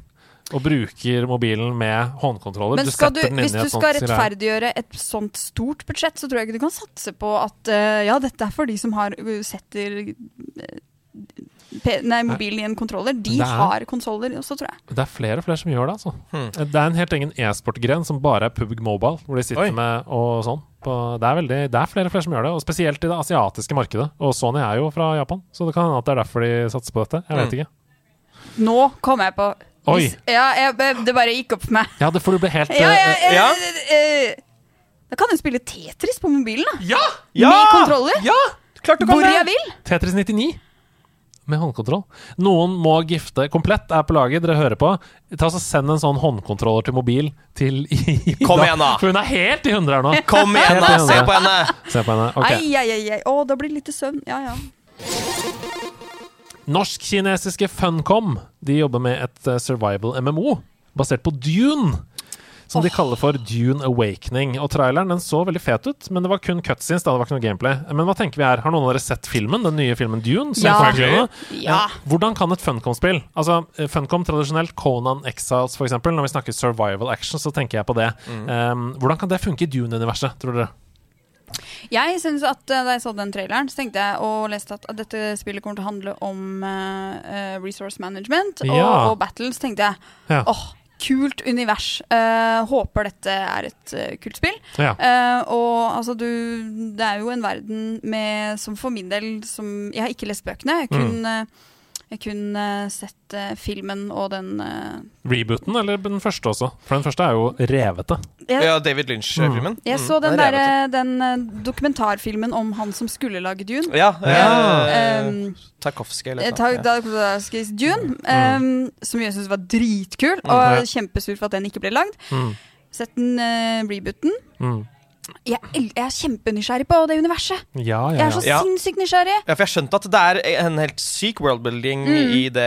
S1: Og bruker mobilen med håndkontroller.
S6: Men skal du,
S1: setter den inn
S6: hvis
S1: i et
S6: du
S1: sånt
S6: skal
S1: greie.
S6: rettferdiggjøre et sånt stort budsjett, så tror jeg ikke du kan satse på at eh, ja, dette er for de som har uh, setter eh, P nei, mobilen i en kontroller. De
S1: Det er-
S6: har konsoller også, tror jeg.
S1: Det er flere og flere som gjør det, altså. Det er en helt egen e-sportgren som bare er PubG Mobile, hvor de sitter
S5: Oi.
S1: med og sånn. På- Det er, veldig, det er flere og flere som gjør det, og spesielt i det asiatiske markedet. Og Sony er jo fra Japan, så det kan hende at det er derfor de satser på dette. Jeg vet ikke.
S6: Nå kom jeg på
S1: Oi.
S6: Hvis- Ja, jeg, det bare gikk opp for meg.
S1: Ja, det får du bli helt
S6: Ja, jeg,
S1: eh,
S6: jeg,
S5: ja.
S6: eh, da kan du spille Tetris på mobilen, da.
S1: ja!
S6: Med kontroller?
S5: Ja! Klart du kan
S6: Hvor
S5: det!
S6: jeg vil.
S1: Tetris 99 med håndkontroll. Noen må gifte komplett, er på laget, dere hører på. Ta så Send en sånn håndkontroller til mobil til Ida.
S5: Kom igjen da.
S1: For hun er helt i hundre her nå.
S5: Kom igjen, da!
S1: Helt enig.
S5: Se på henne!
S1: Se på henne.
S6: Ai,
S1: Ok.
S6: ai, ai, ai. Å, da blir det lite søvn. Ja, ja.
S1: Norsk-kinesiske Funcom De jobber med et eh, survival MMO basert på Dune. Som de kaller for Dune Awakening. Og traileren den så veldig fet ut, men det var kun cutscenes. Da. Det var ikke noe gameplay. Men hva tenker vi her? Har noen av dere sett filmen? Den nye filmen Dune? som
S6: Ja.
S1: kom til nå?
S6: Ja.
S1: Eh, Hvordan kan et Funcom-spill Altså, eh, Funcom tradisjonelt, Conan Exiles for eksempel Når vi snakker survival action, så tenker jeg på det.
S6: Mm.
S1: Eh, hvordan kan det funke i Dune-universet, tror dere?
S6: Jeg synes at eh, Da jeg så den traileren, så tenkte jeg og leste at, at dette spillet kommer til å handle om eh, eh, resource management og,
S1: Ja.
S6: og battles, tenkte jeg.
S1: Ja.
S6: Åh, kult univers. Eh, håper dette er et eh, kult spill.
S1: Ja.
S6: Eh, og altså, du Det er jo en verden med Som for min del som Jeg har ikke lest bøkene. Jeg
S1: Mm.
S6: kun, eh, jeg kun eh, sett eh, filmen og den eh,
S1: Rebooten, eller den første også? For den første er jo revete.
S6: jeg,
S5: Ja, David Lynch-filmen.
S6: jeg
S5: Mm,
S6: så den,
S5: det er
S6: derre
S5: revet.
S6: den eh, dokumentarfilmen om han som skulle lage Dune.
S5: Ja.
S1: Ja.
S5: eh,
S6: Um,
S5: Tarkovsky eller
S6: Eh,
S5: noe
S6: Takk,
S5: sånt, ja.
S6: da, da skal jeg si Dune, ehm, som jeg syns var dritkul, og
S1: Mm. ja.
S6: kjempesur for at den ikke ble lagd.
S1: Mm.
S6: Sett den eh, rebooten.
S1: Mm.
S6: Jeg, el- jeg er kjempenysgjerrig på det universet.
S1: Ja,
S6: Jeg
S1: ja,
S6: er så
S1: ja.
S5: Ja.
S6: sinnssykt nysgjerrig.
S5: Ja, for jeg skjønte at det er en helt syk worldbuilding i det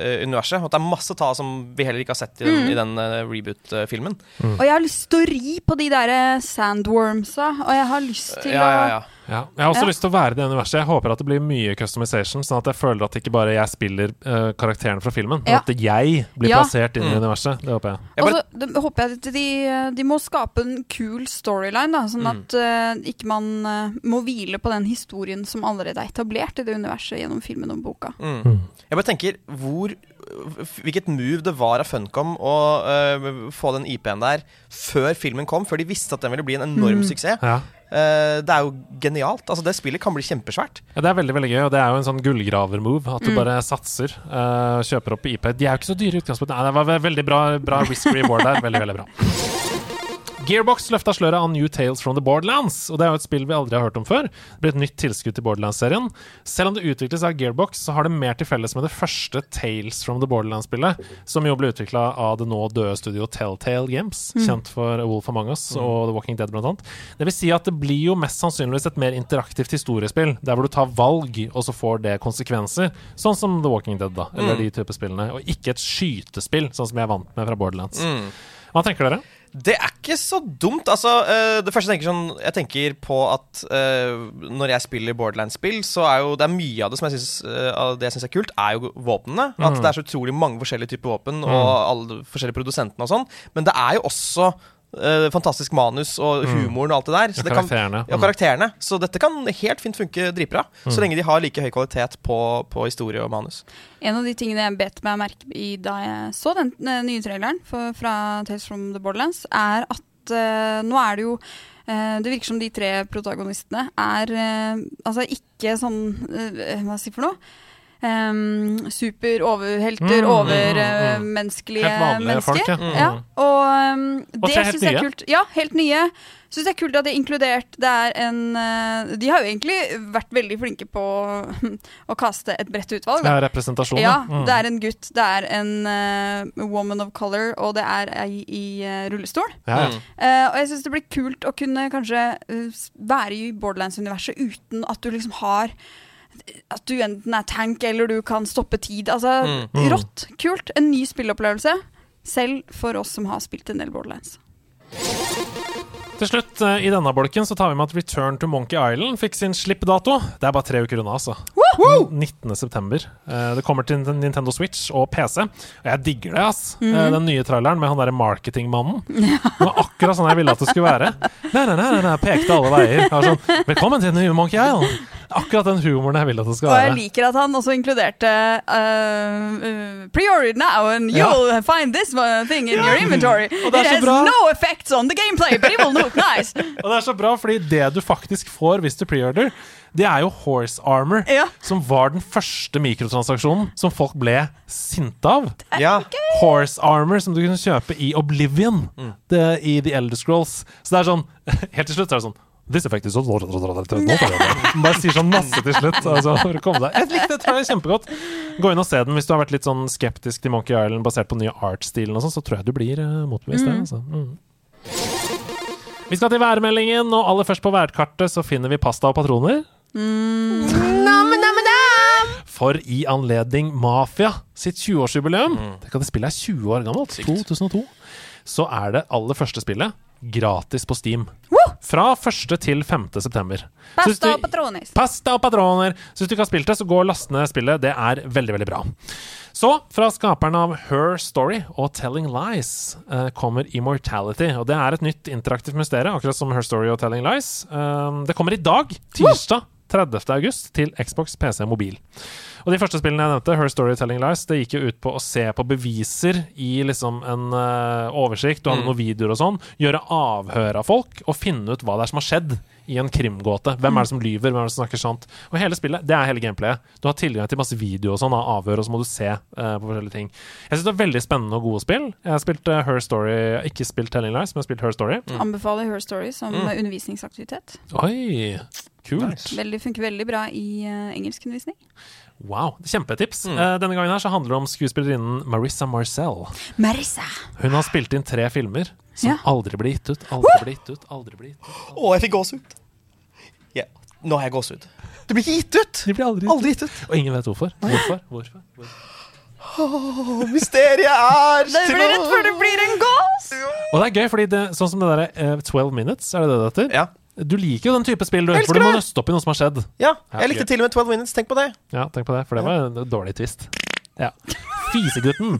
S5: eh, universet. Og at det er masse ta som vi heller ikke har sett i den, i den eh, reboot-filmen.
S6: Og jeg har lyst til å ri på de der eh, sandwormsa, og jeg har lyst til
S5: Ja, ja, ja.
S1: Ja. Jeg har også
S6: Ja.
S1: lyst til å være i det universet. Jeg håper at det blir mye customization, sånn at jeg føler at ikke bare jeg spiller eh, karakteren fra filmen, men
S6: Ja.
S1: at jeg blir
S6: Ja. Mm.
S1: plassert inn i universet. Det håper jeg.
S6: å
S5: Jeg
S6: Og
S5: bare-
S6: så det- håper jeg at de, eh, de må skape en kul storyline, da,
S5: Mm.
S6: sånn at eh, ikke man eh, må hvile på den historien som allerede er etablert i det universet gjennom filmen og boka.
S5: Mm. Jeg bare tenker hvor, f- hvilket move det var av Funcom å eh, få den IP-en der før filmen kom, før de visste at den ville bli en enorm suksess.
S1: Ja.
S5: Eh, det er jo genialt. Altså, det spillet kan bli kjempesvært.
S1: Ja, det er veldig veldig gøy, og det er jo en sånn gullgraver-move. At du bare satser. eh, kjøper opp IP. De er jo ikke så dyre i utgangspunktet. Nei, det var ve- veldig bra, bra risk reward der. Veldig, veldig bra. Gearbox løfta sløret av New Tales from the Borderlands. Og Det er jo et spill vi aldri har hørt om før. Det blir et nytt tilskudd til Borderlands-serien. Selv om det utvikles av Gearbox, så har det mer til felles med det første Tales from the Borderlands-spillet, som jo ble utvikla av det nå døde studioet Telltale Games,
S5: Mm.
S1: kjent for A Wolf Among Us og The Walking Dead blant annet. Det vil si at det blir jo mest sannsynligvis et mer interaktivt historiespill, der hvor du tar valg, og så får det konsekvenser, sånn som The Walking Dead, da,
S5: Mm.
S1: eller de type spillene, og ikke et skytespill, sånn som jeg er vant med fra Borderlands.
S5: Mm.
S1: Hva tenker dere?
S5: Det er ikke så dumt. Altså, eh, det første jeg tenker, sånn, jeg tenker på at eh, når jeg spiller Borderlands-spill, så er jo det er mye av det som jeg synes, eh, av det jeg syns er kult, er jo våpnene.
S1: Mm.
S5: At det er så utrolig mange forskjellige typer våpen, og alle de forskjellige produsentene og sånn. Men det er jo også eh, fantastisk manus og humoren og alt det der. Så
S1: Mm. Ja,
S5: det kan,
S1: karakterene.
S5: ja,
S1: Mm.
S5: karakterene. Så dette kan helt fint funke dritbra. Så lenge de har like høy kvalitet på, på historie og manus.
S6: En av de tingene jeg bet meg merke i da jeg så den eh, nye traileren for, fra Tales from the Borderlands, er at at eh, nå er det jo eh, Det virker som de tre protagonistene er eh, altså ikke sånn eh, Hva skal jeg si for noe? Um, super overhelter,
S1: Mm, mm, mm, mm.
S6: overmenneskelige
S1: Helt vanlige
S6: mennesker.
S1: folk, ja. Mm.
S6: Ja, og um,
S1: Og så er
S6: det
S1: helt
S6: syns jeg
S1: nye.
S6: er kult. Ja, helt nye. Syns det er kult at det er inkludert. Det er en eh, De har jo egentlig vært veldig flinke på å kaste et bredt utvalg.
S1: Det
S6: Da.
S1: er representasjon,
S6: Ja,
S1: Mm.
S6: det er en gutt, det er en eh, woman of color, og det er ei i eh, rullestol.
S1: ja, ja.
S5: Mm.
S6: Eh, og jeg syns det blir kult å kunne kanskje eh, s- være i Borderlands-universet uten at du liksom har At du enten er tank eller du kan stoppe tid. Altså
S1: Mm.
S6: rått. Kult. En ny spillopplevelse. Selv for oss som har spilt en del Borderlands.
S1: Til slutt eh, i denne bolken så tar vi med at Return to Monkey Island fikk sin slippdato. Det er bare tre uker unna, altså. 19.9. Eh, Det kommer til Nint- Nintendo Switch og PC. Og jeg digger det, ass.
S6: Mhm.
S1: Eh, Den nye traileren med han derre marketingmannen. Det var akkurat sånn jeg ville at det skulle være. Nei, nei, nei, nei, pekte alle veier. Jeg var sånn, Velkommen til den nye Monkey Island. Akkurat den humoren jeg vil at det skal
S6: Og jeg
S1: være.
S6: liker at han også inkluderte uh, uh, Preorder now and you'll find this one thing in your inventory.
S1: Og det er
S6: It
S1: så
S6: has
S1: bra.
S6: no effects on the gameplay, but it will look nice.
S1: Og det er så bra, fordi det du faktisk får hvis du preorder, det er jo Horse Armor,
S6: Ja.
S1: som var den første mikrotransaksjonen som folk ble sinte av.
S5: Ja.
S1: Horse Armor som du kunne kjøpe i Oblivion, det, i The Elder Scrolls. Så det er sånn Helt til slutt så er det sånn This effect is so Bare sier sånn masse til slutt. Altså, for å komme deg. Jeg likte det, tror jeg kjempegodt. Gå inn og se den hvis du har vært litt sånn skeptisk til Monkey Island basert på den nye art-stilen og sånn, så tror jeg du blir eh, motbevist. der, Altså. Mm. Vi skal til værmeldingen, og aller først på værkartet så finner vi pasta og patroner. For i anledning Mafia sitt 20-årsjubileum Tenk at det spillet er 20 år gammelt. 2002. Så er det aller første spillet gratis på Steam. Fra 1. til 5. september. Så hvis
S6: Pasta
S1: du-
S6: og patronis.
S1: Pasta og patroner! Så hvis du ikke har spilt det, så gå og last ned spillet. Det er veldig, veldig bra. Så, fra skaperen av Her Story og Telling Lies eh, kommer Immortality. Og det er et nytt interaktivt mysterium, akkurat som Her Story og Telling Lies. Um, det kommer i dag, tirsdag 30. august, til Xbox, PC og mobil. Og de første spillene jeg nevnte, Her Storytelling Lies, det gikk jo ut på å se på beviser i liksom en eh, oversikt, du hadde noen videoer og sånn, gjøre avhør av folk og finne ut hva det er som har skjedd i en krimgåte. Hvem er det som lyver, hvem er det som snakker sant? Og hele spillet, det er hele gameplayet. Du har tilgang til masse video og sånn av avhør, og så må du se eh, på forskjellige ting. Jeg synes det er veldig spennende og gode spill. Jeg har spilt eh, Her Story, jeg har ikke spilt Telling Lies, men jeg har spilt Her Story.
S6: Anbefaler Her Story som
S1: Mm.
S6: eh, undervisningsaktivitet.
S1: Oi, kult.
S6: Veldig, funker veldig bra i uh, engelskundervisning.
S1: Wow, kjempetips. Eh, denne gangen her så handler det om skuespillerinnen Marissa Marcel.
S6: Marissa!
S1: Hun har spilt inn tre filmer som
S6: Ja.
S1: aldri ble gitt ut. Aldri ble gitt ut, aldri ble gitt ut.
S5: Å, jeg fikk gåsehud. Ja. Nå har jeg gåsehud. Det blir ikke gitt ut!
S1: De ble aldri gitt
S5: Aldri gitt ut.
S1: ut. Og ingen vet hvorfor. Hvorfor? hvorfor? hvorfor?
S5: Mysteriet er
S6: Det blir rett før det blir en gås!
S1: Og det er gøy, fordi det, sånn som det derre eh, 12 Minutes, er det det det heter?
S5: Ja.
S1: Du liker jo den type spill, du.
S5: Elsker
S1: For du må
S5: det!
S1: nøste opp i noe som har skjedd.
S5: ja.
S1: Ja,
S5: Jeg likte
S1: gøy.
S5: til og med 12 Minutes. Tenk på det.
S1: Ja, tenk på det, for det var en dårlig twist. Ja. Fisegutten.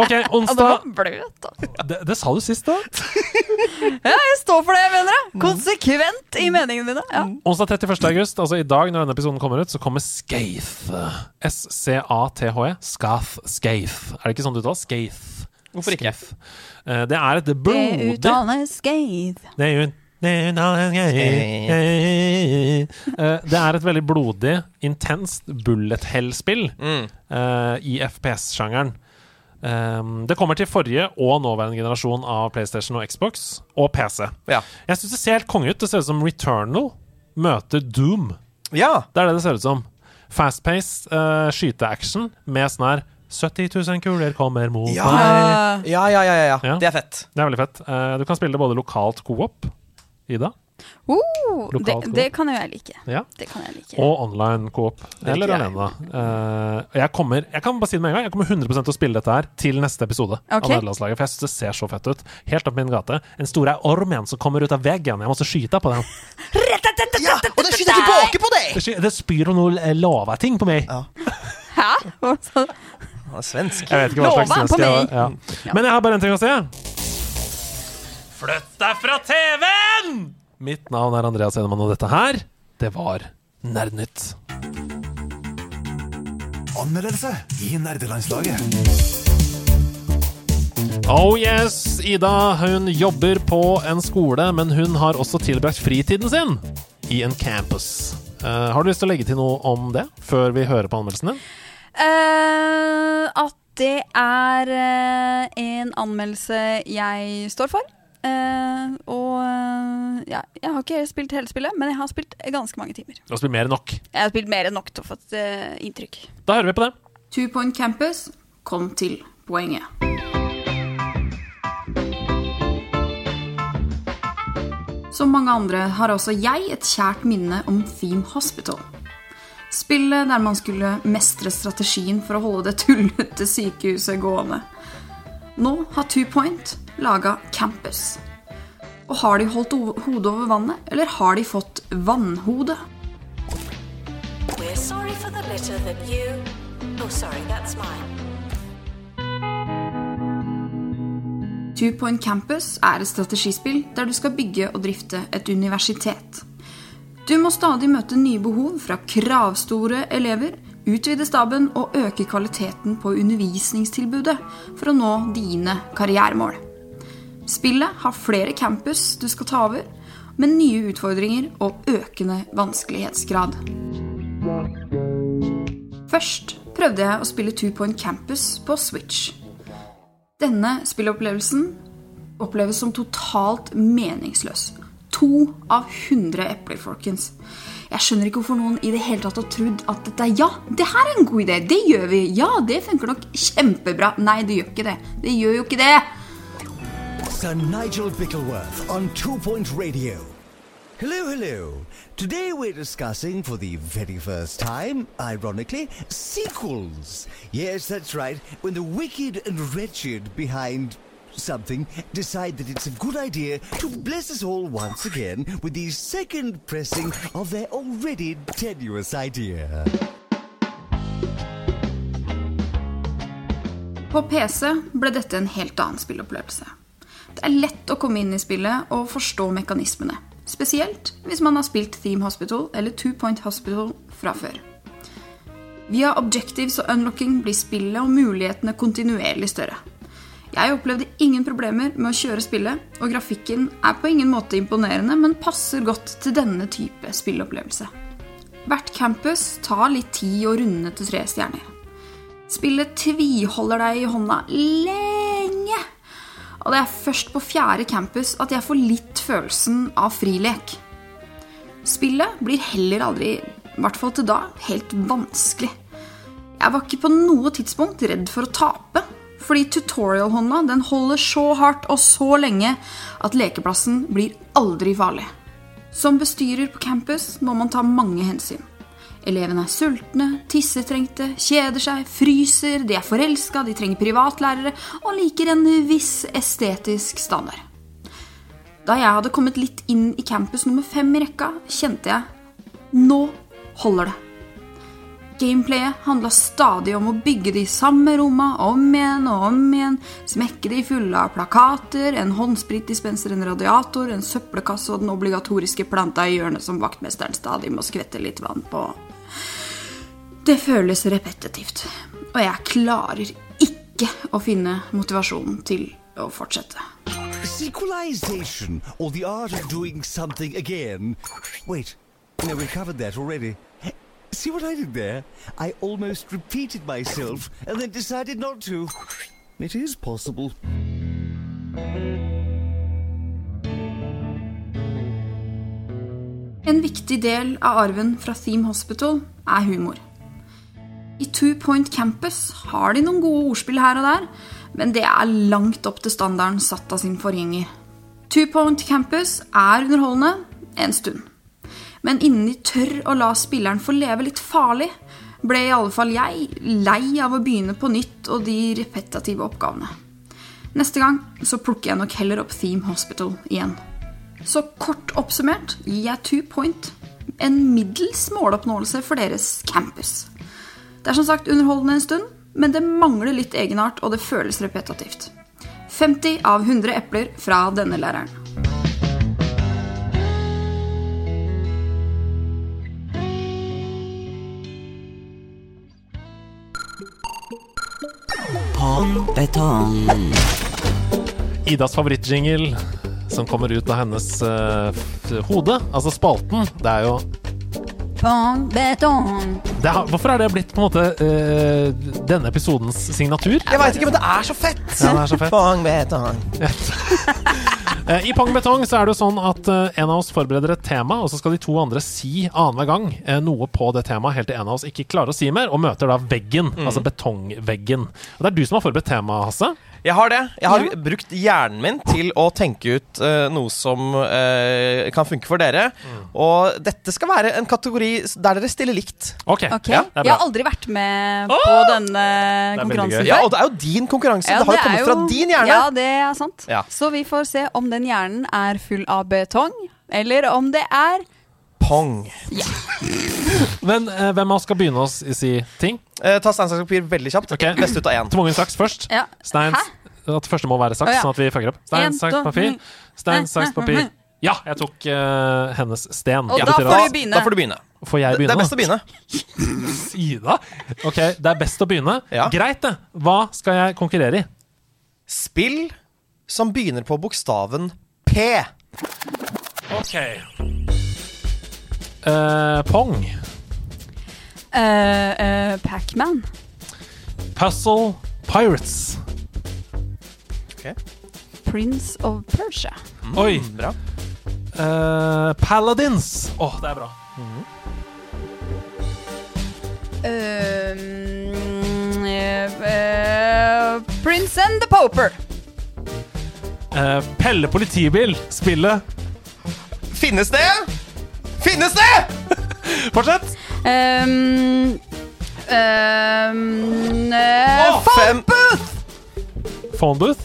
S1: OK,
S6: Og den var
S1: onsdag
S6: bløt, da.
S1: det, det sa du sist, da.
S6: Jeg står for det, jeg mener
S1: Mm.
S6: det! Konsekvent i meningene mine. Ja.
S1: Onsdag 31. august, altså i dag når denne episoden kommer ut, så kommer Skaith. S-C-A-T-H-E. E. Skath. Skaith. Er det ikke sånn det uttales? Skaith.
S5: Hvorfor ikke?
S1: Skaith. Eh, Det er et
S6: Det
S1: blodig
S6: uttales Skeid.
S1: Det er jo en- det er jo en annen greie. Eh, Det er et veldig blodig, intenst bullet hell-spill
S5: Mm.
S1: eh, i FPS-sjangeren. Um, det kommer til forrige og nåværende generasjon av PlayStation og Xbox og PC.
S5: Ja.
S1: Jeg syns det ser helt konge ut. Det ser ut som Returnal møter Doom.
S5: Ja.
S1: Det er det det ser ut som. Fast-paced uh, skyteaction med sånn her 70 000 kuler kommer mot
S5: Ja.
S1: meg.
S6: Eh,
S5: Ja, ja, ja, ja,
S1: Ja.
S5: ja. Det er fett.
S1: Det er veldig fett. Eh, du kan spille det både lokalt co-op, Ida.
S8: Uh,
S6: Oh, det,
S1: Lokalt
S6: det kan jo jeg like.
S1: Ja.
S6: Det kan jeg like.
S1: Og online coop. Eller
S5: liker jeg.
S1: alene. Eh, jeg, kommer, jeg kan bare si det med en gang Jeg kommer 100 til å spille dette her til neste episode. Av
S6: Ok.
S1: Nederlandslaget For jeg syns det ser så fett ut. Helt opp min gate. En stor er orm igjen som kommer ut av veggen. Jeg måtte skyte på den.
S5: Ja, og den skyter tilbake på deg!
S1: Det sky- Det spyr om noe lava ting på meg.
S6: Hæ? Hva sa du?
S5: Han er svensk.
S1: Jeg vet ikke hva
S6: Lova
S1: slags
S6: han
S1: svensk
S6: på
S1: jeg
S6: meg.
S1: var. Ja. Men jeg har bare en ting å si. Flytt deg fra TV-en! Mitt navn er Andreas Enemann, og dette her, det var Nerdnytt.
S9: Anmeldelse i nerdelandslaget.
S1: Oh yes, Ida hun jobber på en skole, men hun har også tilbrakt fritiden sin i en campus. Eh, har du lyst til å legge til noe om det før vi hører på anmeldelsen din?
S8: Eh, at det er eh, en anmeldelse jeg står for. Eh, og eh, ja, jeg har ikke spilt hele spillet, men jeg har spilt ganske mange timer.
S1: La oss bli mer enn nok.
S8: Jeg har spilt mer enn nok til å få et eh, inntrykk.
S1: Da hører vi på det.
S6: Two Point Campus kom til poenget. Som mange andre har også jeg et kjært minne om Theme Hospital. Spillet der man skulle mestre strategien for å holde det tullete sykehuset gående. Nå har Two Point laga Campus. Og har de holdt o- hodet over vannet, eller har de fått vannhode?
S10: We're sorry for the litter that you. Oh, sorry, that's mine.
S6: Two Point Campus er et strategispill der du skal bygge og drifte et universitet. Du må stadig møte nye behov fra kravstore elever, utvide staben og øke kvaliteten på undervisningstilbudet for å nå dine karrieremål. Spillet har flere campus du skal ta over, med nye utfordringer og økende vanskelighetsgrad. Først prøvde jeg å spille Two Point Campus på Switch. Denne spillopplevelsen oppleves som totalt meningsløs. To av 100 epler, folkens. Jeg skjønner ikke hvorfor noen i det hele tatt har trodd at dette er ja, det her er en god idé, det gjør vi, ja, det funker nok kjempebra. Nei, det gjør ikke det. Det gjør jo ikke det.
S11: Sir Nigel Bickleworth on Two Point Radio. Hello, hello. Today we're discussing, for the very first time, ironically, sequels. Yes, that's right. When the wicked and wretched behind something decide that it's a good idea to bless us all once again with the second pressing of their already tenuous idea.
S6: På PC ble dette en helt annen spillopplevelse. Det er lett å komme inn i spillet og forstå mekanismene. Spesielt hvis man har spilt Theme Hospital eller Two Point Hospital fra før. Via objectives og unlocking blir spillet og mulighetene kontinuerlig større. Jeg opplevde ingen problemer med å kjøre spillet, og grafikken er på ingen måte imponerende, men passer godt til denne type spilleopplevelse. Hvert campus tar litt tid å runde til tre stjerner. Spillet tviholder deg i hånda lenge. Og det er først på fjerde campus at jeg får litt følelsen av frilek. Spillet blir heller aldri, i hvert fall til da, helt vanskelig. Jeg var ikke på noe tidspunkt redd for å tape, fordi tutorial-hånda den holder så hardt og så lenge at lekeplassen blir aldri farlig. Som bestyrer på campus må man ta mange hensyn. Elevene er sultne, tissetrengte, kjeder seg, fryser, de er forelska, de trenger privatlærere og liker en viss estetisk standard. Da jeg hadde kommet litt inn i campus nummer fem i rekka, kjente jeg nå holder det. Gameplayet handla stadig om å bygge de samme romma om igjen og om igjen, smekke de fulle av plakater, en håndspritdispenser, en radiator, en søppelkasse og den obligatoriske planta i hjørnet som vaktmesteren stadig må skvette litt vann på. Det føles repetitivt, og jeg klarer ikke å finne motivasjonen til å fortsette.
S11: Sequelization, or the art of doing something again. Wait, no, we covered that already. See what I did there? I almost repeated myself and then decided not to. It is possible.
S6: En viktig del av arven fra Theme Hospital er humor. I Two Point Campus har de noen gode ordspill her og der, men det er langt opp til standarden satt av sin forgjenger. Two Point Campus er underholdende en stund. Men innen de tør å la spilleren få leve litt farlig, ble i alle fall jeg lei av å begynne på nytt og de repetitive oppgavene. Neste gang så plukker jeg nok heller opp Theme Hospital igjen. Så kort oppsummert gir jeg two point en middels måloppnåelse for deres campus. Det er som sagt underholdende en stund, men det mangler litt egenart, og det føles repetitivt. 50 av 100 epler fra denne læreren.
S1: Idas favorittjingle som kommer ut av hennes eh, f- hode, altså spalten, det er jo
S6: Pong, betong.
S1: det er, Hvorfor er det blitt på en måte eh, denne episodens signatur?
S4: Jeg veit ikke, men det er så fett!
S1: Ja, det er så fett.
S4: Bang, betong.
S1: Eh, I Pang Betong så er det jo sånn at eh, en av oss forbereder et tema, og så skal de to andre si annenhver gang eh, noe på det temaet, helt til en av oss ikke klarer å si mer, og møter da veggen,
S6: Mm.
S1: altså betongveggen. Og det er du som har forberedt temaet, Hasse.
S5: Jeg har det. Jeg har brukt hjernen min til å tenke ut eh, noe som eh, kan funke for dere.
S1: Mm.
S5: Og dette skal være en kategori s- der dere stiller likt.
S1: Ok,
S6: Ok,
S1: ja, det er
S6: Jeg har
S1: bra.
S6: aldri vært med på denne
S1: veldig
S6: konkurransen
S1: gøy.
S5: Ja,
S6: før.
S5: Og det er jo din konkurranse.
S6: Ja,
S5: det har jo
S6: er
S5: kommet fra din hjerne.
S6: Ja, det er sant.
S5: Ja.
S6: Så vi får se om den hjernen er full av betong, eller om det er
S5: Pong.
S1: Men eh, hvem av oss skal begynne å s- si ting?
S5: Eh, ta stein, saks, papir veldig kjapt.
S1: Ok.
S5: Best ut av én.
S1: Tvungen saks først.
S6: ja.
S1: Stein At det første må være saks,
S6: Å, ja.
S1: sånn at vi fucker opp. Stein,
S6: En,
S1: saks,
S6: to,
S1: papir.
S6: ni.
S1: Stein,
S6: Nei,
S1: saks,
S6: nei,
S1: papir.
S6: nei.
S1: Ja, jeg tok eh, hennes sten.
S6: Og
S1: Det
S6: da
S1: betyr
S6: får
S1: at-
S5: Da,
S6: du begynne.
S5: da får du begynne.
S1: får jeg
S5: Det
S1: begynne?
S5: er best å begynne.
S1: Ida? Ok, det er best å begynne.
S5: Ja.
S1: Greit, det. Hva skal jeg konkurrere i?
S5: Spill som begynner på bokstaven P.
S1: Ok. Eh, pong.
S6: eh, eh, Pac-Man.
S1: Puzzle. Pirates.
S6: Prince of Persia.
S5: Mm.
S1: Oi.
S5: Bra.
S1: Eh, paladins. Åh, det er bra.
S6: Eh, mm, eh, eh, Prince and the Poper.
S1: Eh, Pelle politibil. Spillet.
S5: Finnes det? Finnes det?!
S1: Fortsett.
S6: Um, um, eh,
S5: Å, fem.
S1: Phone booth.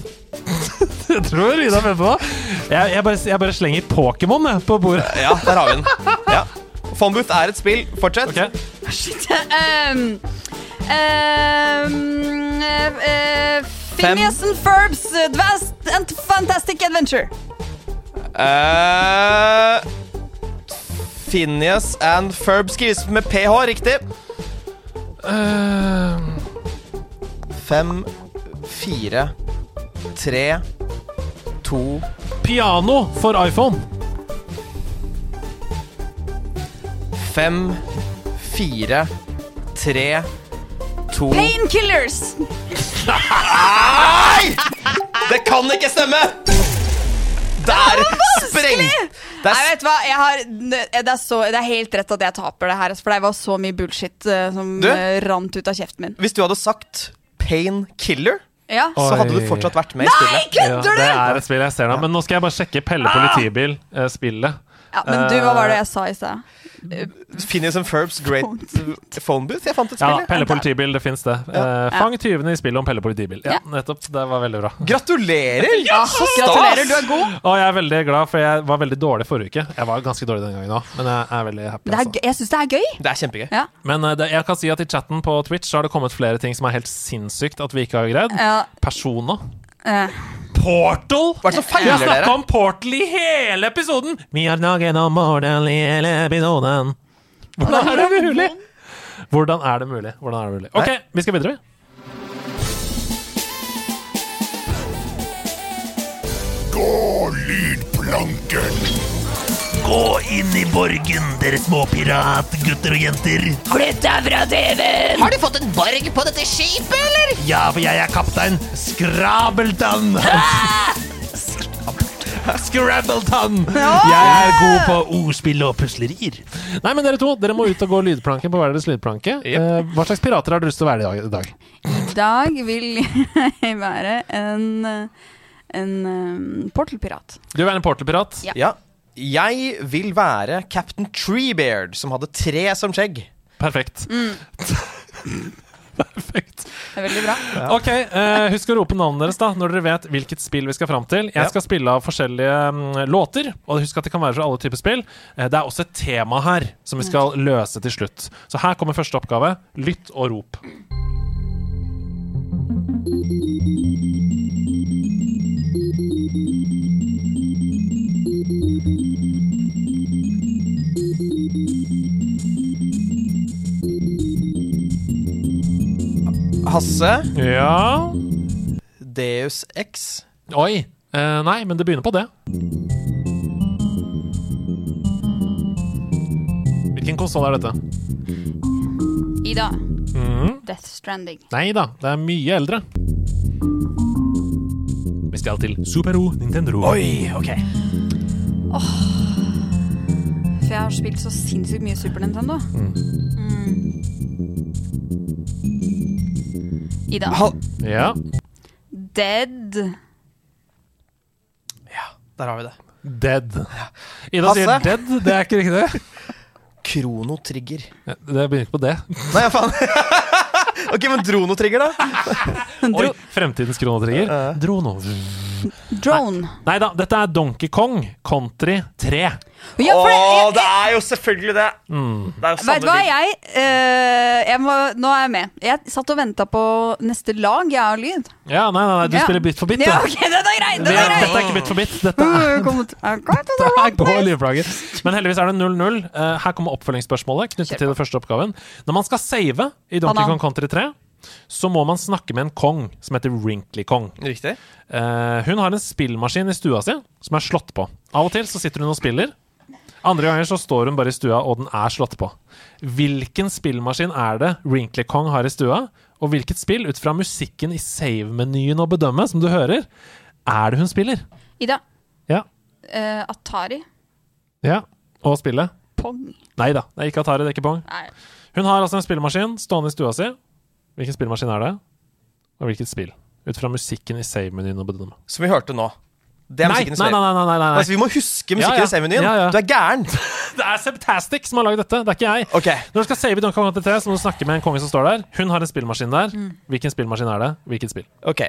S1: jeg tror Ida er med på det. Jeg, jeg, bare, jeg bare slenger Pokémon jeg, på bordet.
S5: Ja, der har vi den. Ja. Fonbooth er et spill. Fortsett.
S1: Ok.
S6: Shit. Um, um, eh, eh, Phineas and Ferb's Advanced and Fantastic Adventure.
S5: Eh, Phineas and Ferb skrives med ph, riktig. Eh. Fem, fire, tre, to
S1: Piano for iPhone.
S5: Fem, fire, tre, to
S6: Painkillers.
S5: Nei! Det kan ikke stemme! Der spreng... Det
S6: Nei,
S5: er
S6: vet du hva? Jeg har, det, er så, det er helt rett at jeg taper det her, altså, for det var så mye bullshit eh, som
S5: Du?
S6: eh, rant ut av kjeften min.
S5: Hvis du hadde sagt painkiller,
S6: Ja.
S5: så
S1: Oi.
S5: hadde du fortsatt vært med i
S6: Nei,
S5: spillet.
S1: Ja,
S6: kødder
S1: det
S6: du?! Ah!
S1: er et spill jeg ser nå, men nå skal jeg bare sjekke Pelle eh, politibil-spillet.
S6: Ja, men du, hva var det jeg sa i stad?
S5: Phineas and Ferbs Great Phonebooth. Jeg fant
S1: Ja,
S5: et spill. jeg.
S1: Pelle politibil, det fins det. Eh, fang tyvene i spillet om Pelle politibil. Ja,
S6: Ja.
S1: nettopp. Det var veldig bra.
S5: Gratulerer! så stas!
S6: Gratulerer, du er god.
S1: Og jeg er veldig glad, for jeg var veldig dårlig forrige uke. Jeg var ganske dårlig den gangen òg, men jeg er veldig happy.
S6: Det er,
S1: altså.
S6: gøy- jeg syns det er gøy.
S5: Det er kjempegøy.
S6: Ja.
S1: Men eh, det, jeg kan si at i chatten på Twitch så har det kommet flere ting som er helt sinnssykt at vi ikke har greid.
S6: Ja,
S1: Persona.
S6: eh.
S1: Portal!
S5: Hva er det som
S1: Vi har
S5: feiler
S1: snakka
S5: dere?
S1: om Portal i hele episoden! Vi har snakket om Portal i hele episoden. Hvordan er det mulig? Hvordan er det mulig? Hvordan er det mulig? OK, vi skal videre.
S12: Gå, lydplanken! Gå inn i borgen, dere småpiratgutter og jenter.
S7: Flytt deg fra TV-en!
S4: Har du fått en borg på dette skipet, eller?
S12: Ja, for jeg er kaptein Skrabeltann.
S1: Scrabbleton! Jeg er god på ordspill og puslerier. Nei, men dere to, dere må ut og gå lydplanken på hver deres lydplanke. Eh, hva slags pirater har dere lyst til å være i dag? i dag?
S6: I dag vil jeg være en en um, portalpirat.
S1: Du vil være en portalpirat.
S6: Ja.
S5: Ja. Jeg vil være Captain Treebeard, som hadde tre som skjegg.
S1: Perfekt. Perfekt.
S6: Det er veldig bra.
S1: Ok, eh, Husk å rope navnet deres da når dere vet hvilket spill vi skal fram til. Jeg
S5: Ja.
S1: skal spille av forskjellige mm, låter, og husk at det kan være fra alle typer spill. Eh, det er også et tema her som vi skal løse til slutt. Så her kommer første oppgave. Lytt og rop.
S5: Hasse,
S1: Ja
S5: Deus X,
S1: Oi! Eh, nei, men det begynner på det. Hvilken konsoll er dette?
S6: Ida.
S1: Mhm.
S6: Death Stranding.
S1: Nei da, det er mye eldre. Vi stjal til Super-O Nintendo.
S6: Oi, ok. Åh. For jeg har spilt så sinnssykt mye Super Nintendo. Mm. Ida.
S1: Ja.
S6: Dead.
S5: Der har vi det.
S1: Dead. Ida sier dead, det er ikke riktig det.
S5: Kronotrigger.
S1: Det begynner ikke på det.
S5: Nei, ja, faen. ok, men dronotrigger, da?
S1: Oi, fremtidens kronotrigger. Drono.
S6: Drone.
S1: Nei da, dette er Donkey Kong Country 3.
S6: Ja, for
S5: Å, det er jo selvfølgelig det!
S1: Mm.
S5: Det er jo
S6: Vet
S5: samme
S6: du hva,
S5: ting.
S6: jeg, eh, jeg må, Nå er jeg med. Jeg satt og venta på neste lag, jeg og lyd.
S1: Ja, nei, nei, nei du
S6: Ja.
S1: spiller bit for bit, du.
S6: Ja, ok, den er grei! Den
S1: Men
S6: er grei.
S1: Dette er ikke bit for bit. Dette er dette er gode livplager. Men heldigvis er det 0-0. Eh, Her kommer oppfølgingsspørsmålet knyttet til den første oppgaven. Når man skal save i Donkey
S6: Banan.
S1: Kong Country 3, så må man snakke med en kong som heter Wrinkly Kong.
S5: Riktig.
S1: Eh, hun har en spillmaskin i stua si som er slått på. Av og til så sitter hun og spiller. Andre ganger så står hun bare i stua, og den er slått på. Hvilken spillmaskin er det Wrinkly Kong har i stua? Og hvilket spill, ut fra musikken i save-menyen å bedømme, som du hører, er det hun spiller?
S6: Ida.
S1: Ja.
S6: eh, Atari.
S1: Ja. Og spillet?
S6: Pong.
S1: Nei da, det er ikke Atari, det er ikke Pong.
S6: Nei.
S1: Hun har altså en spillemaskin stående i stua si. Hvilken spillemaskin er det? Og hvilket spill? Ut fra musikken i save-menyen å bedømme.
S5: Som vi hørte nå. Det er
S1: Nei,
S5: musikken i
S1: nei, nei,
S5: Save.
S1: nei, nei, nei, nei.
S5: Altså, vi må huske musikken
S1: Ja, ja.
S5: i Save-menyen.
S1: Ja, ja.
S5: Du er gæren!
S1: Det er Septastic som har lagd dette, det er ikke jeg.
S5: Ok,
S1: Når du skal save i Donkey Kong 83, så må du snakke med en konge som står der. Hun har en spillmaskin der.
S6: Mm.
S1: Hvilken spillmaskin er det? Hvilket spill?
S5: ok.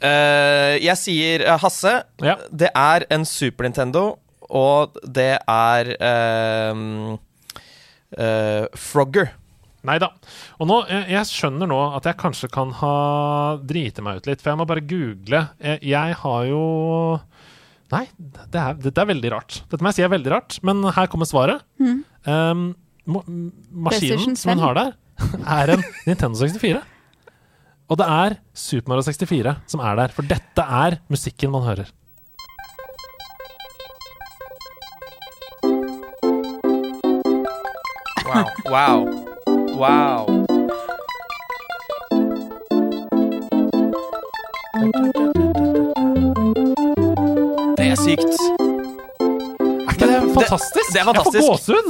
S5: Eh, jeg sier eh, Hasse.
S1: Ja.
S5: Det er en Super Nintendo, og det er ehm, eh, Frogger.
S1: Nei da. Og nå, eh, jeg skjønner nå at jeg kanskje kan ha driti meg ut litt, for jeg må bare google. Eh, Jeg har jo Nei, det er, dette er veldig rart. Dette må jeg si er veldig rart, men her kommer svaret.
S6: Mm.
S1: Um, ma- m- maskinen
S6: PlayStation
S1: som hun
S6: 5.
S1: har der, er en Nintendo 64. Og det er Super Mario 64 som er der, for dette er musikken man hører.
S5: Wow. Wow. Wow. Det er sykt.
S1: Er ikke det fantastisk?
S5: det er fantastisk.
S1: Jeg får gåsehud!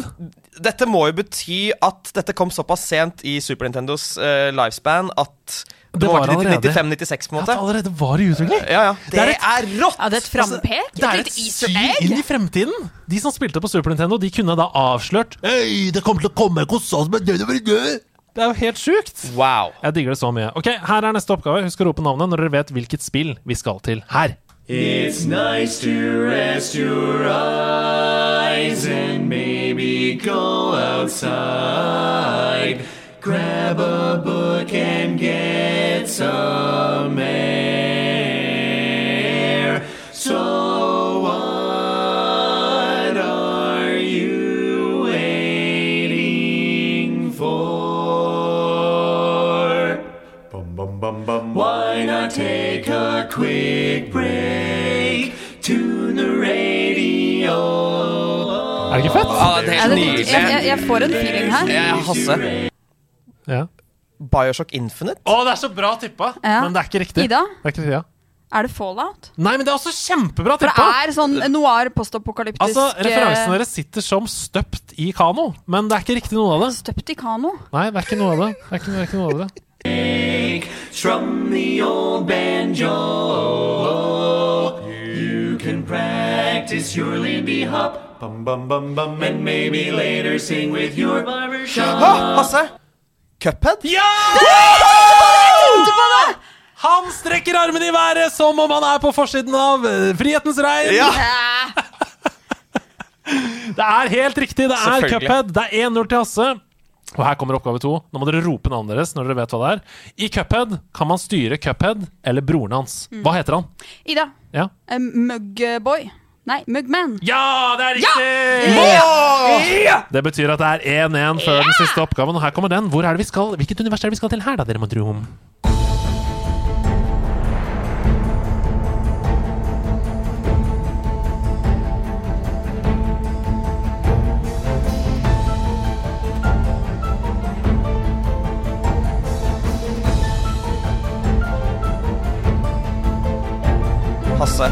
S5: Dette må jo bety at dette kom såpass sent i Super Nintendos eh, lifespan at det,
S1: Det
S5: må
S1: var
S5: ha vært
S1: allerede.
S5: 95-96 på en
S1: At det
S5: måte.
S1: allerede var i utvikling?
S5: Ja, ja. Det,
S1: Det er
S5: er, rått!
S6: Ja, Altså, det er et frampek?
S1: Det er et
S6: et lite easter
S1: syn
S6: egg?
S1: inn i fremtiden! De som spilte på Super Nintendo, de kunne da avslørt
S12: Hei, det kommer til å komme en konsol med død over død!
S1: Det er jo helt sjukt!
S5: Wow.
S1: Jeg digger det så mye. Ok, Her er neste oppgave. Husk å rope navnet når dere vet hvilket spill vi skal til her.
S13: It's nice to rest your eyes and maybe go outside. Grab a book and get some air. So, what are you waiting for? Why not take a quick break? Tune the radio.
S1: Er det ikke fett?
S5: Ja, det er helt
S6: Ja, det- jeg, jeg,
S5: nydelig.
S6: jeg får en feeling her.
S5: Ja, Hasse.
S1: Ja.
S5: Bioshock Infinite?
S1: Å, det er så bra tippa!
S6: Ja.
S1: Men det er ikke riktig.
S6: Ida,
S1: Det er ikke riktig ja.
S6: er det Fallout?
S1: Nei, men det er også kjempebra
S6: For
S1: tippa!
S6: det er sånn noir postapokalyptisk
S1: Altså,
S6: eh,
S1: Referansene deres sitter som støpt i kano, men det er ikke riktig noe av det.
S6: eh, Støpt i kano.
S1: Nei, det er ikke noe av det. Det er ikke, det er ikke noe av det.
S13: Strum the old banjo. You can practice your leapy hop. Bum bum bum bum, and maybe later sing with your barbershop.
S5: Å, Hasse! Cuphead?
S6: Ah,
S1: Han strekker armene i været som om han er på forsiden av eh, Frihetens regn!
S5: Ja.
S1: Det er helt riktig! Det er
S5: Selvfølgelig.
S1: Cuphead. Det er 1-0 til Hasse. Og her kommer oppgave to. Nå må dere rope navnet deres når dere vet hva det er. I Cuphead kan man styre Cuphead eller broren hans.
S6: Mm.
S1: Hva heter han?
S6: Ida,
S1: Ja,
S6: eh, Mugboy. Nei, Mugman.
S1: ja det er riktig! Det betyr at det er 1-1 før den siste oppgaven. Og her kommer den. Hvor er det vi skal? Hvilket univers er det vi skal til her, da, dere må tro om?
S5: Hasse.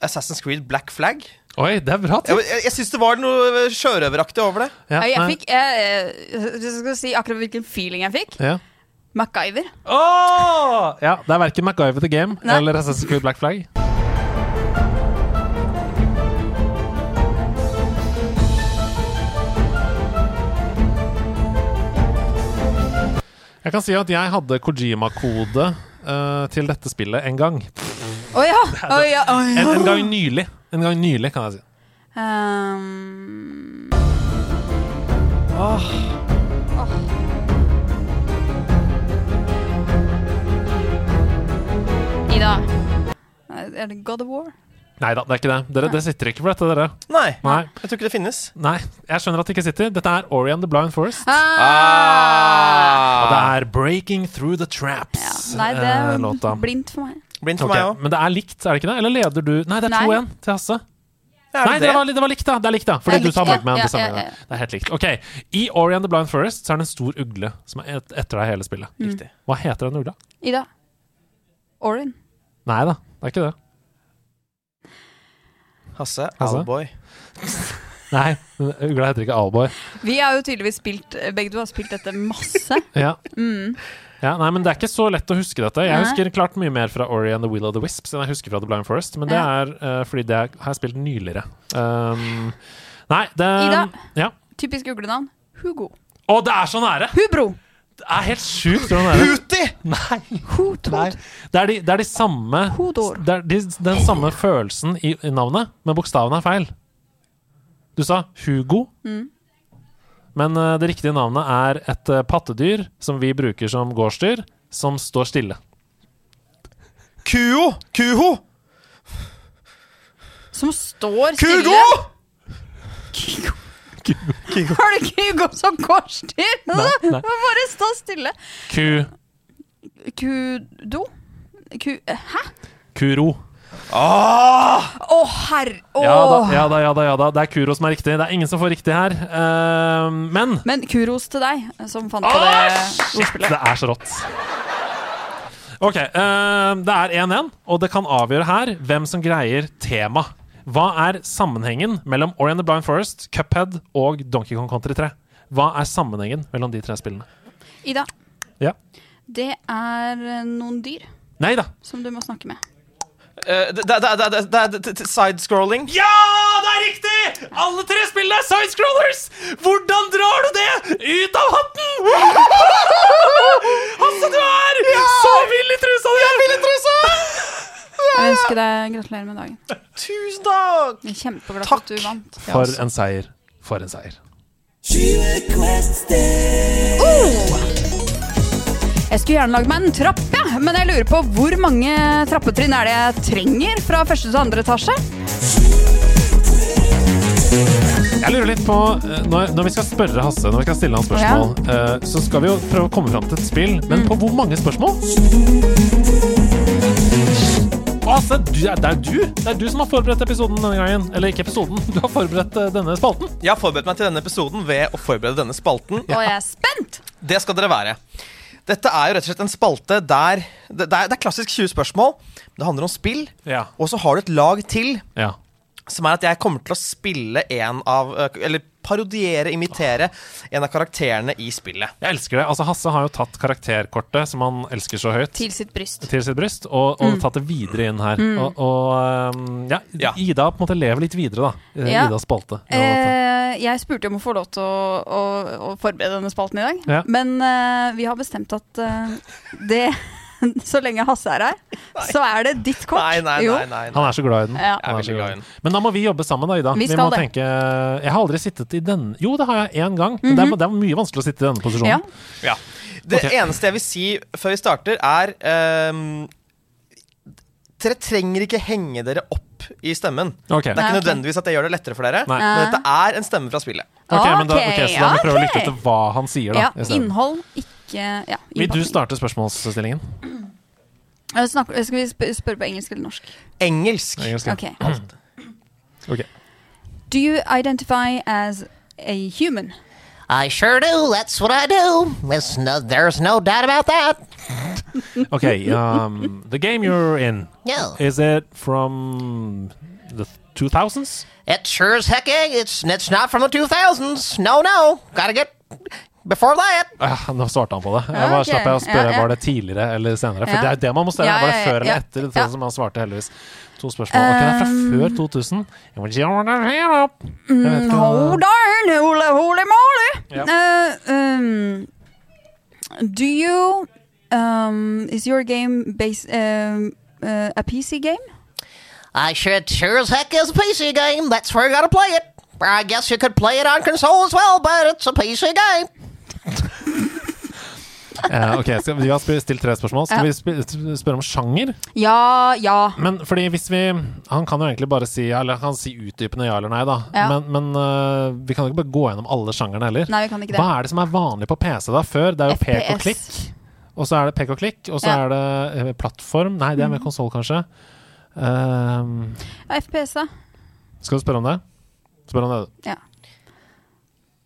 S5: Assassin's Creed Black Flag.
S1: Oi, det er bra
S5: Jeg, jeg, jeg syns det var noe sjørøveraktig over det.
S6: jeg fikk jeg, eh, Hvis jeg skal si akkurat hvilken feeling jeg fikk
S1: Ja.
S6: MacGyver.
S1: Åh! ja, det er verken MacGyver The Game
S6: Nei.
S1: eller Assassin's Creed Black Flag. Jeg kan si at jeg hadde Kojima-kode eh, til dette spillet en gang.
S6: Å ja! Å ja. å ja.
S1: En, en gang nylig, En gang nylig, kan jeg si.
S6: Ehm, Ida. Er det God of War?
S1: Nei da, det er ikke det. Dere, det sitter ikke for dette, dere.
S5: Nei,
S1: Nei.
S5: Jeg tror ikke det finnes.
S1: Nei, jeg skjønner at det ikke sitter. Dette er Ori and the Blind Forest.
S6: Ah!
S5: Ah.
S1: Og det er Breaking Through the Traps.
S6: Nei, det
S1: Ah! eh,
S6: er
S1: låta.
S6: blindt for meg.
S5: Blindt
S1: Ok, Men det er likt, er det ikke det? Eller leder du Nei, det er
S6: Nei.
S1: 2-1 til Hasse. Nei, det
S6: det?
S1: var, det var likt, da! Det er likt da Fordi
S6: Det er
S1: du tar
S6: likt, ja.
S1: Monkman.
S6: Ja,
S1: det samme,
S6: ja, ja.
S1: Det er helt likt. Ok, I Ori and the Blind Forest så er det en stor ugle som er et, etter deg hele spillet.
S6: Mm.
S1: Riktig. Hva heter den ugla?
S6: Ida. Orin.
S1: Nei da, det er ikke det.
S5: Hasse,
S1: Hasse?
S5: Owlboy.
S1: Nei, ugla heter ikke Alboy.
S6: Vi har jo tydeligvis spilt eh, Begge du har spilt dette masse.
S1: Ja.
S6: Mm.
S1: Ja, nei, men Det er ikke så lett å huske dette. Jeg
S6: Nei.
S1: husker klart mye mer fra Ori and the Will of the Wisps enn jeg husker fra The Blind Forest, men det
S6: Ja.
S1: er eh, fordi det er- har jeg spilt nyligere. Um, nei, det
S6: Ida.
S1: Ja.
S6: Typisk uglenavn. Hugo.
S1: Å, det er så nære!
S6: Hubro!
S1: Det er helt sjukt hvor nære.
S5: Huti!
S1: Nei.
S6: Nei.
S1: Det er de, det er de samme Det er de, den samme følelsen i, i navnet, men bokstaven er feil. Du sa Hugo,
S6: Mm.
S1: men eh, det riktige navnet er et eh, pattedyr som vi bruker som gårdsdyr, som står stille.
S5: Kuo! Kuho!
S6: Som står stille.
S5: Kugo!
S6: Har du ikke Hugo som gårdsdyr?
S1: Nei, nei.
S6: Bare stå stille.
S1: Ku,
S6: Kudo? Ku... Hæ?
S1: kuro.
S6: Å, herre... Å.
S1: Ja da, ja da, ja da, ja da. Det er Kuro som er riktig. Det er ingen som får riktig her. Eh, men
S6: Men kuros til deg, som fant på det ordspillet.
S1: Det er så rått. Ok, eh, det er 1-1, og det kan avgjøre her hvem som greier tema. Hva er sammenhengen mellom Ori and the Blind Forest, Cuphead og Donkey Kong Country 3? Hva er sammenhengen mellom de tre spillene?
S6: Ida,
S1: Ja.
S6: det er eh, noen dyr
S1: Nei da.
S6: som du må snakke med.
S5: Eh, Det det- det- det- det- det- det- det- sidescrolling.
S1: Ja, det er riktig! Alle tre spillene er sidescrollers! Hvordan drar du det ut av hatten? Altså, du er så vill i trusa di! Jeg
S5: vil i trusa!
S6: Jeg ønsker deg gratulerer med dagen.
S5: Tusen takk!
S6: Jeg er kjempeglad for at du vant.
S1: For en seier. For en seier.
S6: Oh! Jeg skulle gjerne lagd meg en trapp, ja. men jeg lurer på hvor mange trappetrinn er det jeg trenger fra første til andre etasje?
S1: Jeg lurer litt på eh, når, når vi skal spørre Hasse, når vi skal stille han spørsmål, eh, så skal vi jo prøve å komme fram til et spill,
S6: Mm.
S1: men på hvor mange spørsmål? Hasse, du, det er du Det er du som har forberedt episoden denne gangen. Eller ikke episoden, du har forberedt eh, denne spalten.
S5: Jeg har forberedt meg til denne episoden ved å forberede denne spalten.
S6: Og jeg er spent!
S5: Det skal dere være. Dette er jo rett og slett en spalte der Det, det, er, det er klassisk 20 spørsmål. men Det handler om spill,
S1: Ja.
S5: og så har du et lag til.
S1: Ja.
S5: Som er at jeg kommer til å spille en av eh, Eller parodiere, imitere, en av karakterene i spillet.
S1: Jeg elsker det. Altså, Hasse har jo tatt karakterkortet, som han elsker så høyt,
S6: Til sitt bryst.
S1: til sitt bryst, og, og
S6: Mm.
S1: tatt det videre inn her.
S6: Mm.
S1: Og, og eh, ja, Ida på en måte lever litt videre, da.
S6: Ja.
S1: Ja. Idas spalte.
S6: Eh, jeg spurte om å få lov til å, å, å forberede denne spalten i dag,
S1: Ja.
S6: men eh, vi har bestemt at eh, det Så lenge Hasse er her, så er det ditt kort.
S5: Nei, nei,
S6: Jo.
S5: nei. nei, nei.
S1: Han er så glad i den.
S6: Ja. Jeg er
S1: Han
S5: veldig
S1: så
S5: glad i
S1: den. Men da må vi jobbe sammen, da, Ida.
S6: Vi
S1: Vi
S6: skal
S1: må
S6: det.
S1: tenke Jeg har aldri sittet i den Jo, det har jeg én gang. Men
S6: Mhm.
S1: det, er, det er mye vanskelig å sitte i denne posisjonen.
S5: Ja. Det
S1: Ok.
S5: eneste jeg vil si før vi starter, er ehm, Dere trenger ikke henge dere opp i stemmen.
S1: Ok.
S5: Det er
S1: Nei,
S5: ikke
S1: ok.
S5: nødvendigvis at det gjør det lettere for dere,
S1: Nei.
S5: men dette er en stemme fra spillet.
S1: Ok, men da, ok, så da må vi prøve å
S6: ok.
S1: lytte til hva han sier, da.
S6: Ja,
S1: i stedet.
S6: innhold, ikke ja,
S1: Vil du
S6: innpakning.
S1: starte spørsmålsstillingen?
S6: Eh, snakker- Skal vi sp- spørre på engelsk eller norsk?
S5: Engelsk.
S1: Engelsk, ja.
S6: Ok.
S1: Ok.
S6: Do you identify as a human?
S4: I sure do. That's what I do. There's no, there's no doubt about that.
S1: Okay, um, the game you're in.
S4: Yeah.
S1: Is it from the two thousands?
S4: It sure as heck ain't. It's, it's not from the 2000s. No, no. Gotta get before that.
S1: Ah, nå svarte han på det. Jeg
S4: Ja,
S1: bare
S4: ok.
S1: slapp jeg å spørre
S4: Ja, ja.
S1: Var det tidligere eller senere. For
S4: Ja.
S1: det er jo det man må stille.
S4: Ja,
S1: Var det
S4: ja,
S1: før
S4: ja.
S1: eller etter? Det
S4: Ja.
S1: som han svarte heldigvis To spørsmål. Ok, det er fra
S6: Um,
S1: før 2000. Jeg vet ikke om det er her, da. Jeg vet
S4: Mm,
S1: ikke om
S6: Mm, Hold
S1: det-
S6: on, holy, holy moly!
S1: Ja.
S6: Uh, um, do you um, Is your game base, um, uh, a PC game?
S4: I should sure as heck is a PC game. That's where you gotta play it. Or I guess you could play it on console as well, but it's a PC game.
S1: Eh, ok, skal, Vi har sp- stilt tre spørsmål. Skal
S6: Ja.
S1: vi sp spørre om sjanger?
S6: Ja, ja.
S1: Men fordi hvis vi Han kan jo egentlig bare si ja, Eller han kan si utdypende ja eller nei, da.
S6: Ja.
S1: Men, men eh, vi kan jo ikke bare gå gjennom alle sjangerne heller.
S6: Nei, vi kan ikke det.
S1: Hva er det som er vanlig på PC da før? Det er jo pek og
S6: FPS.
S1: klikk. Og så er det pek og klikk, og så
S6: Ja.
S1: er det eh, plattform. Nei, det er med
S6: Mhm.
S1: konsoll, kanskje. Ehm,
S6: Ja, FPS, da.
S1: skal du spørre om det? Spør om det.
S6: Ja.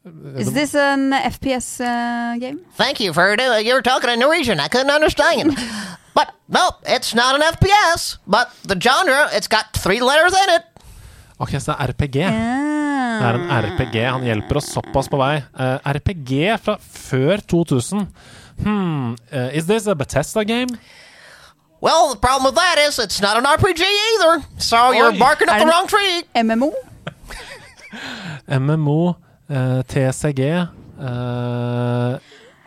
S1: du.
S6: Is this an FPS uh, game?
S4: Thank you for doing. You were talking in Norwegian. I couldn't understand. but nope, it's not an FPS. But the genre, it's got three letters in it.
S1: Ok, så det er RPG.
S6: Ah.
S1: Det er en RPG. Han hjelper oss såpass på vei. Eh, RPG fra før 2000. Hmm, eh, is this a Bethesda game?
S4: Well, the problem with that is it's not an RPG either. So you're
S1: Oi.
S4: barking up
S1: Er
S4: the
S1: det-
S4: wrong tree.
S6: MMO?
S1: MMO, eh, TCG, eh,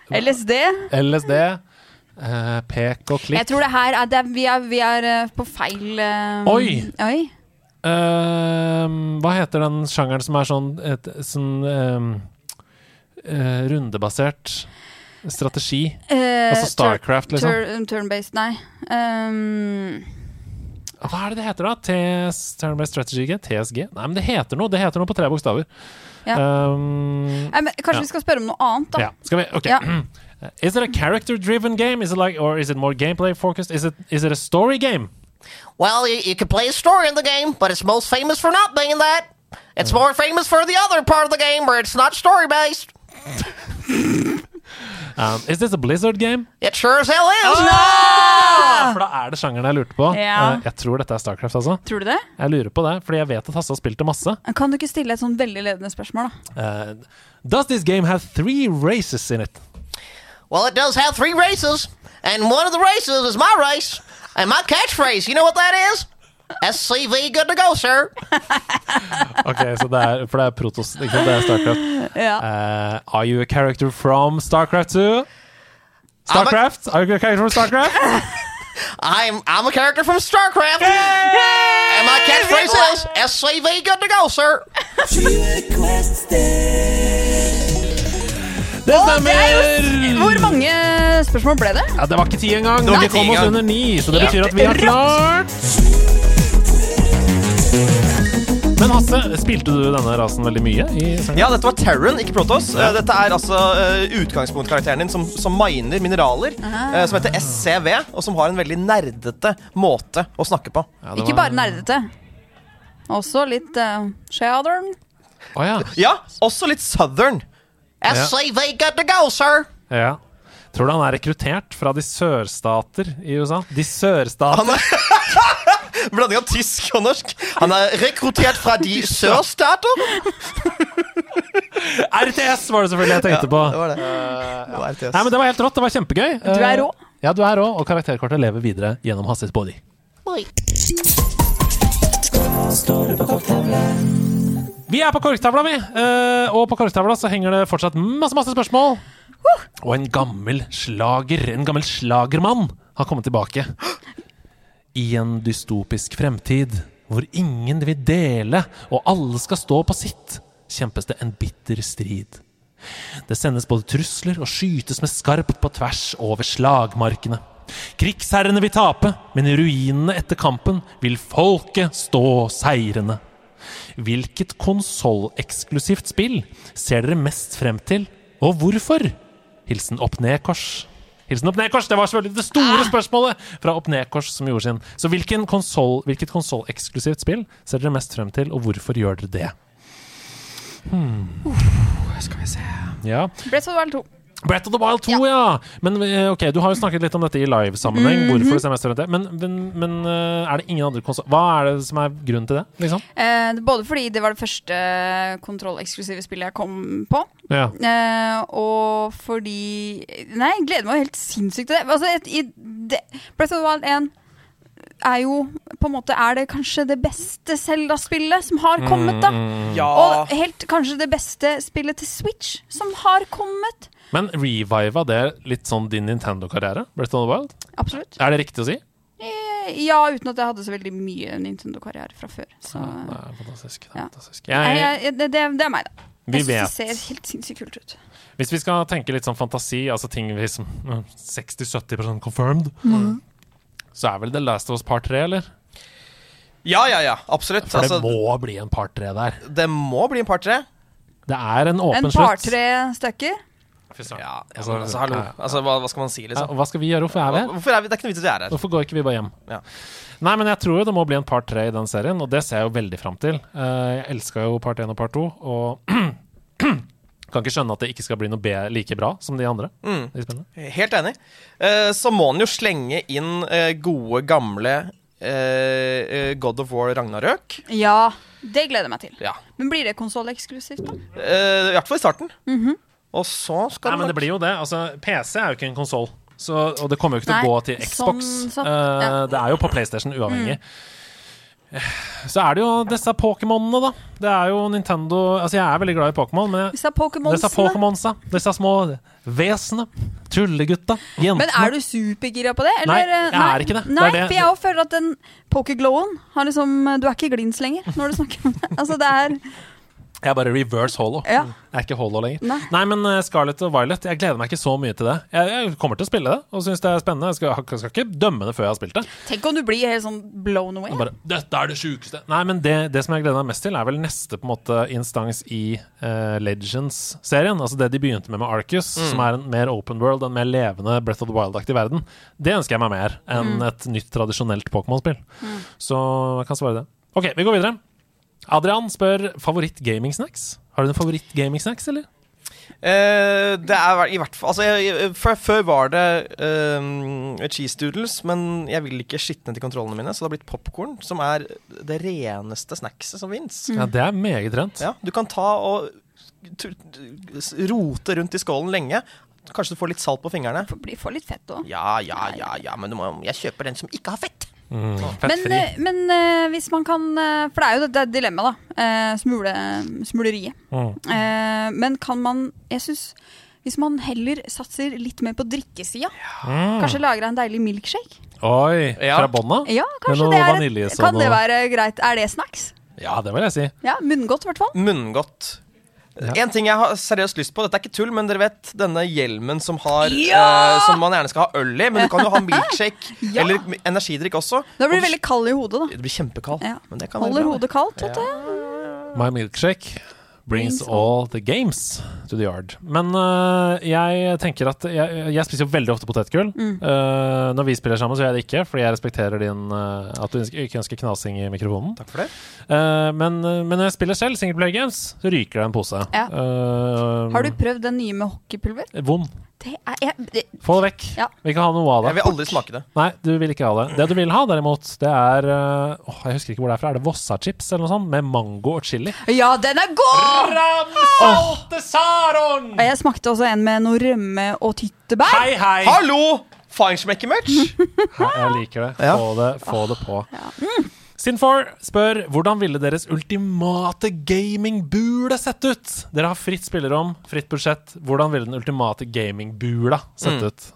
S6: LSD?
S1: LSD, eh, pek og
S6: Jeg
S1: klikk.
S6: tror det her er, det er, vi, er vi er uh, på feil uh,
S1: Oi.
S6: oi.
S1: Ehm, hva heter den sjangeren som er sånn, et, sånn ehm, eh, rundebasert strategi?
S6: Eh,
S1: altså Starcraft,
S6: tur-
S1: liksom. Mm.
S6: tur- Turn-based, nei. Um,
S1: Hva er det det heter, da? TS, Turn-based Strategy Game? TSG? Nei, men det heter noe. Det heter noe på tre bokstaver.
S6: Ja.
S1: Ehm,
S6: nei, men kanskje
S1: ja.
S6: vi skal spørre om noe annet, da.
S1: Ja, skal vi, ok. Is it a character-driven game? Is it like, or is it more gameplay-focused? Is it, is it a story game?
S4: Well, you, you could play a story in the game, but it's most famous for not being that. It's more famous for the other part of the game where it's not story based.
S1: Um, is this a Blizzard game?
S4: It sure as hell is.
S1: Ah, For da er det sjangeren jeg lurte på.
S6: Ja.
S1: Eh, Jeg tror dette er Starcraft, altså.
S6: Tror du det?
S1: Jeg lurer på det, fordi jeg vet at Hasse har spilt det masse.
S6: Kan du ikke stille et sånn veldig ledende spørsmål, da?
S1: Eh, does this game have three races in it?
S4: Well, it does have three races, and one of the races is my race, and my catchphrase. You know what that is? SCV, good to go, sir.
S1: Ok, så det er, For det er Protos, ikke sant? Det er Starcraft. Eh, are you a character from Starcraft 2? Starcraft? Are you a character from Starcraft?
S4: I'm I'm a character from StarCraft, and my catchphrase is SCV, good to go, sir.
S1: Det
S6: Hvor mange eh, spørsmål ble det?
S1: Ja, det var ikke ti engang.
S6: Det
S1: men
S6: var
S1: Vi
S6: ikke ti
S1: kom oss
S6: engang.
S1: under ni, så det
S6: Ja.
S1: betyr at vi har
S6: Rått.
S1: klart Men Hasse, spilte du denne rasen veldig mye? I sangen?
S5: Ja, dette var Terran, ikke Protoss. Eh, Dette er altså eh, utgangspunktkarakteren din som, som miner mineraler, eh, som heter SCV, og som har en veldig nerdete måte å snakke på.
S6: Ikke bare nerdete. Også litt uh, shadern.
S1: ja.
S5: også litt southern.
S1: Ja.
S4: SCV, good to go, sir.
S1: Ja. Tror du han er rekruttert fra de sørstater i USA? De sørstater?
S5: Blanding av tysk og norsk. Han er rekruttert fra de sørstater.
S1: RTS var det selvfølgelig jeg tenkte på.
S5: Ja, det var det. Eh, RTS.
S1: Nei, men det var helt rått. Det var kjempegøy.
S5: Du er rå.
S1: Eh, Ja, du er rå, og karakterkortet lever videre gjennom Hasses body. Vi er på korktavla, vi. Eh, og på korktavla så henger det fortsatt masse, masse spørsmål. Og en gammel slager, en gammel slagermann, har kommet tilbake. I en dystopisk fremtid hvor ingen vil dele, og alle skal stå på sitt, kjempes det en bitter strid. Det sendes både trusler og skytes med skarpt på tvers over slagmarkene. Krigsherrene vil tape, men i ruinene etter kampen vil folket stå seirende. Hvilket konsolleksklusivt spill ser dere mest frem til, og hvorfor? Hilsen Opp Ned Kors. Hilsen Opp Ned Kors, Det var selvfølgelig det store
S6: Ah!
S1: spørsmålet fra Opp Ned Kors som gjorde sin. Så hvilken konsol, hvilket konsolleksklusivt spill ser dere mest frem til, og hvorfor gjør dere det? Hmm.
S6: Uh, Skal vi se
S1: Ja.
S6: Breath of the Wild 2.
S1: Breath of the Wild 2, ja. Men eh, ok, du har jo snakket litt om dette i live-sammenheng.
S6: Mhm.
S1: Hvorfor det ser mest rundt det. Men, men, men eh, er det ingen andre konsoller Hva er det som er grunnen til det? Liksom?
S6: Eh, det- både fordi det var det første eh, kontrolleksklusive spillet jeg kom på.
S1: Ja.
S6: Eh, og fordi Nei, jeg gleder meg helt sinnssykt til det. Altså, et- i, det Breath of the Wild 1 er jo på en måte Er det kanskje det beste Zelda-spillet som har kommet, da?
S1: Mm, mm.
S6: Og helt kanskje det beste spillet til Switch som har kommet.
S1: Men reviva det litt sånn din Nintendo-karriere? Breath of the Wild?
S6: Absolutt.
S1: Er det riktig å si?
S6: Eh, Ja, uten at jeg hadde så veldig mye Nintendo-karriere fra før. Så
S1: Det er fantastisk. Det er
S6: Ja.
S1: fantastisk.
S6: Nei,
S1: Jeg,
S6: jeg, det, det, det er meg, da.
S1: Vi
S6: Jeg synes
S1: vet.
S6: det ser helt sinnssykt kult ut.
S1: hvis vi skal tenke litt sånn fantasi, altså ting vi som mm, 60-70 confirmed,
S6: Mm.
S1: så er vel The Last of Us Part 3, eller?
S5: Ja, ja, ja. Absolutt.
S1: For det
S5: Altså,
S1: må bli en Part 3 der.
S5: det må bli en par tre.
S1: Det er en åpen
S6: En
S1: slutt.
S6: par-tre stykker.
S5: Ja, ja, men altså, hallo.
S1: ja, ja.
S5: Altså, hva, hva skal man si,
S1: Ja,
S5: liksom?
S1: Hva skal vi gjøre? Hvorfor er vi her?
S5: Hvorfor er vi, det er ikke noe vits i at vi er her.
S1: Hvorfor går ikke vi bare hjem? Nei, men jeg tror jo det må bli en part tre i den serien, og det ser jeg jo veldig fram til. Eh, Jeg elska jo part én og part to, og kan ikke skjønne at det ikke skal bli noe be like bra som de andre.
S5: Mm.
S1: Det er spennende.
S5: Helt enig. Eh, så må han jo slenge inn eh, gode, gamle eh, eh, God of War Ragnarøk.
S6: Ja, det gleder jeg meg til.
S5: Ja.
S6: Men blir det konsolleksklusivt, da?
S5: Eh, I hvert fall i starten.
S6: Mhm.
S5: Og så skal
S1: Nei, men det blir jo det. Altså, PC er jo ikke en konsoll. Og det kommer jo ikke til å
S6: Nei,
S1: gå til Xbox.
S6: sånn- sånn,
S1: Eh,
S6: ja. Mm.
S1: Det er jo på PlayStation uavhengig. Eh, Så er det jo disse Pokémonene, da. Det er jo Nintendo Altså, jeg er veldig glad i Pokémon, men jeg,
S6: Disse
S1: disse
S6: Pokémonsene.
S1: Pokémonsa, disse små vesenene, tullegutta, jentene
S6: Men er du supergira på det? Eller?
S1: Nei, jeg
S6: Nei.
S1: er ikke det. Det er
S6: Nei,
S1: det-
S6: for jeg også føler at den pokerglowen har liksom Du er ikke glins lenger når du snakker om det. Altså, det er
S1: Jeg er bare reverse holo.
S6: Ja.
S1: Jeg er ikke holo lenger. Nei,
S6: Nei.
S1: men eh, Scarlett og Violet, jeg gleder meg ikke så mye til det. Jeg, jeg kommer til å spille det og syns det er spennende. Jeg skal, jeg skal ikke dømme det før jeg har spilt det.
S6: Tenk om du blir helt sånn blown away.
S1: Og Bare, Dette er det sjukeste! Nei, men det, det som jeg gleder meg mest til, er vel neste på en måte instans i eh, Legends-serien. Altså det de begynte med med Arcus,
S5: Mm.
S1: som er en mer open world, en mer levende Breath of the Wild-aktig verden. Det ønsker jeg meg mer enn
S5: Mm.
S1: et nytt, tradisjonelt Pokémon-spill. Så jeg kan svare det. OK, vi går videre. Adrian spør favoritt-gaming-snacks. Har du en favoritt-gaming-snacks, eller?
S5: Eh, det er i hvert fall Altså, jeg, jeg- før, før var det eh, cheese doodles, men jeg vil ikke skitne til kontrollene mine, så det har blitt popkorn, som er det reneste snackset som fins.
S6: Mm.
S1: Ja, det er meget rent.
S5: Ja, du kan ta og tu- s- rote rundt i skålen lenge. Kanskje du får litt salt på fingrene.
S6: Blir for litt fett òg.
S5: Ja, ja, ja, ja, men du må, jeg kjøper den som ikke har fett.
S1: Mm.
S6: Men, eh, men eh, hvis man kan eh, For det er jo dette dilemmaet, da. eh, smule, smuleriet.
S1: Mm.
S6: Eh, men kan man Jeg syns hvis man heller satser litt mer på drikkesida, kanskje lager en deilig milkshake?
S1: Mm. Oi, fra bånna?
S6: Ja,
S1: Med
S6: kanskje
S1: noe
S6: det er
S1: vaniljeis og
S6: Kan det
S1: noe-
S6: være greit? Er det snacks?
S1: Ja, det vil jeg si.
S6: Ja, Munngodt, i hvert fall.
S5: Munngodt. En ting jeg har seriøst lyst på, dette er ikke tull, men dere vet denne hjelmen som, har,
S6: Ja!
S5: eh, som man gjerne skal ha øl i, men du kan jo ha milkshake
S6: Ja.
S5: eller m- energidrikk også.
S6: Da blir
S5: Og
S6: du veldig kald i hodet,
S5: Det blir kjempekald.
S6: da.
S5: Men det kan være
S6: Holder
S5: bra, det.
S6: hodet kaldt, vet du.
S1: My milkshake brings
S6: Brings
S1: all the games to the yard. Men øh, jeg tenker at jeg, jeg spiser jo veldig ofte potetgull.
S6: Mm.
S1: Øh, når vi spiller sammen, så gjør jeg det ikke, fordi jeg respekterer din øh, at du ønsker- ikke ønsker knasing i mikrofonen.
S5: Takk for det.
S1: Øh, men, øh, men når jeg spiller selv, singleplayer games, så ryker det en pose.
S6: Ja.
S1: Øh,
S6: Har du prøvd den nye med hockeypulver?
S1: Vond.
S6: Det er jeg, det,
S1: Få det vekk.
S6: Ja.
S1: Vi kan ha noe av det.
S5: Jeg vil aldri smake det.
S1: Nei, du vil ikke ha det. Det du vil ha, derimot, det er øh, åh, Jeg husker ikke hvor det er fra. Er det Vossa-chips eller noe sånt? Med mango og chili?
S6: Ja, den er god!
S1: Ramsalte Saron!
S6: Og Jeg smakte også en med noe rømme og tyttebær.
S1: Hei, hei!
S5: Hallo! Feinschmecker-match!
S1: Ja, jeg liker det. Få det, få det på. Sin4 spør hvordan ville deres ultimate gamingbule sett ut? Dere har fritt spillerom, fritt budsjett. Hvordan ville den ultimate gamingbula sett
S5: Mm.
S1: ut?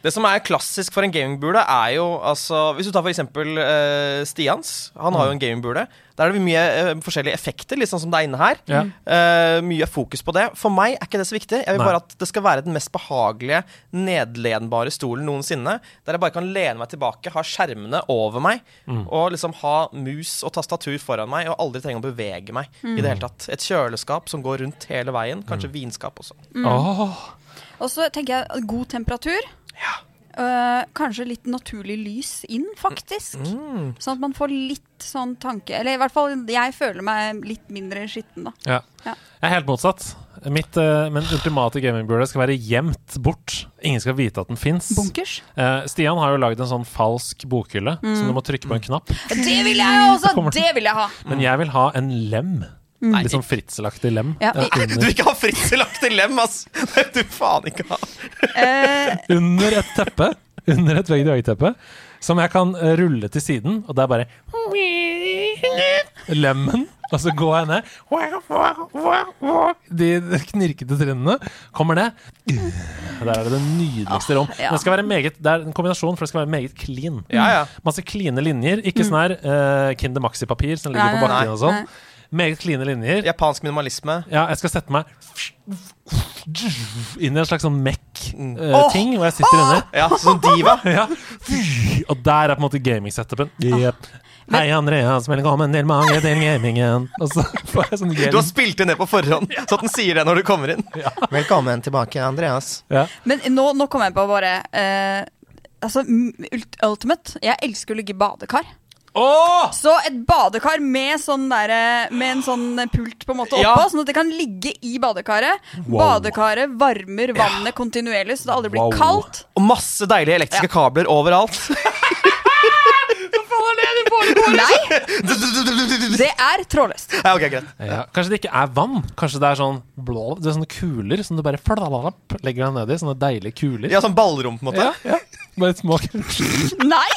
S5: Det som er klassisk for en gamingbule, er jo altså Hvis du tar for eksempel eh, Stians. Han har jo en gamingbule. Der er det mye eh, forskjellige effekter, litt sånn som det er inne her.
S1: Ja.
S5: Eh, mye fokus på det. For meg er ikke det så viktig. Jeg vil
S1: Nei.
S5: bare at det skal være den mest behagelige, nedlenbare stolen noensinne. Der jeg bare kan lene meg tilbake, ha skjermene over meg,
S1: Mm.
S5: og liksom ha mus og tastatur foran meg, og aldri trenge å bevege meg
S6: Mm.
S5: i det hele tatt. Et kjøleskap som går rundt hele veien. Kanskje vinskap også.
S6: Mm. Og så tenker jeg god temperatur. Eh, kanskje litt naturlig lys inn, faktisk.
S5: Mm.
S6: Sånn at man får litt sånn tanke Eller i hvert fall jeg føler meg litt mindre skitten, da.
S1: Ja.
S6: Ja.
S1: Jeg er helt motsatt. Eh, Mitt eh, men ultimate gamingbule skal være gjemt bort. Ingen skal vite at den fins.
S6: Bunkers?
S1: Eh, Stian har jo lagd en sånn falsk bokhylle,
S6: Mm.
S1: som du må trykke på en knapp.
S6: Det vil jeg jo også!
S1: Kommer-
S6: Det vil jeg ha.
S1: Men jeg vil ha en lem.
S6: Mm.
S1: Litt sånn fritzelaktig lem.
S6: Ja.
S1: eh,
S6: Nei,
S5: Du vil ikke ha fritzelaktig lem, ass! Det vil du faen ikke ha.
S1: under et teppe, under et vegg-til-vegg-teppe, som jeg kan eh, rulle til siden, og det er bare lemmen. Og så går jeg ned. De knirkete trinnene. Kommer ned. Der er det det nydeligste rom.
S5: Ah, ja.
S1: Men Det, skal være meget, det er en kombinasjon, for det skal være meget clean.
S5: Ja, ja.
S1: Masse kline linjer. Ikke sånn her eh, Kinder Maxi-papir som ligger
S5: Mm. Nei,
S1: på
S5: nei,
S1: bakken og
S5: nei.
S1: sånn. Meget kline linjer.
S5: Japansk minimalisme.
S1: Ja, jeg skal sette meg inn i en slags sånn
S5: Åh!
S1: MEC-ting, hvor jeg sitter
S5: Åh!
S1: inne.
S5: Ja, som diva.
S1: ja. Og der er på en måte gaming-setupen. Yep. Hei, Andreas, velkommen til mange til gamingen. Og så får jeg sånn
S5: Du har
S1: gaming.
S5: spilt det ned på forhånd, så at den sier det når du kommer inn.
S4: Velkommen tilbake, Andreas.
S6: Men nå, nå kom jeg på bare eh, Altså, m- ult- ultimate Jeg elsker å ligge i badekar. Så et badekar med, sånn derre- med en sånn pult på en måte oppå,
S14: Ja.
S6: sånn at det kan ligge i badekaret.
S5: Wow.
S6: Badekaret varmer vannet kontinuerlig, så det aldri blir
S5: Wow.
S6: kaldt.
S5: Og masse deilige elektriske kabler overalt.
S6: Nei! Det er trådløst.
S5: Ja, ok, greit.
S1: Ja. Kanskje det ikke er vann? Kanskje det er sånn blå Det er sånne kuler som du bare flalalapp legger deg nedi? Sånne deilige kuler.
S5: Ja, sånn ballrom, på en måte.
S1: Ja, ja. Bare små kuler.
S6: Nei!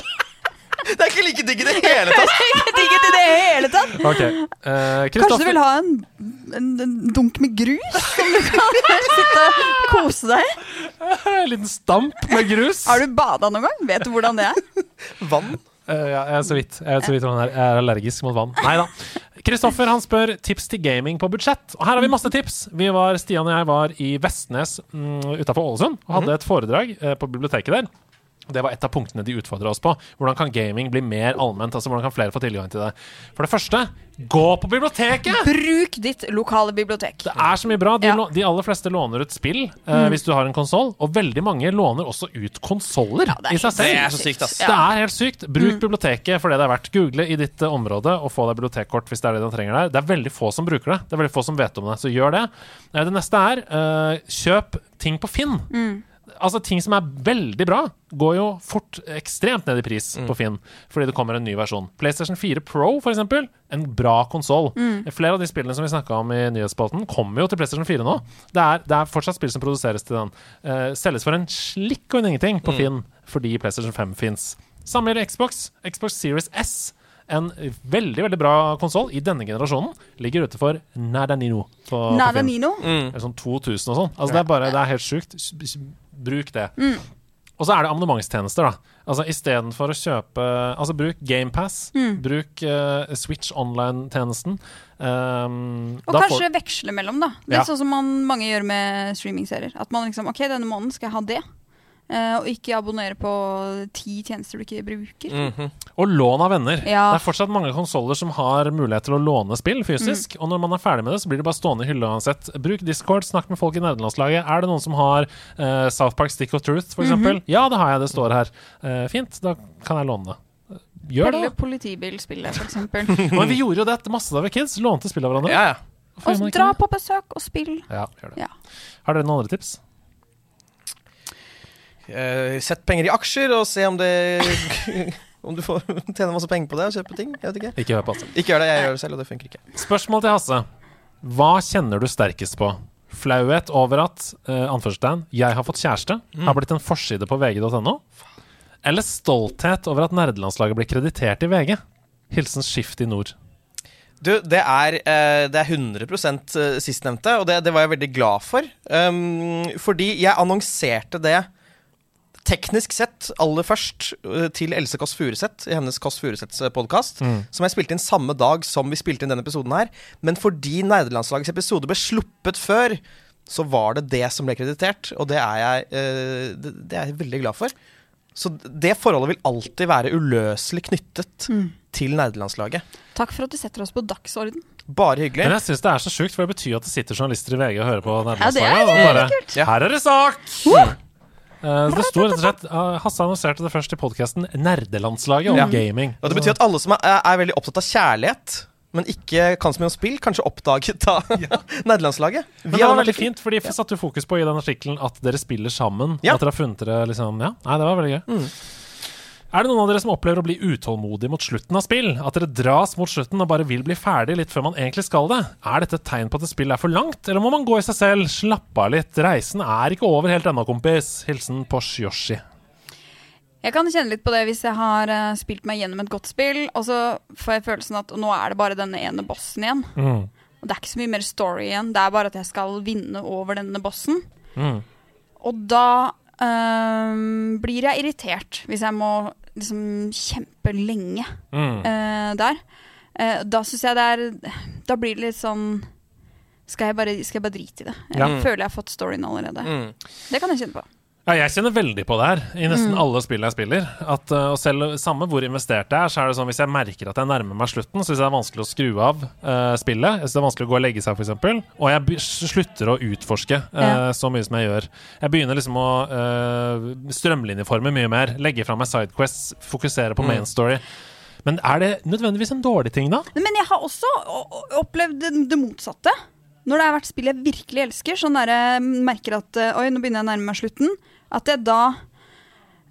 S5: Det er ikke like digg i det hele tatt.
S6: Ikke digget i det hele tatt.
S1: Ok. eh,
S6: Kanskje du
S1: Kristoffer.
S6: vil ha en, en, en dunk med grus som du kan sitte og kose deg i?
S1: En liten stamp med grus.
S6: Har du bada noen gang? Vet du hvordan det er?
S5: Vann?
S1: Eh, ja, jeg er så vidt Jeg vet så vidt hva han er. Jeg er allergisk mot vann. Nei da. Kristoffer han spør tips til gaming på budsjett. Og her har vi masse tips! Vi var, Stian og jeg var i Vestnes mm, utafor Ålesund og hadde et foredrag eh, på biblioteket der. Det var et av punktene de utfordra oss på. Hvordan kan gaming bli mer allment? Altså hvordan kan flere få tilgang til det? For det første, gå på biblioteket!
S6: Bruk ditt lokale bibliotek.
S1: Det er så mye bra. De, lå- de aller fleste låner ut spill eh,
S6: Mm.
S1: hvis du har en konsoll, og veldig mange låner også ut konsoller
S5: det er
S1: i seg
S5: helt
S1: selv.
S5: Det er så sykt, ass.
S1: Det
S5: Ja. Mm.
S1: er helt sykt. Bruk biblioteket for det det er verdt. Google i ditt eh, område og få deg bibliotekkort hvis det er det du trenger der. Det er veldig få som bruker det. Det er veldig få som vet om det, så gjør det. Eh, Det neste er eh, kjøp ting på Finn.
S5: Mm.
S1: Altså Ting som er veldig bra, går jo fort ekstremt ned i pris på Finn fordi det kommer en ny versjon. PlayStation 4 Pro, for eksempel, en bra konsoll.
S5: Mm.
S1: Flere av de spillene som vi snakka om i nyhetsspalten, kommer jo til PlayStation 4 nå. Det er, det er fortsatt spill som produseres til den. Eh, selges for en slikk og en ingenting på
S5: Mm.
S1: Finn fordi PlayStation 5 fins. Samme gjelder Xbox. Xbox Series S. En veldig veldig bra konsoll i denne generasjonen ligger ute for Nada Nino. På,
S6: Nada
S1: på Finn.
S6: Nino? Mm.
S1: Eller sånn 2000 og sånn. Altså, det, er bare, det er helt sjukt. S- s- Bruk det.
S6: Mm.
S1: Og så er det abonnementstjenester, da. Altså Istedenfor å kjøpe Altså bruk GamePass.
S6: Mm.
S1: Bruk eh, Switch Online-tjenesten. Um,
S6: Og
S1: da får-
S6: kanskje veksle mellom, da. Litt
S1: Ja.
S6: sånn som man, mange gjør med streamingserier. At man liksom OK, denne måneden skal jeg ha det. eh, og ikke abonnere på ti tjenester du ikke bruker.
S1: Mm. Og lån av venner.
S6: Ja.
S1: Det er fortsatt mange konsoller som har mulighet til å låne spill fysisk.
S6: Mm.
S1: Og når man er ferdig med det, så blir det bare stående i hylla uansett. Bruk Discord, snakk med folk i nerdelandslaget. Er det noen som har eh, South Park Stick of Truth, f.eks.? eksempel?
S6: Mhm.
S1: Ja, det har jeg, det står her. Eh, fint, da kan jeg låne det. Gjør det, da.
S6: Pelle politibilspillet, for eksempel.
S1: Men vi gjorde jo det masse da vi var kids. Lånte spill av hverandre. Hvorfor gjør man
S6: og
S1: ikke
S6: dra på besøk og spill.
S1: det? Ja, gjør det.
S6: Ja.
S1: Har dere noen andre tips?
S5: Eh, Sett penger i aksjer og se om det Om du får tjene masse penger på det og kjøpe ting. Jeg vet ikke.
S1: Ikke hør på Hasse.
S5: Ikke gjør det. Jeg gjør det selv, og det funker ikke.
S1: Spørsmål til Hasse. Hva kjenner du sterkest på? Flauhet over at eh, anførselstegn, 'jeg har fått kjæreste' har blitt en forside på vg.no? Eller stolthet over at nerdelandslaget blir kreditert i VG? Hilsen Skift i nord.
S5: Du, det er, eh, det er 100 sistnevnte, og det, det var jeg veldig glad for. Um, fordi jeg annonserte det teknisk sett aller først eh, til Else Kåss Furuseth i hennes Kåss Furuseths podkast,
S1: Mm.
S5: som jeg spilte inn samme dag som vi spilte inn denne episoden her. Men fordi Nerdelandslagets episode ble sluppet før, så var det det som ble kreditert, og det er jeg, eh, det, det er jeg veldig glad for. Så det forholdet vil alltid være uløselig knyttet til nerdelandslaget.
S6: Takk for at du setter oss på dagsorden.
S5: Bare hyggelig.
S1: Men jeg syns det er så sjukt, for det betyr at det sitter journalister i VG og hører på
S6: det er
S1: nerdelandslaget. og
S6: veldig
S1: bare,
S6: kult.
S1: Her er det sak! Eh, det sto rett og slett eh, Hasse annonserte det først i podkasten Nerdelandslaget om
S5: Ja.
S1: gaming.
S5: Og det betyr at alle som er, er veldig opptatt av kjærlighet, men ikke kan så mye om spill, kanskje oppdaget av nederlandslaget.
S1: Men det var veldig fint, for de f- satte jo fokus på i den artikkelen at dere spiller sammen.
S5: Ja.
S1: At dere har funnet dere liksom Ja, nei, det var veldig gøy. Er det noen av dere som opplever å bli utålmodig mot slutten av spill? At dere dras mot slutten og bare vil bli ferdig litt før man egentlig skal det? Er dette et tegn på at et spill er for langt, eller må man gå i seg selv, slappe av litt? Reisen er ikke over helt ennå, kompis. Hilsen Porsche Yoshi.
S6: Jeg kan kjenne litt på det hvis jeg har eh, spilt meg gjennom et godt spill, og så får jeg følelsen at nå er det bare denne ene bossen igjen.
S1: Mm.
S6: Og det er ikke så mye mer story igjen, det er bare at jeg skal vinne over denne bossen.
S1: Mm.
S6: Og da øhm, blir jeg irritert hvis jeg må liksom kjempe lenge
S14: Mm.
S6: øh, der. Eh, da syns jeg det er Da blir det litt sånn Skal jeg bare, skal jeg bare drite i det? Jeg
S1: Ja.
S6: føler jeg har fått storyen allerede.
S1: Mm.
S6: Det kan jeg kjenne på.
S1: Ja, jeg kjenner veldig på det her, i nesten
S6: Mm.
S1: alle spill jeg spiller. At, eh, og selv Samme hvor investert jeg er, så er det sånn hvis jeg merker at jeg nærmer meg slutten, så syns jeg det er vanskelig å skru av eh, spillet. Jeg synes det er vanskelig å gå og legge seg, f.eks. Og jeg be- slutter å utforske eh,
S5: Ja.
S1: så mye som jeg gjør. Jeg begynner liksom å eh, strømlinjeforme mye mer. Legge fra meg sidequests, fokusere på
S5: Mm.
S1: main story. Men er det nødvendigvis en dårlig ting, da?
S6: Men jeg har også o- o- opplevd det, det motsatte. Når det har vært spill jeg virkelig elsker, sånn der jeg merker at eh, oi, nå begynner jeg å nærme meg slutten, at jeg da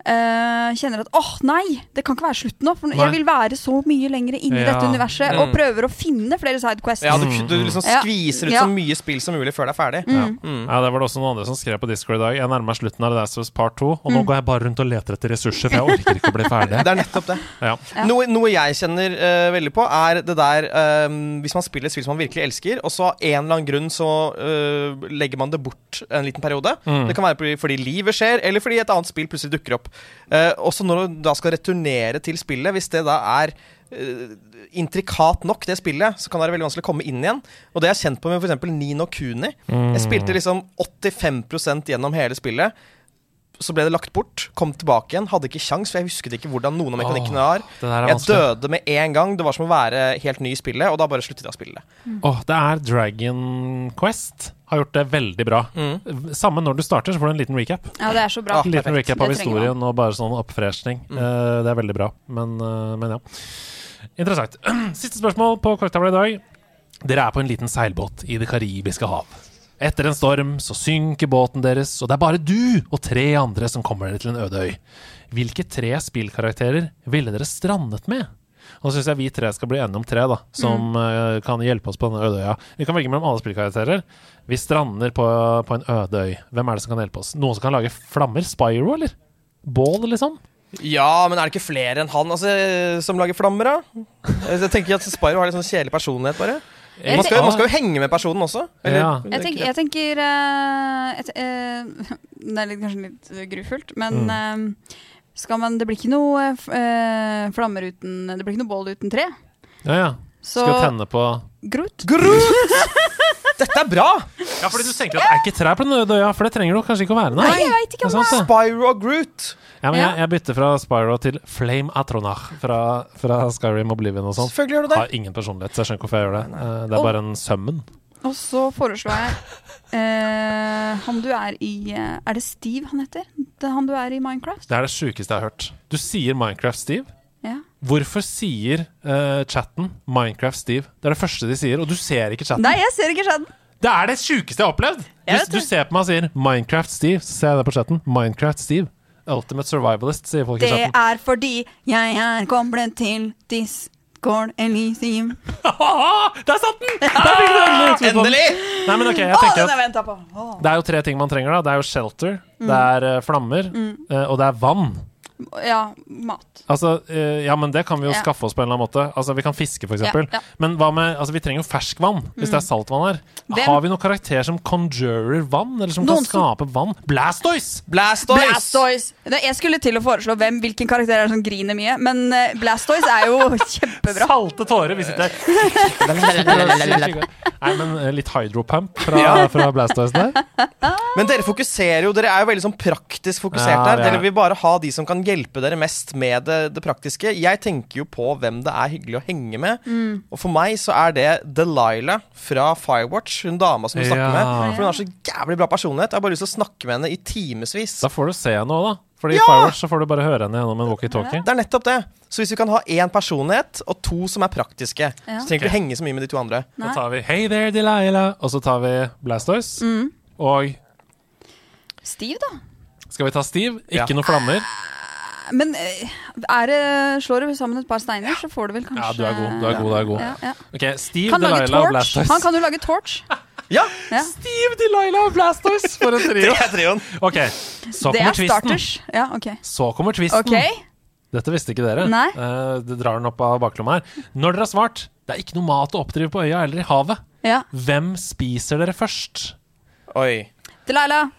S6: eh, kjenner at åh, nei, det kan ikke være slutten nå. For
S5: Nei.
S6: jeg vil være så mye lenger inn i
S5: Ja.
S6: dette universet og
S5: Mm.
S6: prøver å finne flere sidequests.
S5: Ja, du, du liksom
S6: Mm. Ja.
S5: skviser ut
S6: Ja. Mm.
S5: så mye spill som mulig før det er ferdig.
S1: Ja. ja, Det var det også noen andre som skrev på Discord i dag. Jeg nærmer meg slutten av The Last of Us Part 2, og nå
S5: Mm.
S1: går jeg bare rundt og leter etter ressurser, for jeg orker ikke å bli ferdig.
S5: Det er nettopp det.
S1: Ja.
S5: Noe, noe jeg kjenner eh, veldig på, er det der eh, Hvis man spiller et spill som man virkelig elsker, og så av en eller annen grunn så eh, legger man det bort en liten periode.
S1: Mm.
S5: Det kan være fordi- fordi livet skjer, eller fordi et annet spill plutselig dukker opp. Eh, også når du da skal returnere til spillet, hvis det da er eh, intrikat nok, det spillet, så kan det være veldig vanskelig å komme inn igjen. Og det jeg har kjent på med f.eks. Nino Kuni.
S1: Mm.
S5: Jeg spilte liksom 85 gjennom hele spillet. Så ble det lagt bort, kom tilbake igjen, hadde ikke kjangs, for jeg husket ikke hvordan noen av mekanikkene var.
S1: det der er
S5: Jeg
S1: vanskelig.
S5: døde med en gang. Det var som å være helt ny i spillet, og da bare sluttet jeg å spille det.
S1: Åh, det er Dragon Quest har gjort det veldig bra.
S6: Mm.
S1: Samme når du starter, så får du en liten recap.
S6: Ja, det er så bra.
S1: En liten
S6: Ah, Perfekt.
S1: recap av
S6: Det trenger man. Mm.
S1: historien og bare sånn oppfreshning. Eh, det er veldig bra, men, eh, men ja. Interessant. Siste spørsmål på korktavla i dag. Dere er på en liten seilbåt i Det karibiske hav. Etter en storm så synker båten deres, og det er bare du og tre andre som kommer dere til en øde øy. Hvilke tre spillkarakterer ville dere strandet med? Og så syns jeg vi tre skal bli enige om tre da som
S6: Mm.
S1: eh, kan hjelpe oss på denne øde øya. Vi kan velge mellom alle spillkarakterer. Vi strander på, på en øde øy. Hvem er det som kan hjelpe oss? Noen som kan lage flammer? Spyro, eller? Bål, liksom?
S5: Ja, men er det ikke flere enn han altså, som lager flammer, da? Jeg tenker at Spyro har litt sånn kjedelig personlighet, bare.
S6: Jeg
S5: Man skal,
S6: tenker-
S5: man skal jo henge med personen også. eller-
S1: Ja.
S6: Jeg tenker, jeg tenker eh, et, eh, Det er litt, kanskje litt grufullt, men eh, skal man, det blir ikke noe eh, f- eh, flammer uten Det blir ikke noe bål uten tre.
S1: Ja, ja.
S6: Så-
S1: Skal tenne på
S6: Grot.
S5: Dette er bra!
S1: Ja, fordi du tenker at er ikke trær på den øde øya, for det trenger du kanskje ikke å være.
S6: Nei, jeg vet ikke om
S1: Det er sant, det.
S5: Spyro og Groot.
S1: Ja, men jeg,
S5: Ja.
S1: jeg bytter fra Spyro til Flame Atronach fra, fra Skyrim Oblivion og sånn.
S5: Selvfølgelig gjør du det.
S1: Har ingen personlighet, så jeg skjønner ikke hvorfor jeg gjør det. Eh, Det
S6: Og-
S1: er bare en summon.
S6: Og så foreslår jeg eh, han du er i eh, Er det Steve han heter? Det er han du er i Minecraft?
S1: Det er det sjukeste jeg har hørt. Du sier Minecraft Steve.
S6: Ja.
S1: Hvorfor sier eh, chatten Minecraft Steve? Det er det første de sier, og du ser ikke chatten.
S6: Nei, jeg ser ikke skjedd.
S1: Det er det sjukeste jeg har opplevd!
S6: Jeg
S1: Hvis
S6: vet
S1: du
S6: det.
S1: ser på meg og sier Minecraft Steve, så ser jeg det på chatten. Minecraft Steve. Ultimate survivalist, sier folk i
S6: Det
S1: chatten.
S6: er fordi jeg er koblet til Discord Elysium.
S1: Der satt den! Der fikk du endelig utropet. Nei, men ok, jeg
S6: Å,
S1: tenker at
S6: den har jeg venta på! Å.
S1: Det er jo tre ting man trenger. da Det er jo shelter,
S6: Mm.
S1: det er eh, flammer,
S6: Mm.
S1: eh, og det er vann.
S6: Ja, mat.
S1: Altså, eh, ja, men Det kan vi jo
S6: Ja.
S1: skaffe oss på en eller annen måte. Altså, Vi kan fiske, f.eks. eksempel
S6: Ja, ja.
S1: Men hva med, altså, vi trenger jo ferskvann hvis det er saltvann her.
S6: Hvem-
S1: Har vi noen karakter som conjurer vann, eller som
S6: Noen
S1: kan
S6: som-
S1: skape vann? Blastoise!
S5: Blastoise!
S6: Blastoise. Nei, Jeg skulle til å foreslå hvem, hvilken karakter er det som griner mye, men eh, Blastoise er jo kjempebra.
S1: Salte tårer hvis ikke Nei, men eh, litt hydropump fra,
S5: Ja.
S1: fra Blastoise der.
S5: Men dere fokuserer jo, dere er jo veldig sånn praktisk fokusert
S1: Ja, vi
S5: her.
S1: er
S5: Dere
S1: det.
S5: vil bare ha de som kan hjelpe dere mest med det, det praktiske. Jeg tenker jo på hvem det er hyggelig å henge med.
S6: Mm.
S5: Og for meg så er det Delilah fra Firewatch, hun dama som du snakker
S1: Ja.
S5: med. For hun har så jævlig bra personlighet. Jeg har bare lyst til å snakke med henne i timevis.
S1: Da får du se noe, da. Fordi i
S5: Ja!
S1: Firewatch så får du bare høre henne gjennom en walkietalkie.
S5: Det er nettopp det. Så hvis vi kan ha én personlighet og to som er praktiske,
S1: Ja.
S5: så trenger
S1: Ok.
S5: vi ikke henge så mye med de to andre.
S1: Da tar vi Hey there, Delilah, og så tar vi Blastoise.
S6: Mm.
S1: Og
S6: Stiv, da.
S1: skal vi ta Steve? Ikke noe flammer.
S6: Men eh, er det, slår du sammen et par steiner, så får du vel kanskje
S1: Ja, du er god. Du er god, du er god.
S6: Ja, ja.
S1: Ok, Steve,
S6: Ah, Kan
S1: Delilah
S6: lage
S1: og
S6: torch.
S1: Blastoise.
S6: Han kan jo lage torch.
S5: Ja.
S1: Steve, Delilah og Blastoise for en trio.
S5: det er trioen.
S1: Ok, så
S6: det
S1: kommer Mm.
S6: er
S1: twisten.
S6: starters. Ja, ok.
S1: Så kommer twisten.
S6: Ok.
S1: Dette visste ikke dere.
S6: Nei.
S1: Eh, det drar den opp av baklomma her. Når dere har svart, det er ikke noe mat å oppdrive på øya eller i havet.
S6: Ja.
S1: Hvem spiser dere først?
S5: Oi.
S6: Delilah,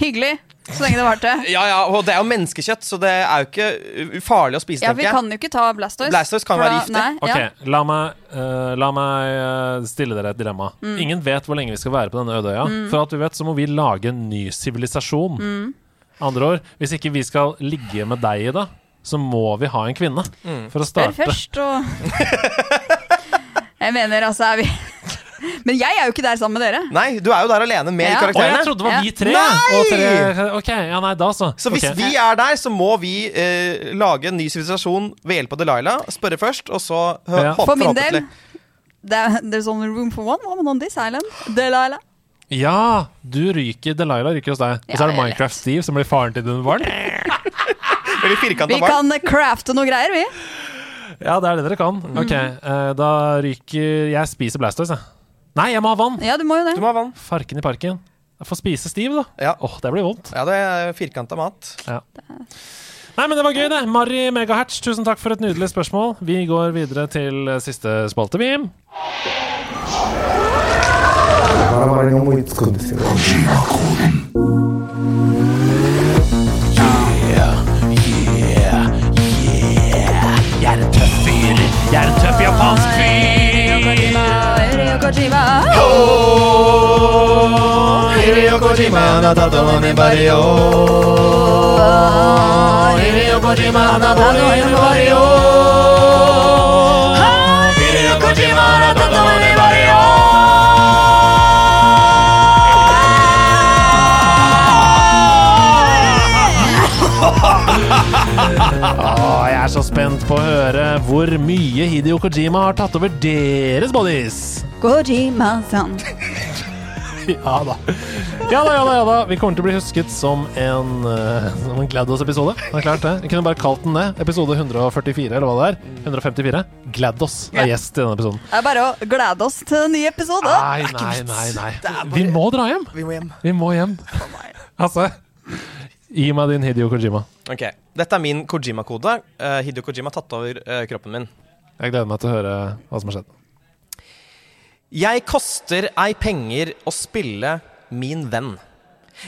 S6: hyggelig. Så lenge det varte.
S5: Ja, ja, og det er jo menneskekjøtt, så det er jo ikke uh, farlig å spise,
S6: Ja, vi
S5: tenker
S6: kan
S5: jeg.
S6: jo ikke ta Blastoise.
S5: Blastoise kan
S6: for
S5: være
S6: da-
S5: giftig.
S6: Nei, ja.
S1: Ok, la meg, eh, la meg eh, stille dere et dilemma.
S6: Mm.
S1: Ingen vet hvor lenge vi skal være på denne øde øya.
S6: Mm.
S1: For alt vi vet, så må vi lage en ny sivilisasjon.
S6: Mm.
S1: Andre ord, hvis ikke vi skal ligge med deg i det, så må vi ha en kvinne
S5: Mm.
S1: for å
S6: Spør
S1: starte.
S6: først og Jeg mener, altså er vi Men jeg er jo ikke der sammen med dere.
S5: Nei, du er jo der alene med
S6: Ja.
S5: de karakterene.
S6: Å, jeg trodde det var vi tre,
S5: Nei!
S1: og tre- Ok, ja, nei, da så.
S5: Så hvis
S1: Ok.
S5: vi er der, så må vi eh, lage en ny sivilisasjon ved hjelp av Delilah. Spørre først, og så hø
S1: Ja.
S5: håpe
S6: For min
S5: forhåpentlig.
S6: del det er, There's only room for one woman on this island. Delilah.
S1: Ja, du ryker, Delilah ryker hos deg. Og så
S6: Ja,
S1: er
S6: jeg
S1: det Minecraft Steve som blir faren til dine barn.
S5: Veldig
S6: Vi kan eh, crafte noe greier, vi.
S1: Ja, det er det dere kan.
S5: Mm.
S1: Ok, eh, da ryker Jeg spiser Blastoise, jeg. Nei, jeg må ha vann!
S6: Ja, du må jo det.
S5: Du må ha vann.
S1: Farken i parken. Jeg får spise Steve, da.
S5: Ja.
S1: Åh, det blir vondt.
S5: Ja, det er firkanta mat.
S1: Ja. Nei, men det var gøy, det. Mari Megahertz, tusen takk for et nydelig spørsmål. Vi går videre til eh, siste spalte, vi.
S13: Jeg er en tøff fyr. Jeg er en tøff japansk fyr.
S6: Ryo Kojima.
S13: Hideo Kojima, anatato wa mibari yo.
S1: Ah,
S13: Hideo Kojima, anatato wa mibari yo. Hideo Kojima, anatato wa mibari yo.
S1: Åh, jeg er så spent på å høre hvor mye Hidio Kojima har tatt over deres bodies.
S6: Kojima-san.
S1: Ja da. Ja da, ja da, ja da. Vi kommer til å bli husket som en, eh, som en GLaDOS-episode. Det er klart det. Vi kunne bare kalt den det. Episode 144, eller hva det er. 154. GLaDOS er gjest i denne episoden.
S6: Det er bare å glede oss til en ny episode.
S1: Nei, nei, nei. nei. Vi må dra hjem.
S5: Vi må hjem.
S1: Vi må hjem. Altså Gi meg din Hidio Kojima.
S5: Ok, Dette er min Kojima-kode. Uh, Hidio Kojima har tatt over eh, kroppen min.
S1: Jeg gleder meg til å høre hva som har skjedd.
S5: Jeg koster ei penger å spille min venn.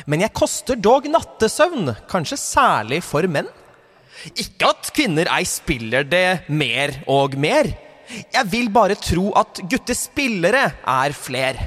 S5: Men jeg koster dog nattesøvn, kanskje særlig for menn. Ikke at kvinner ei spiller det mer og mer. Jeg vil bare tro at guttespillere er fler.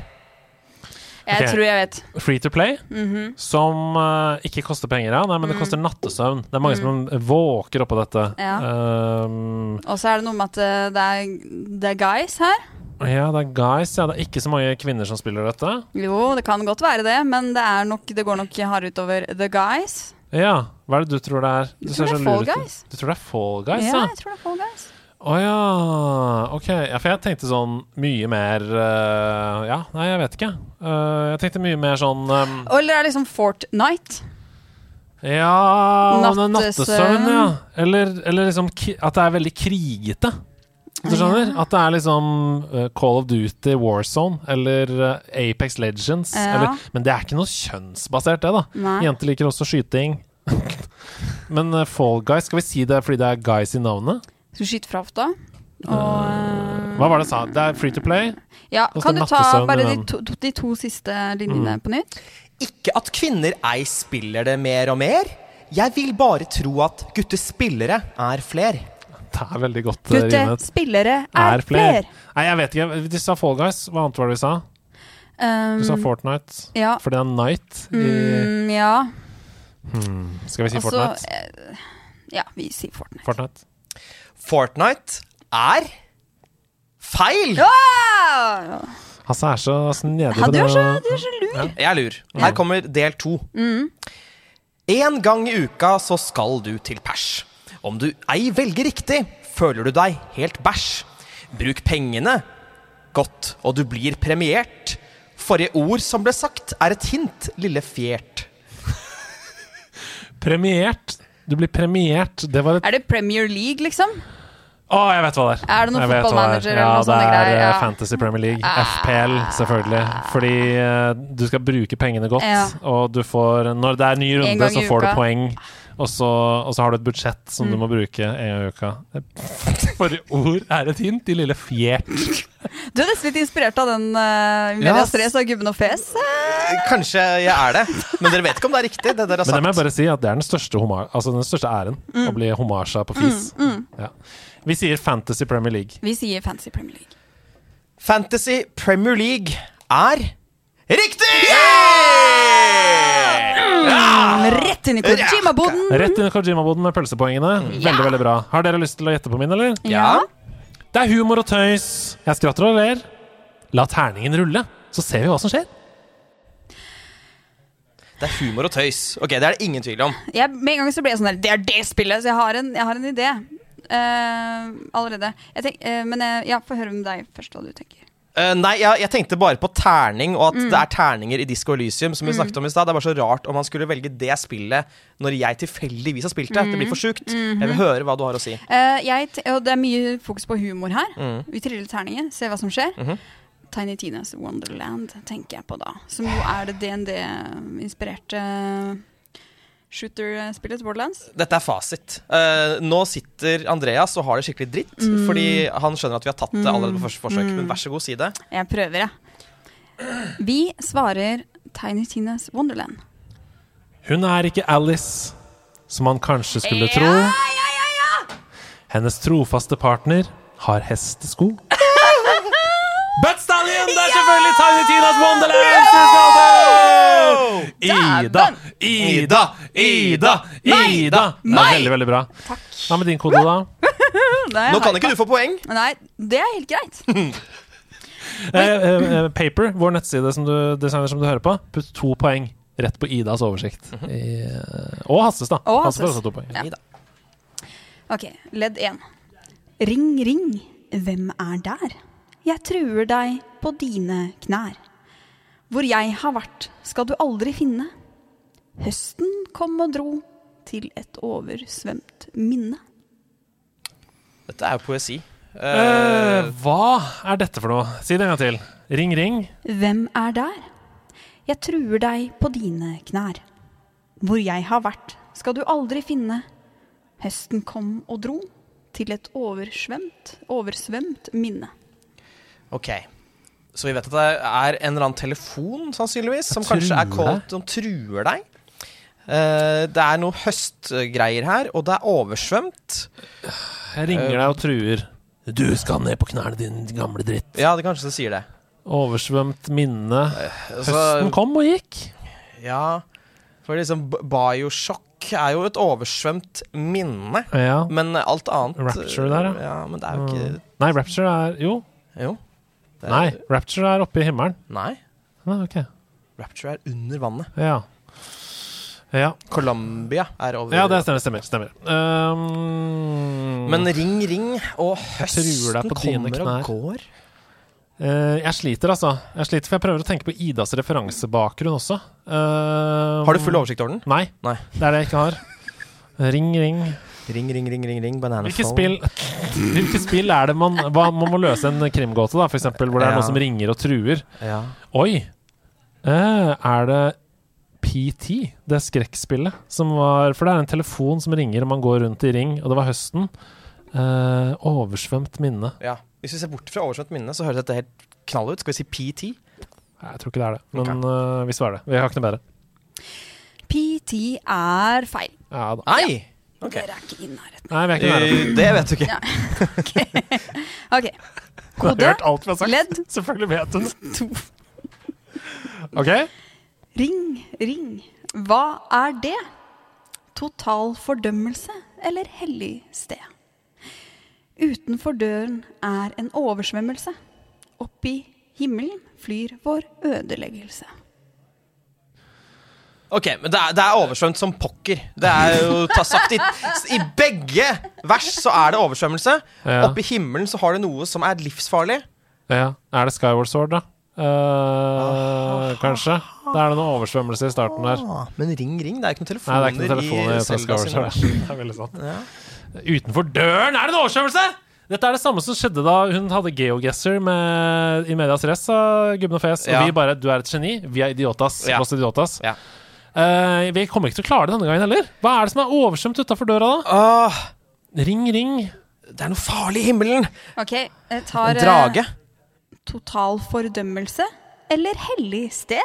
S6: Jeg
S1: Ok.
S6: tror jeg vet.
S1: Free to play,
S6: Mhm.
S1: som eh, ikke koster penger, ja. Nei, men det
S5: Mm.
S1: koster nattesøvn. Det er mange som våker oppå dette.
S6: Ja.
S1: Ehm,
S6: Og så er det noe med at eh, det er, det er guys her.
S1: ja, det er guys. Ja, det er ikke så mange kvinner som spiller dette.
S6: Jo, det kan godt være det, men det, er nok, det går nok hardere utover the guys.
S1: Ja, hva er det du tror det er? Du
S6: tror
S1: ser
S6: det er
S1: så lur
S6: Fall
S1: ut.
S6: Guys.
S1: Du tror det er Fall Guys,
S6: ja,
S1: ja?
S6: jeg tror det er Fall Guys.
S1: Å ja, ok. Ja, for jeg tenkte sånn mye mer eh, Ja, nei, jeg vet ikke. Eh, jeg tenkte mye mer sånn ehm,
S6: Eller er det liksom Fortnite?
S1: Ja men det er
S6: Nattesøvn.
S1: Nattesøvn, ja. Eller, eller liksom ki- at det er veldig krigete. Hvis Du skjønner? At det er liksom eh, Call of Duty, Warzone eller eh, Apex Legends.
S6: Ja.
S1: Eller, men det er ikke noe kjønnsbasert, det, da.
S6: Nei.
S1: Jenter liker også skyting. men eh, Fall Guys, skal vi si det fordi det er guys i navnet?
S6: Skal du skyte fra hofta? Og,
S1: Eh,
S6: eh,
S1: Hva var det jeg sa? Det er free to play?
S6: ja,
S1: Og så
S6: kan du ta
S1: nattesøvn
S6: bare
S1: i
S6: de
S1: den.
S6: to, de to siste linjene
S1: Mm.
S6: på nytt?
S5: Ikke at kvinner ei spiller det mer og mer. Jeg vil bare tro at guttespillere er fler.
S1: Det er veldig godt eh,
S6: Gutte,
S1: rimet.
S6: spillere
S1: Er
S6: er
S1: fler.
S6: fler.
S1: Nei, jeg vet ikke. Du sa Fall Guys. Hva annet var det vi sa? Du sa
S6: Um,
S1: Fortnite.
S6: ja.
S1: For det er Night i
S6: Mm, ja.
S1: Hmm. Skal vi si
S6: Altså,
S1: Fortnite?
S6: eh, Ja, vi sier Fortnite.
S1: Fortnite.
S5: Fortnite er feil!
S6: Ah!
S1: Hasse er så snedig på
S5: Ja, du
S1: det.
S5: er så-
S6: Du er så lur.
S5: Jeg er lur. Her kommer del to. En gang i uka så skal du til pers. Om du ei velger riktig, føler du deg helt bæsj. Bruk pengene godt, og du blir premiert. Forrige ord som ble sagt, er et hint, lille fjert.
S1: Premiert. Du blir premiert. Det var et
S6: Er det Premier League, liksom?
S1: Å, jeg vet hva det er.
S6: Er det noen
S1: Jeg vet hva
S6: fotballmanager
S1: det er.
S6: eller noen
S1: Ja,
S6: sånne
S1: det
S6: greier?
S1: er
S6: Ja. Ah.
S1: eh, Fantasy Premier League. FPL, selvfølgelig. Fordi eh, du skal bruke pengene godt,
S6: Ja.
S1: og du får Når det er ny
S6: En
S1: runde,
S6: gang i
S1: så får du
S6: uka.
S1: poeng. Og så, og så har du et budsjett som
S6: Mm.
S1: du må bruke en gang i uka. Forrige ord er et hint, de lille fjert.
S6: Du er nesten litt inspirert av den
S5: Ja.
S6: uh, Media Stress av Gubben og Fes.
S5: Kanskje jeg er det, men dere vet ikke om det er riktig. Det dere har
S1: Men det
S5: sagt.
S1: må jeg bare si at det er den største, homa- altså den største æren,
S6: Mm.
S1: å bli homasja på fis.
S6: Mm, mm.
S1: Ja. Vi sier Fantasy Premier League.
S6: Vi sier Fantasy Premier League.
S5: Fantasy Premier League er riktig!
S6: Mm, rett inn i Kojima-boden!
S1: Rett inn i Kojima-boden med pølsepoengene.
S6: Mm.
S1: Veldig, veldig bra. Har dere lyst til å gjette på min, eller?
S6: Ja.
S1: Det er humor og tøys. Jeg skratter og ler. La terningen rulle, så ser vi hva som skjer.
S5: Det er humor og tøys. Ok, Det er det ingen tvil om.
S6: Jeg, med en gang så ble jeg sånn der Det er det spillet! Så jeg har en, jeg har en idé. Eh, allerede. Jeg tenk, eh, men eh, ja, få høre med deg først hva du tenker.
S5: Eh, nei, jeg, jeg tenkte bare på terning, og at
S6: Mm.
S5: det er terninger i Disco Elysium. Som vi
S6: Mm.
S5: snakket om i sted. Det er bare så rart om man skulle velge det spillet når jeg tilfeldigvis har spilt det. Det blir for sjukt.
S6: Mhm.
S5: Jeg vil høre hva du har å si.
S6: Eh, jeg, t- og det er mye fokus på humor her.
S5: Mm.
S6: Vi triller terninger, ser hva som skjer.
S5: Mhm.
S6: Tiny Tinas Wonderland tenker jeg på da. Som jo er det DND-inspirerte shooter-spillet til Borderlands.
S5: Dette er fasit. Eh, nå sitter Andreas og har det skikkelig dritt,
S6: Mm.
S5: fordi han skjønner at vi har tatt det allerede på første forsøk.
S6: Mm.
S5: Men vær så god, si det.
S6: Jeg prøver, jeg. Vi svarer Tiny Tinas Wonderland.
S1: Hun er ikke Alice, som man kanskje skulle tro. Hennes trofaste partner har hestesko. But Stallion! Det er selvfølgelig Tiny Tinas Wonderland! som skal til! Ida, Ida, Ida, Ida! Det er
S6: Meg!
S1: veldig, veldig bra. Hva med din kode, da?
S6: Nei,
S1: Nå kan
S6: har
S1: ikke du få poeng.
S6: Nei, det er helt greit.
S1: Eh, eh, eh, Paper, vår nettside som du designer som du hører på, putt to poeng rett på Idas oversikt. I, eh, og Hasses, da.
S6: Og
S1: Hasse får
S6: Hasses.
S1: også to poeng.
S6: Ja. Ok, ledd én. Ring, ring, hvem er der? Jeg truer deg på dine knær. Hvor jeg har vært, skal du aldri finne. Høsten kom og dro til et oversvømt minne.
S5: Dette er jo poesi.
S1: Eh,
S5: Eh,
S1: hva er dette for noe? Si det en gang til. Ring, ring.
S6: Hvem er der? Jeg truer deg på dine knær. Hvor jeg har vært, skal du aldri finne. Høsten kom og dro til et oversvømt, oversvømt minne.
S5: Ok. Så vi vet at det er en eller annen telefon, sannsynligvis, som
S1: Som
S5: kanskje er
S1: truer
S5: kalt
S1: deg.
S5: som truer deg. Eh, det er noe høstgreier her, og det er oversvømt.
S1: Jeg ringer deg og truer. Eh, Du skal ned på knærne, din gamle dritt. Eh,
S5: Ja, det kanskje det sier det.
S1: Oversvømt minne.
S5: så-
S1: Høsten kom og gikk.
S5: Ja, for liksom b- Bioshock er jo et oversvømt minne,
S1: Ja.
S5: men alt annet
S1: Rapture der, ja.
S5: ja. Men det er jo ikke
S1: Mm. Nei, Rapture er Jo.
S5: Jo. Det er-
S1: Nei, Rapture er oppe i himmelen.
S5: Nei.
S1: Nei, ok.
S5: Rapture er under vannet.
S1: Ja. Ja.
S5: Colombia er over
S1: Ja, det stemmer. stemmer, stemmer. Um,
S5: Men ring, ring, og
S1: Jeg truer deg
S5: høsten
S1: på dine
S5: kommer og
S1: knær.
S5: går.
S1: Eh, jeg sliter, altså. Jeg sliter, For jeg prøver å tenke på Idas referansebakgrunn også. Eh,
S5: Har du full oversikt over den?
S1: Nei.
S5: Nei.
S1: Det er det jeg ikke har. Ring, ring.
S5: Ring, ring, ring, ring, ring, banana
S1: Hvilke
S5: phone.
S1: spill, hvilke spill er det man hva, Man må løse en krimgåte, da, for eksempel, hvor det er
S5: Ja.
S1: noen som ringer og truer.
S5: Ja.
S1: Oi! Eh, er det PT, det skrekkspillet, som var For det er en telefon som ringer, og man går rundt i ring, og det var høsten. Eh, oversvømt minne.
S5: Ja. Hvis vi ser bort fra oversvømt minne, så høres dette helt knall ut. Skal vi si PT?
S1: Nei, Jeg tror ikke det er det, men eh, vi svarer det. Vi har ikke noe bedre.
S6: PT er feil.
S1: Ja, da.
S5: Nei!
S6: Dere er ikke i nærheten.
S1: Nei, vi er ikke nære.
S5: Eh, det vet du ikke.
S6: Ja. Ok.
S1: Hun har
S6: Kode,
S1: hørt alt vi har sagt.
S6: ledd,
S1: Selvfølgelig vet hun.
S6: to.
S1: OK?
S6: Ring, ring. Hva er det? Total fordømmelse eller hellig sted? Utenfor døren er en oversvømmelse. Oppi himmelen flyr vår ødeleggelse.
S5: Ok, men det er, det er oversvømt som pokker. Det er jo ta- sagt i, I begge vers så er det oversvømmelse.
S1: Ja.
S5: Oppe i himmelen så har det noe som er livsfarlig.
S1: Ja. Er det Skyward Sword, da? Eh, kanskje? Da er det noe oversvømmelse i starten der.
S5: Ah, men ring, ring. Det er ikke
S1: Nei,
S5: noen telefoner,
S1: det er ikke noen telefoner i
S5: Selda
S1: Skyward
S5: sine
S1: Sword.
S5: vers.
S1: Det er veldig sant. Utenfor døren er det en oversvømmelse! Dette er det samme som skjedde da hun hadde geoguesser med, i Medias Res, sa Gubben og Fes. Og
S5: Ja.
S1: vi bare Du er et geni. Vi er idiotas.
S5: Ja.
S1: Lost idiotas. Eh, vi kommer ikke til å klare det denne gangen heller. Hva er det som er oversvømt utafor døra, da?
S5: Ah.
S1: ring, ring.
S5: Det er noe farlig i himmelen!
S6: Ok, jeg tar
S5: En drage?
S6: eh, Total fordømmelse eller hellig sted?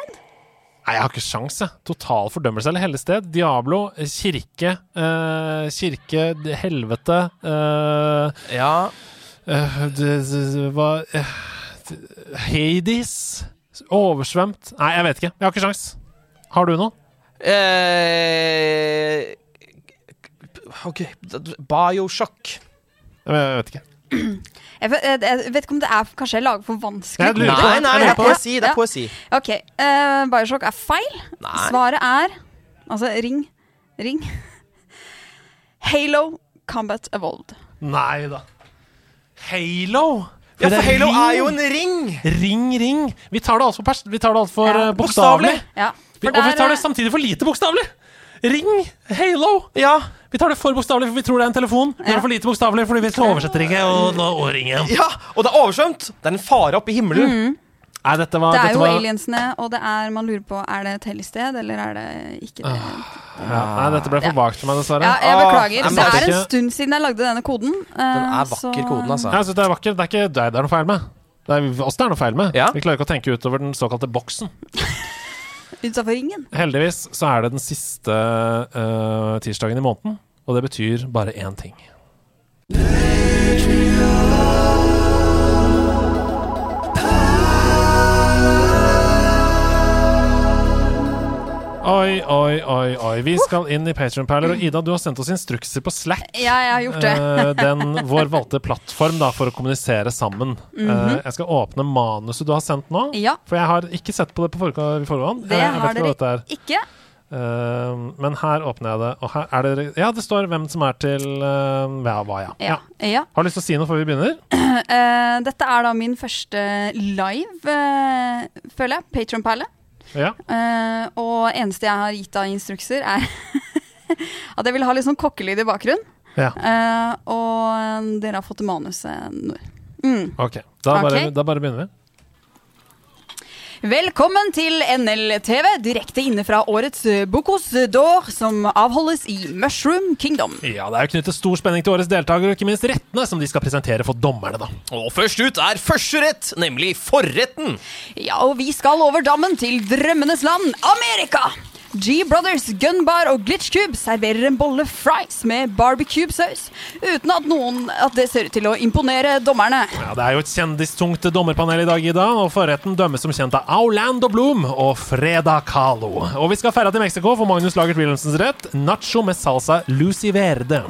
S1: Nei, jeg har ikke sjans, jeg. Total fordømmelse eller hellig sted. Diablo, kirke, eh, kirke, helvete eh,
S5: Ja
S1: Hva eh, Hades? Oversvømt? Nei, jeg vet ikke. Jeg har ikke sjans. Har du noe?
S5: Eh, ok, Bioshock.
S1: Jeg vet ikke.
S6: Jeg, vet- jeg, jeg vet ikke om det er Kanskje jeg lager for vanskelig?
S1: Jeg lurer på det.
S5: Nei, nei, det
S1: Jeg lurer
S5: er
S1: på det.
S5: poesi. Det er poesi.
S6: Ok, eh, Bioshock er feil.
S5: Nei.
S6: Svaret er Altså, ring. Ring. Halo Combat Evolved.
S1: Nei da. Halo?
S5: Ja,
S1: Det
S5: for Halo er jo en ring!
S1: Ring, ring. Vi tar det altfor pers... Vi tar det alt for eh, bokstavelig.
S5: bokstavelig.
S6: Ja,
S1: Vi,
S6: for
S1: og vi
S6: der,
S1: tar det
S6: eh,
S1: samtidig for lite bokstavelig. Ring, halo.
S5: Ja.
S1: Vi tar det for bokstavelig, for vi tror det er en telefon. Vi tar det for lite bokstavelig, fordi vi oversetter ikke. Og nå åringen.
S5: Ja, Og det er oversvømt! Det er en fare oppe i himmelen.
S1: Nei, dette var,
S6: det er
S1: dette
S6: jo
S1: var,
S6: aliensene, og det er, man lurer på er det et hellig sted, eller er det ikke
S1: Ah,
S6: det.
S1: ja, nei, dette ble for vagt for meg, dessverre.
S6: Ja, jeg beklager.
S1: Ah,
S6: Det er en
S1: ikke-
S6: stund siden jeg lagde denne koden. eh, Den
S5: er vakker, koden, altså.
S1: Jeg synes det er vakker. Det er ikke deg det er noe feil med. Det er oss det er noe feil med. Vi klarer ikke å tenke utover den såkalte boksen.
S6: Utafor ringen.
S1: Heldigvis så er det den siste eh, tirsdagen i måneden, og det betyr bare én ting. Oi, oi, oi, oi. Vi skal inn i Patrion-perler. Og Ida, du har sendt oss instrukser på Slack.
S6: Ja, jeg har gjort det.
S1: Eh, den, vår valgte plattform da, for å kommunisere sammen.
S6: Mhm.
S1: Eh, jeg skal åpne manuset du har sendt nå.
S6: Ja.
S1: For jeg har ikke sett på det på forhå- i forhånd.
S6: Det
S1: jeg, jeg
S6: har
S1: vet ikke hva dette
S6: dere
S1: er.
S6: ikke.
S1: Eh, men her åpner jeg det. Og her er det ja, det står hvem som er til eh, ja, hva, ja.
S6: Ja. ja.
S1: Har du lyst til å si noe før vi begynner?
S6: Eh, dette er da min første live, eh, føler jeg. Patronperle.
S1: Ja.
S6: Eh, og eneste jeg har gitt av instrukser, er at jeg vil ha litt sånn kokkelyd i bakgrunnen.
S1: Ja.
S6: Eh, og dere har fått eh, manuset nå. Mm.
S1: Ok. Da bare,
S6: Ok.
S1: da bare begynner vi.
S6: Velkommen til NLTV, direkte inne fra årets eh, Bocuse d'Or, som avholdes i Mushroom Kingdom.
S1: Ja, Det er jo knyttet stor spenning til årets deltaker, og ikke minst rettene som de skal presentere for dommerne. da
S5: Og først ut er første rett, nemlig forretten.
S6: Ja, og vi skal over dammen til drømmenes land, Amerika! G-Brothers, Gunbar og Glitch Cube serverer en bolle fries med barbecue-saus, uten at, noen, at det ser ut til å imponere dommerne.
S1: Ja, Det er jo et kjendistungt dommerpanel i dag, Ida. Og forretten dømmes som kjent av Orlando Bloom og Freda Kahlo. Og vi skal ferda til Mexico for Magnus Lagert Wilhelmsens rett. Nacho med salsa Lucy Verde.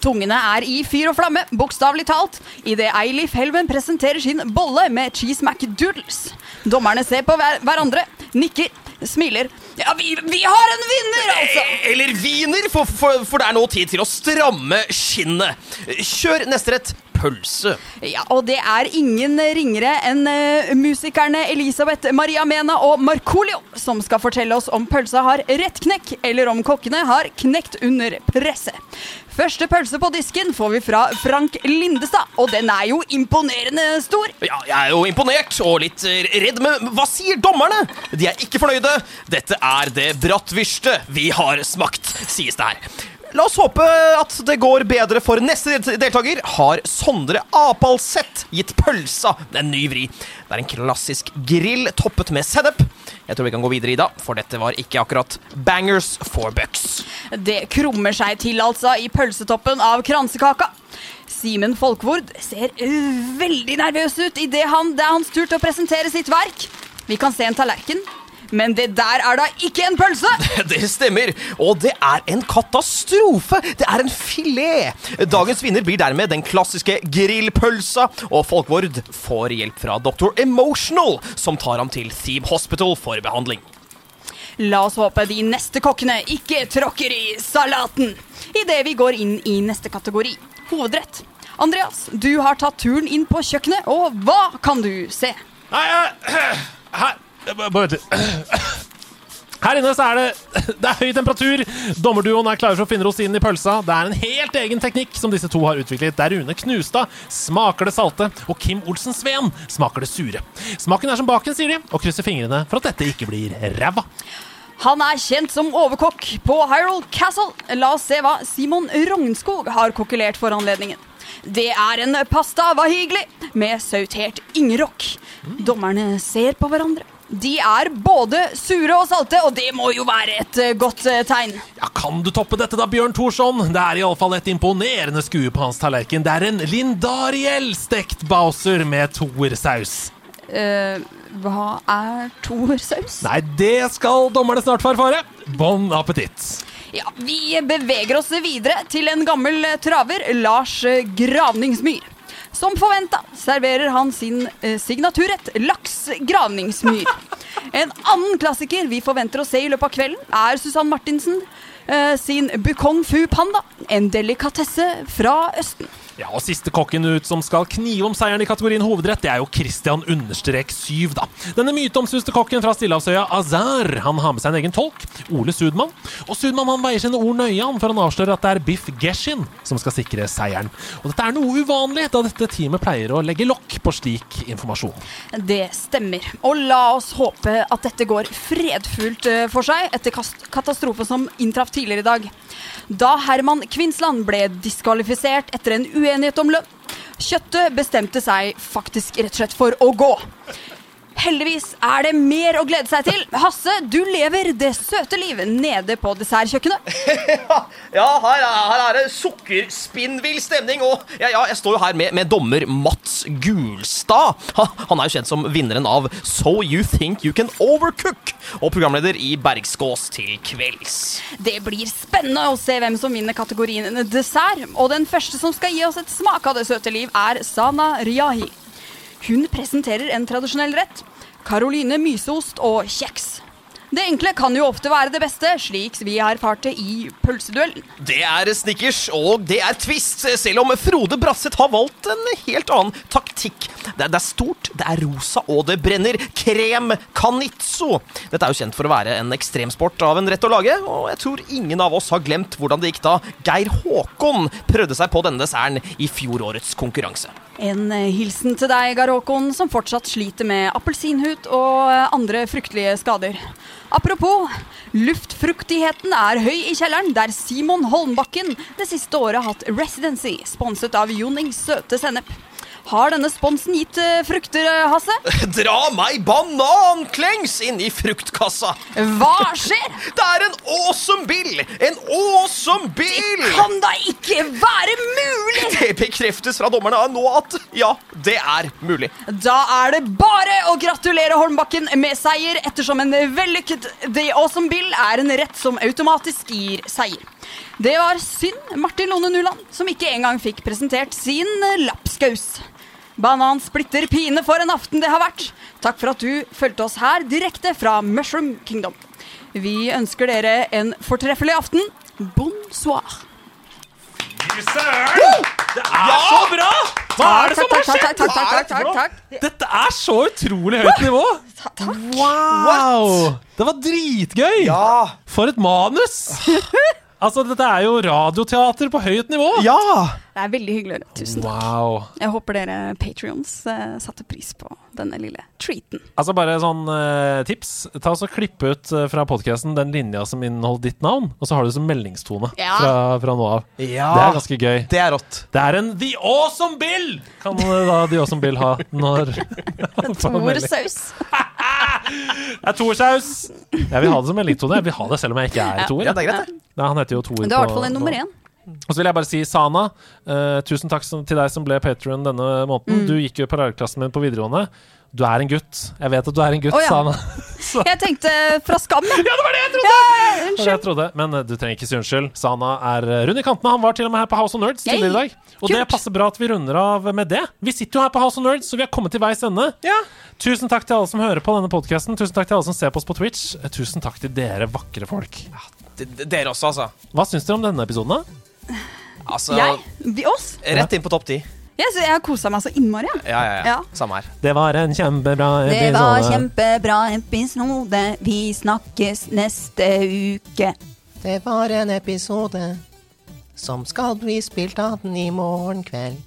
S6: Tungene er i fyr og flamme, bokstavelig talt, idet Eilif Helven presenterer sin bolle med cheese McDoodles. Dommerne ser på hver hverandre, nikker, smiler. Ja, vi, vi har en vinner, altså!
S5: Eh, Eller wiener, for, for, for det er nå tid til å stramme skinnet. Kjør neste rett. Pølse.
S6: Ja, og det er ingen ringere enn eh, musikerne Elisabeth Maria Mena og Markolio som skal fortelle oss om pølsa har rett knekk, eller om kokkene har knekt under presset. Første pølse på disken får vi fra Frank Lindestad, og den er jo imponerende stor.
S5: Ja, jeg er jo imponert og litt eh, redd, men hva sier dommerne? De er ikke fornøyde. Dette er det brattvirste vi har smakt, sies det her. La oss håpe at det går bedre for neste del- deltaker. Har Sondre Apalseth gitt pølsa en ny vri? Det er en klassisk grill toppet med sennep. Jeg tror vi kan gå videre, Ida, for dette var ikke akkurat bangers for bucks.
S6: Det krummer seg til altså i pølsetoppen av kransekaka. Simen Folkvord ser øh, veldig nervøs ut idet han, det er hans tur til å presentere sitt verk. Vi kan se en tallerken, men det der er da ikke en pølse!
S5: Det stemmer, og det er en katastrofe! Det er en filet! Dagens vinner blir dermed den klassiske grillpølsa, og Folkvord får hjelp fra Dr. Emotional, som tar ham til Theme Hospital for behandling.
S6: La oss håpe de neste kokkene ikke tråkker i salaten. Idet vi går inn i neste kategori, hovedrett. Andreas, du har tatt turen inn på kjøkkenet, og hva kan du se?
S1: Nei, jeg- her eh, Bare vent litt. Her inne så er det, det er høy temperatur. Dommerduoen er klare for å finne rosinen i pølsa. Det er en helt egen teknikk som disse to har utviklet, der Rune Knustad smaker det salte, og Kim Olsen Sveen smaker det sure. Smaken er som baken, sier de, og krysser fingrene for at dette ikke blir ræva.
S6: Han er kjent som overkokk på Hyrule Castle. La oss se hva Simon Rognskog har kokkelert for anledningen. Det er en pasta wahigli med sautert ingerokk. Dommerne ser på hverandre. De er både sure og salte, og det må jo være et eh, godt eh, tegn.
S1: Ja, kan du toppe dette da, Bjørn Thorsson? Det er iallfall et imponerende skue på hans tallerken. Det er en lindariell stekt Bowser med toersaus.
S6: Eh, hva er toersaus?
S1: Nei, det skal dommerne snart få erfare. Bon appetitt.
S6: Ja, vi beveger oss videre til en gammel traver, Lars Gravningsmyr. Som forventa serverer han sin eh, signaturrett, laks gravningsmyr. En annen klassiker vi forventer å se i løpet av kvelden, er Susann Martinsen eh, sin Bukong Fu Panda. En delikatesse fra Østen.
S1: Ja, og Siste kokken ut som skal knive om seieren i kategorien hovedrett, det er jo Christian understrek 7, da. Denne myteomsuste kokken fra Stillehavsøya, Azar, han har med seg en egen tolk, Ole Sudmann. Og Sudmann han veier sine ord nøye han, før han avslører at det er Biff Geshin som skal sikre seieren. Og dette er noe uvanlig, da dette teamet pleier å legge lokk på slik informasjon.
S6: Det stemmer. Og la oss håpe at dette går fredfullt eh, for seg etter kast- katastrofen som inntraff tidligere i dag. Da Herman Kvinsland ble diskvalifisert etter en uenighet om lønn, kjøttet bestemte seg faktisk rett og slett for å gå. Heldigvis er det mer å glede seg til. Hasse, du lever det søte liv nede på dessertkjøkkenet.
S5: Ja, her er, her er det sukkerspinnvill stemning. Og ja, ja, jeg står jo her med, med dommer Mats Gulstad. Ah, Ha, Han er jo kjent som vinneren av So You Think You Can Overcook og programleder i Bergskås til kvelds.
S6: Det blir spennende å se hvem som vinner kategorien dessert. Og den første som skal gi oss et smak av det søte liv, er Sana Riyahi. Hun presenterer en tradisjonell rett. Karoline myseost og kjeks. Det enkle kan jo ofte være det beste, slik vi erfarte i pølseduellen.
S5: Det er Snickers, og det er Twist, selv om Frode Brasseth har valgt en helt annen taktikk. Det er, det er stort, det er rosa, og det brenner. Krem canizzo. Dette er jo kjent for å være en ekstremsport av en rett å lage, og jeg tror ingen av oss har glemt hvordan det gikk da Geir Håkon prøvde seg på denne desserten i fjorårets konkurranse.
S6: En eh, hilsen til deg, Garokon, som fortsatt sliter med appelsinhud og eh, andre fryktelige skader. Apropos, luftfruktigheten er høy i kjelleren, der Simon Holmbakken det siste året har hatt residency, sponset av Jonings søte sennep. Har denne sponsen gitt eh, frukter, eh, Hasse?
S5: Dra meg bananklengs inn i fruktkassa!
S6: Hva skjer?
S5: Det er en awesome bill! En awesome bill! Det
S6: kan da ikke være mulig!
S5: Det bekreftes fra dommerne nå at ja, det er mulig.
S6: Da er det bare å gratulere Holmbakken med seier, ettersom en vellykket The Awesome Bill er en rett som automatisk gir seier. Det var synd Martin Lone Nuland, som ikke engang fikk presentert sin lapskaus. Banan splitter pine for en aften det har vært. Takk for at du fulgte oss her direkte fra Mushroom Kingdom. Vi ønsker dere en fortreffelig aften. Bonsoir.
S1: Det er så bra! Hva er det som har skjedd?
S6: Takk, takk, takk, takk, takk, takk.
S1: Dette er så utrolig høyt nivå! Wow! Det var dritgøy! For et manus! Altså, dette er jo radioteater på høyt nivå.
S6: Det er veldig hyggelig å høre. Tusen takk.
S1: Wow.
S6: Jeg håper dere patrions satte pris på denne lille treaten.
S1: Altså bare sånn eh, tips. Ta og så Klipp ut eh, fra podkasten den linja som inneholder ditt navn, og så har du det som meldingstone
S6: Ja.
S1: fra, fra nå av. Det er ganske gøy.
S5: Det er rått.
S1: Det er en The Awesome Bill! Kan eh, da de også Bill ha når han får melding. Det er Torsaus! Jeg vil ha det som meldingstone. Jeg vil ha det selv om jeg ikke er
S6: Ja.
S1: toer.
S6: Ja, det er greit, det.
S1: Nei, han heter jo Toer
S6: Men det er i
S1: på-
S6: hvert fall en nummer én.
S1: Og så vil jeg bare si, Sana, eh, tusen takk som, til deg som ble patron denne måneden.
S6: Mm.
S1: Du gikk jo i parallellklassen min på videregående. Du er en gutt. Jeg vet at du er en gutt,
S6: Å, ja.
S1: Sana.
S6: Jeg tenkte fra skam. ja, det var det jeg trodde!
S1: Det var det jeg trodde, men eh, du trenger ikke si unnskyld. Sana er eh, rund i kantene. Han var til og med her på House of Nerds
S6: Yay!
S1: tidligere i dag. Og det
S6: Kult.
S1: passer bra at vi runder av med det. Vi sitter jo her på House of Nerds, så vi har kommet til veis ende. Tusen takk til alle som hører på denne podkasten. Tusen takk til alle som ser på oss på Twitch. Eh, Tusen takk til dere vakre folk.
S5: D d- dere også, altså.
S1: Hva syns dere om denne episoden, da?
S5: altså
S6: Jeg? Vi, oss?
S5: Rett inn på topp ti.
S6: Jeg, sy- jeg har kosa meg så innmari. jeg.
S5: Ja, ja, ja.
S6: Ja.
S5: Samme her.
S1: Det var en kjempebra episode.
S6: Det sånn, var kjempebra episode. Vi snakkes neste uke.
S4: Det var en episode som skal bli spilt av den i morgen kveld.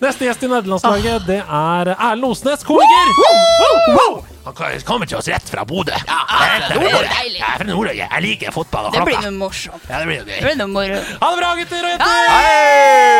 S1: Neste gjest i nederlandslaget det er Erlend Osnes, komiker! Han kommer til oss rett fra Bodø.
S14: jeg er fra Nordøy.
S1: Jeg er fra Nordøy. Jeg liker fotball
S14: Det blir noe morsomt.
S1: Ja, det blir
S14: Det blir noe moro.
S1: Ha det bra, gutter og jenter!
S14: Hei!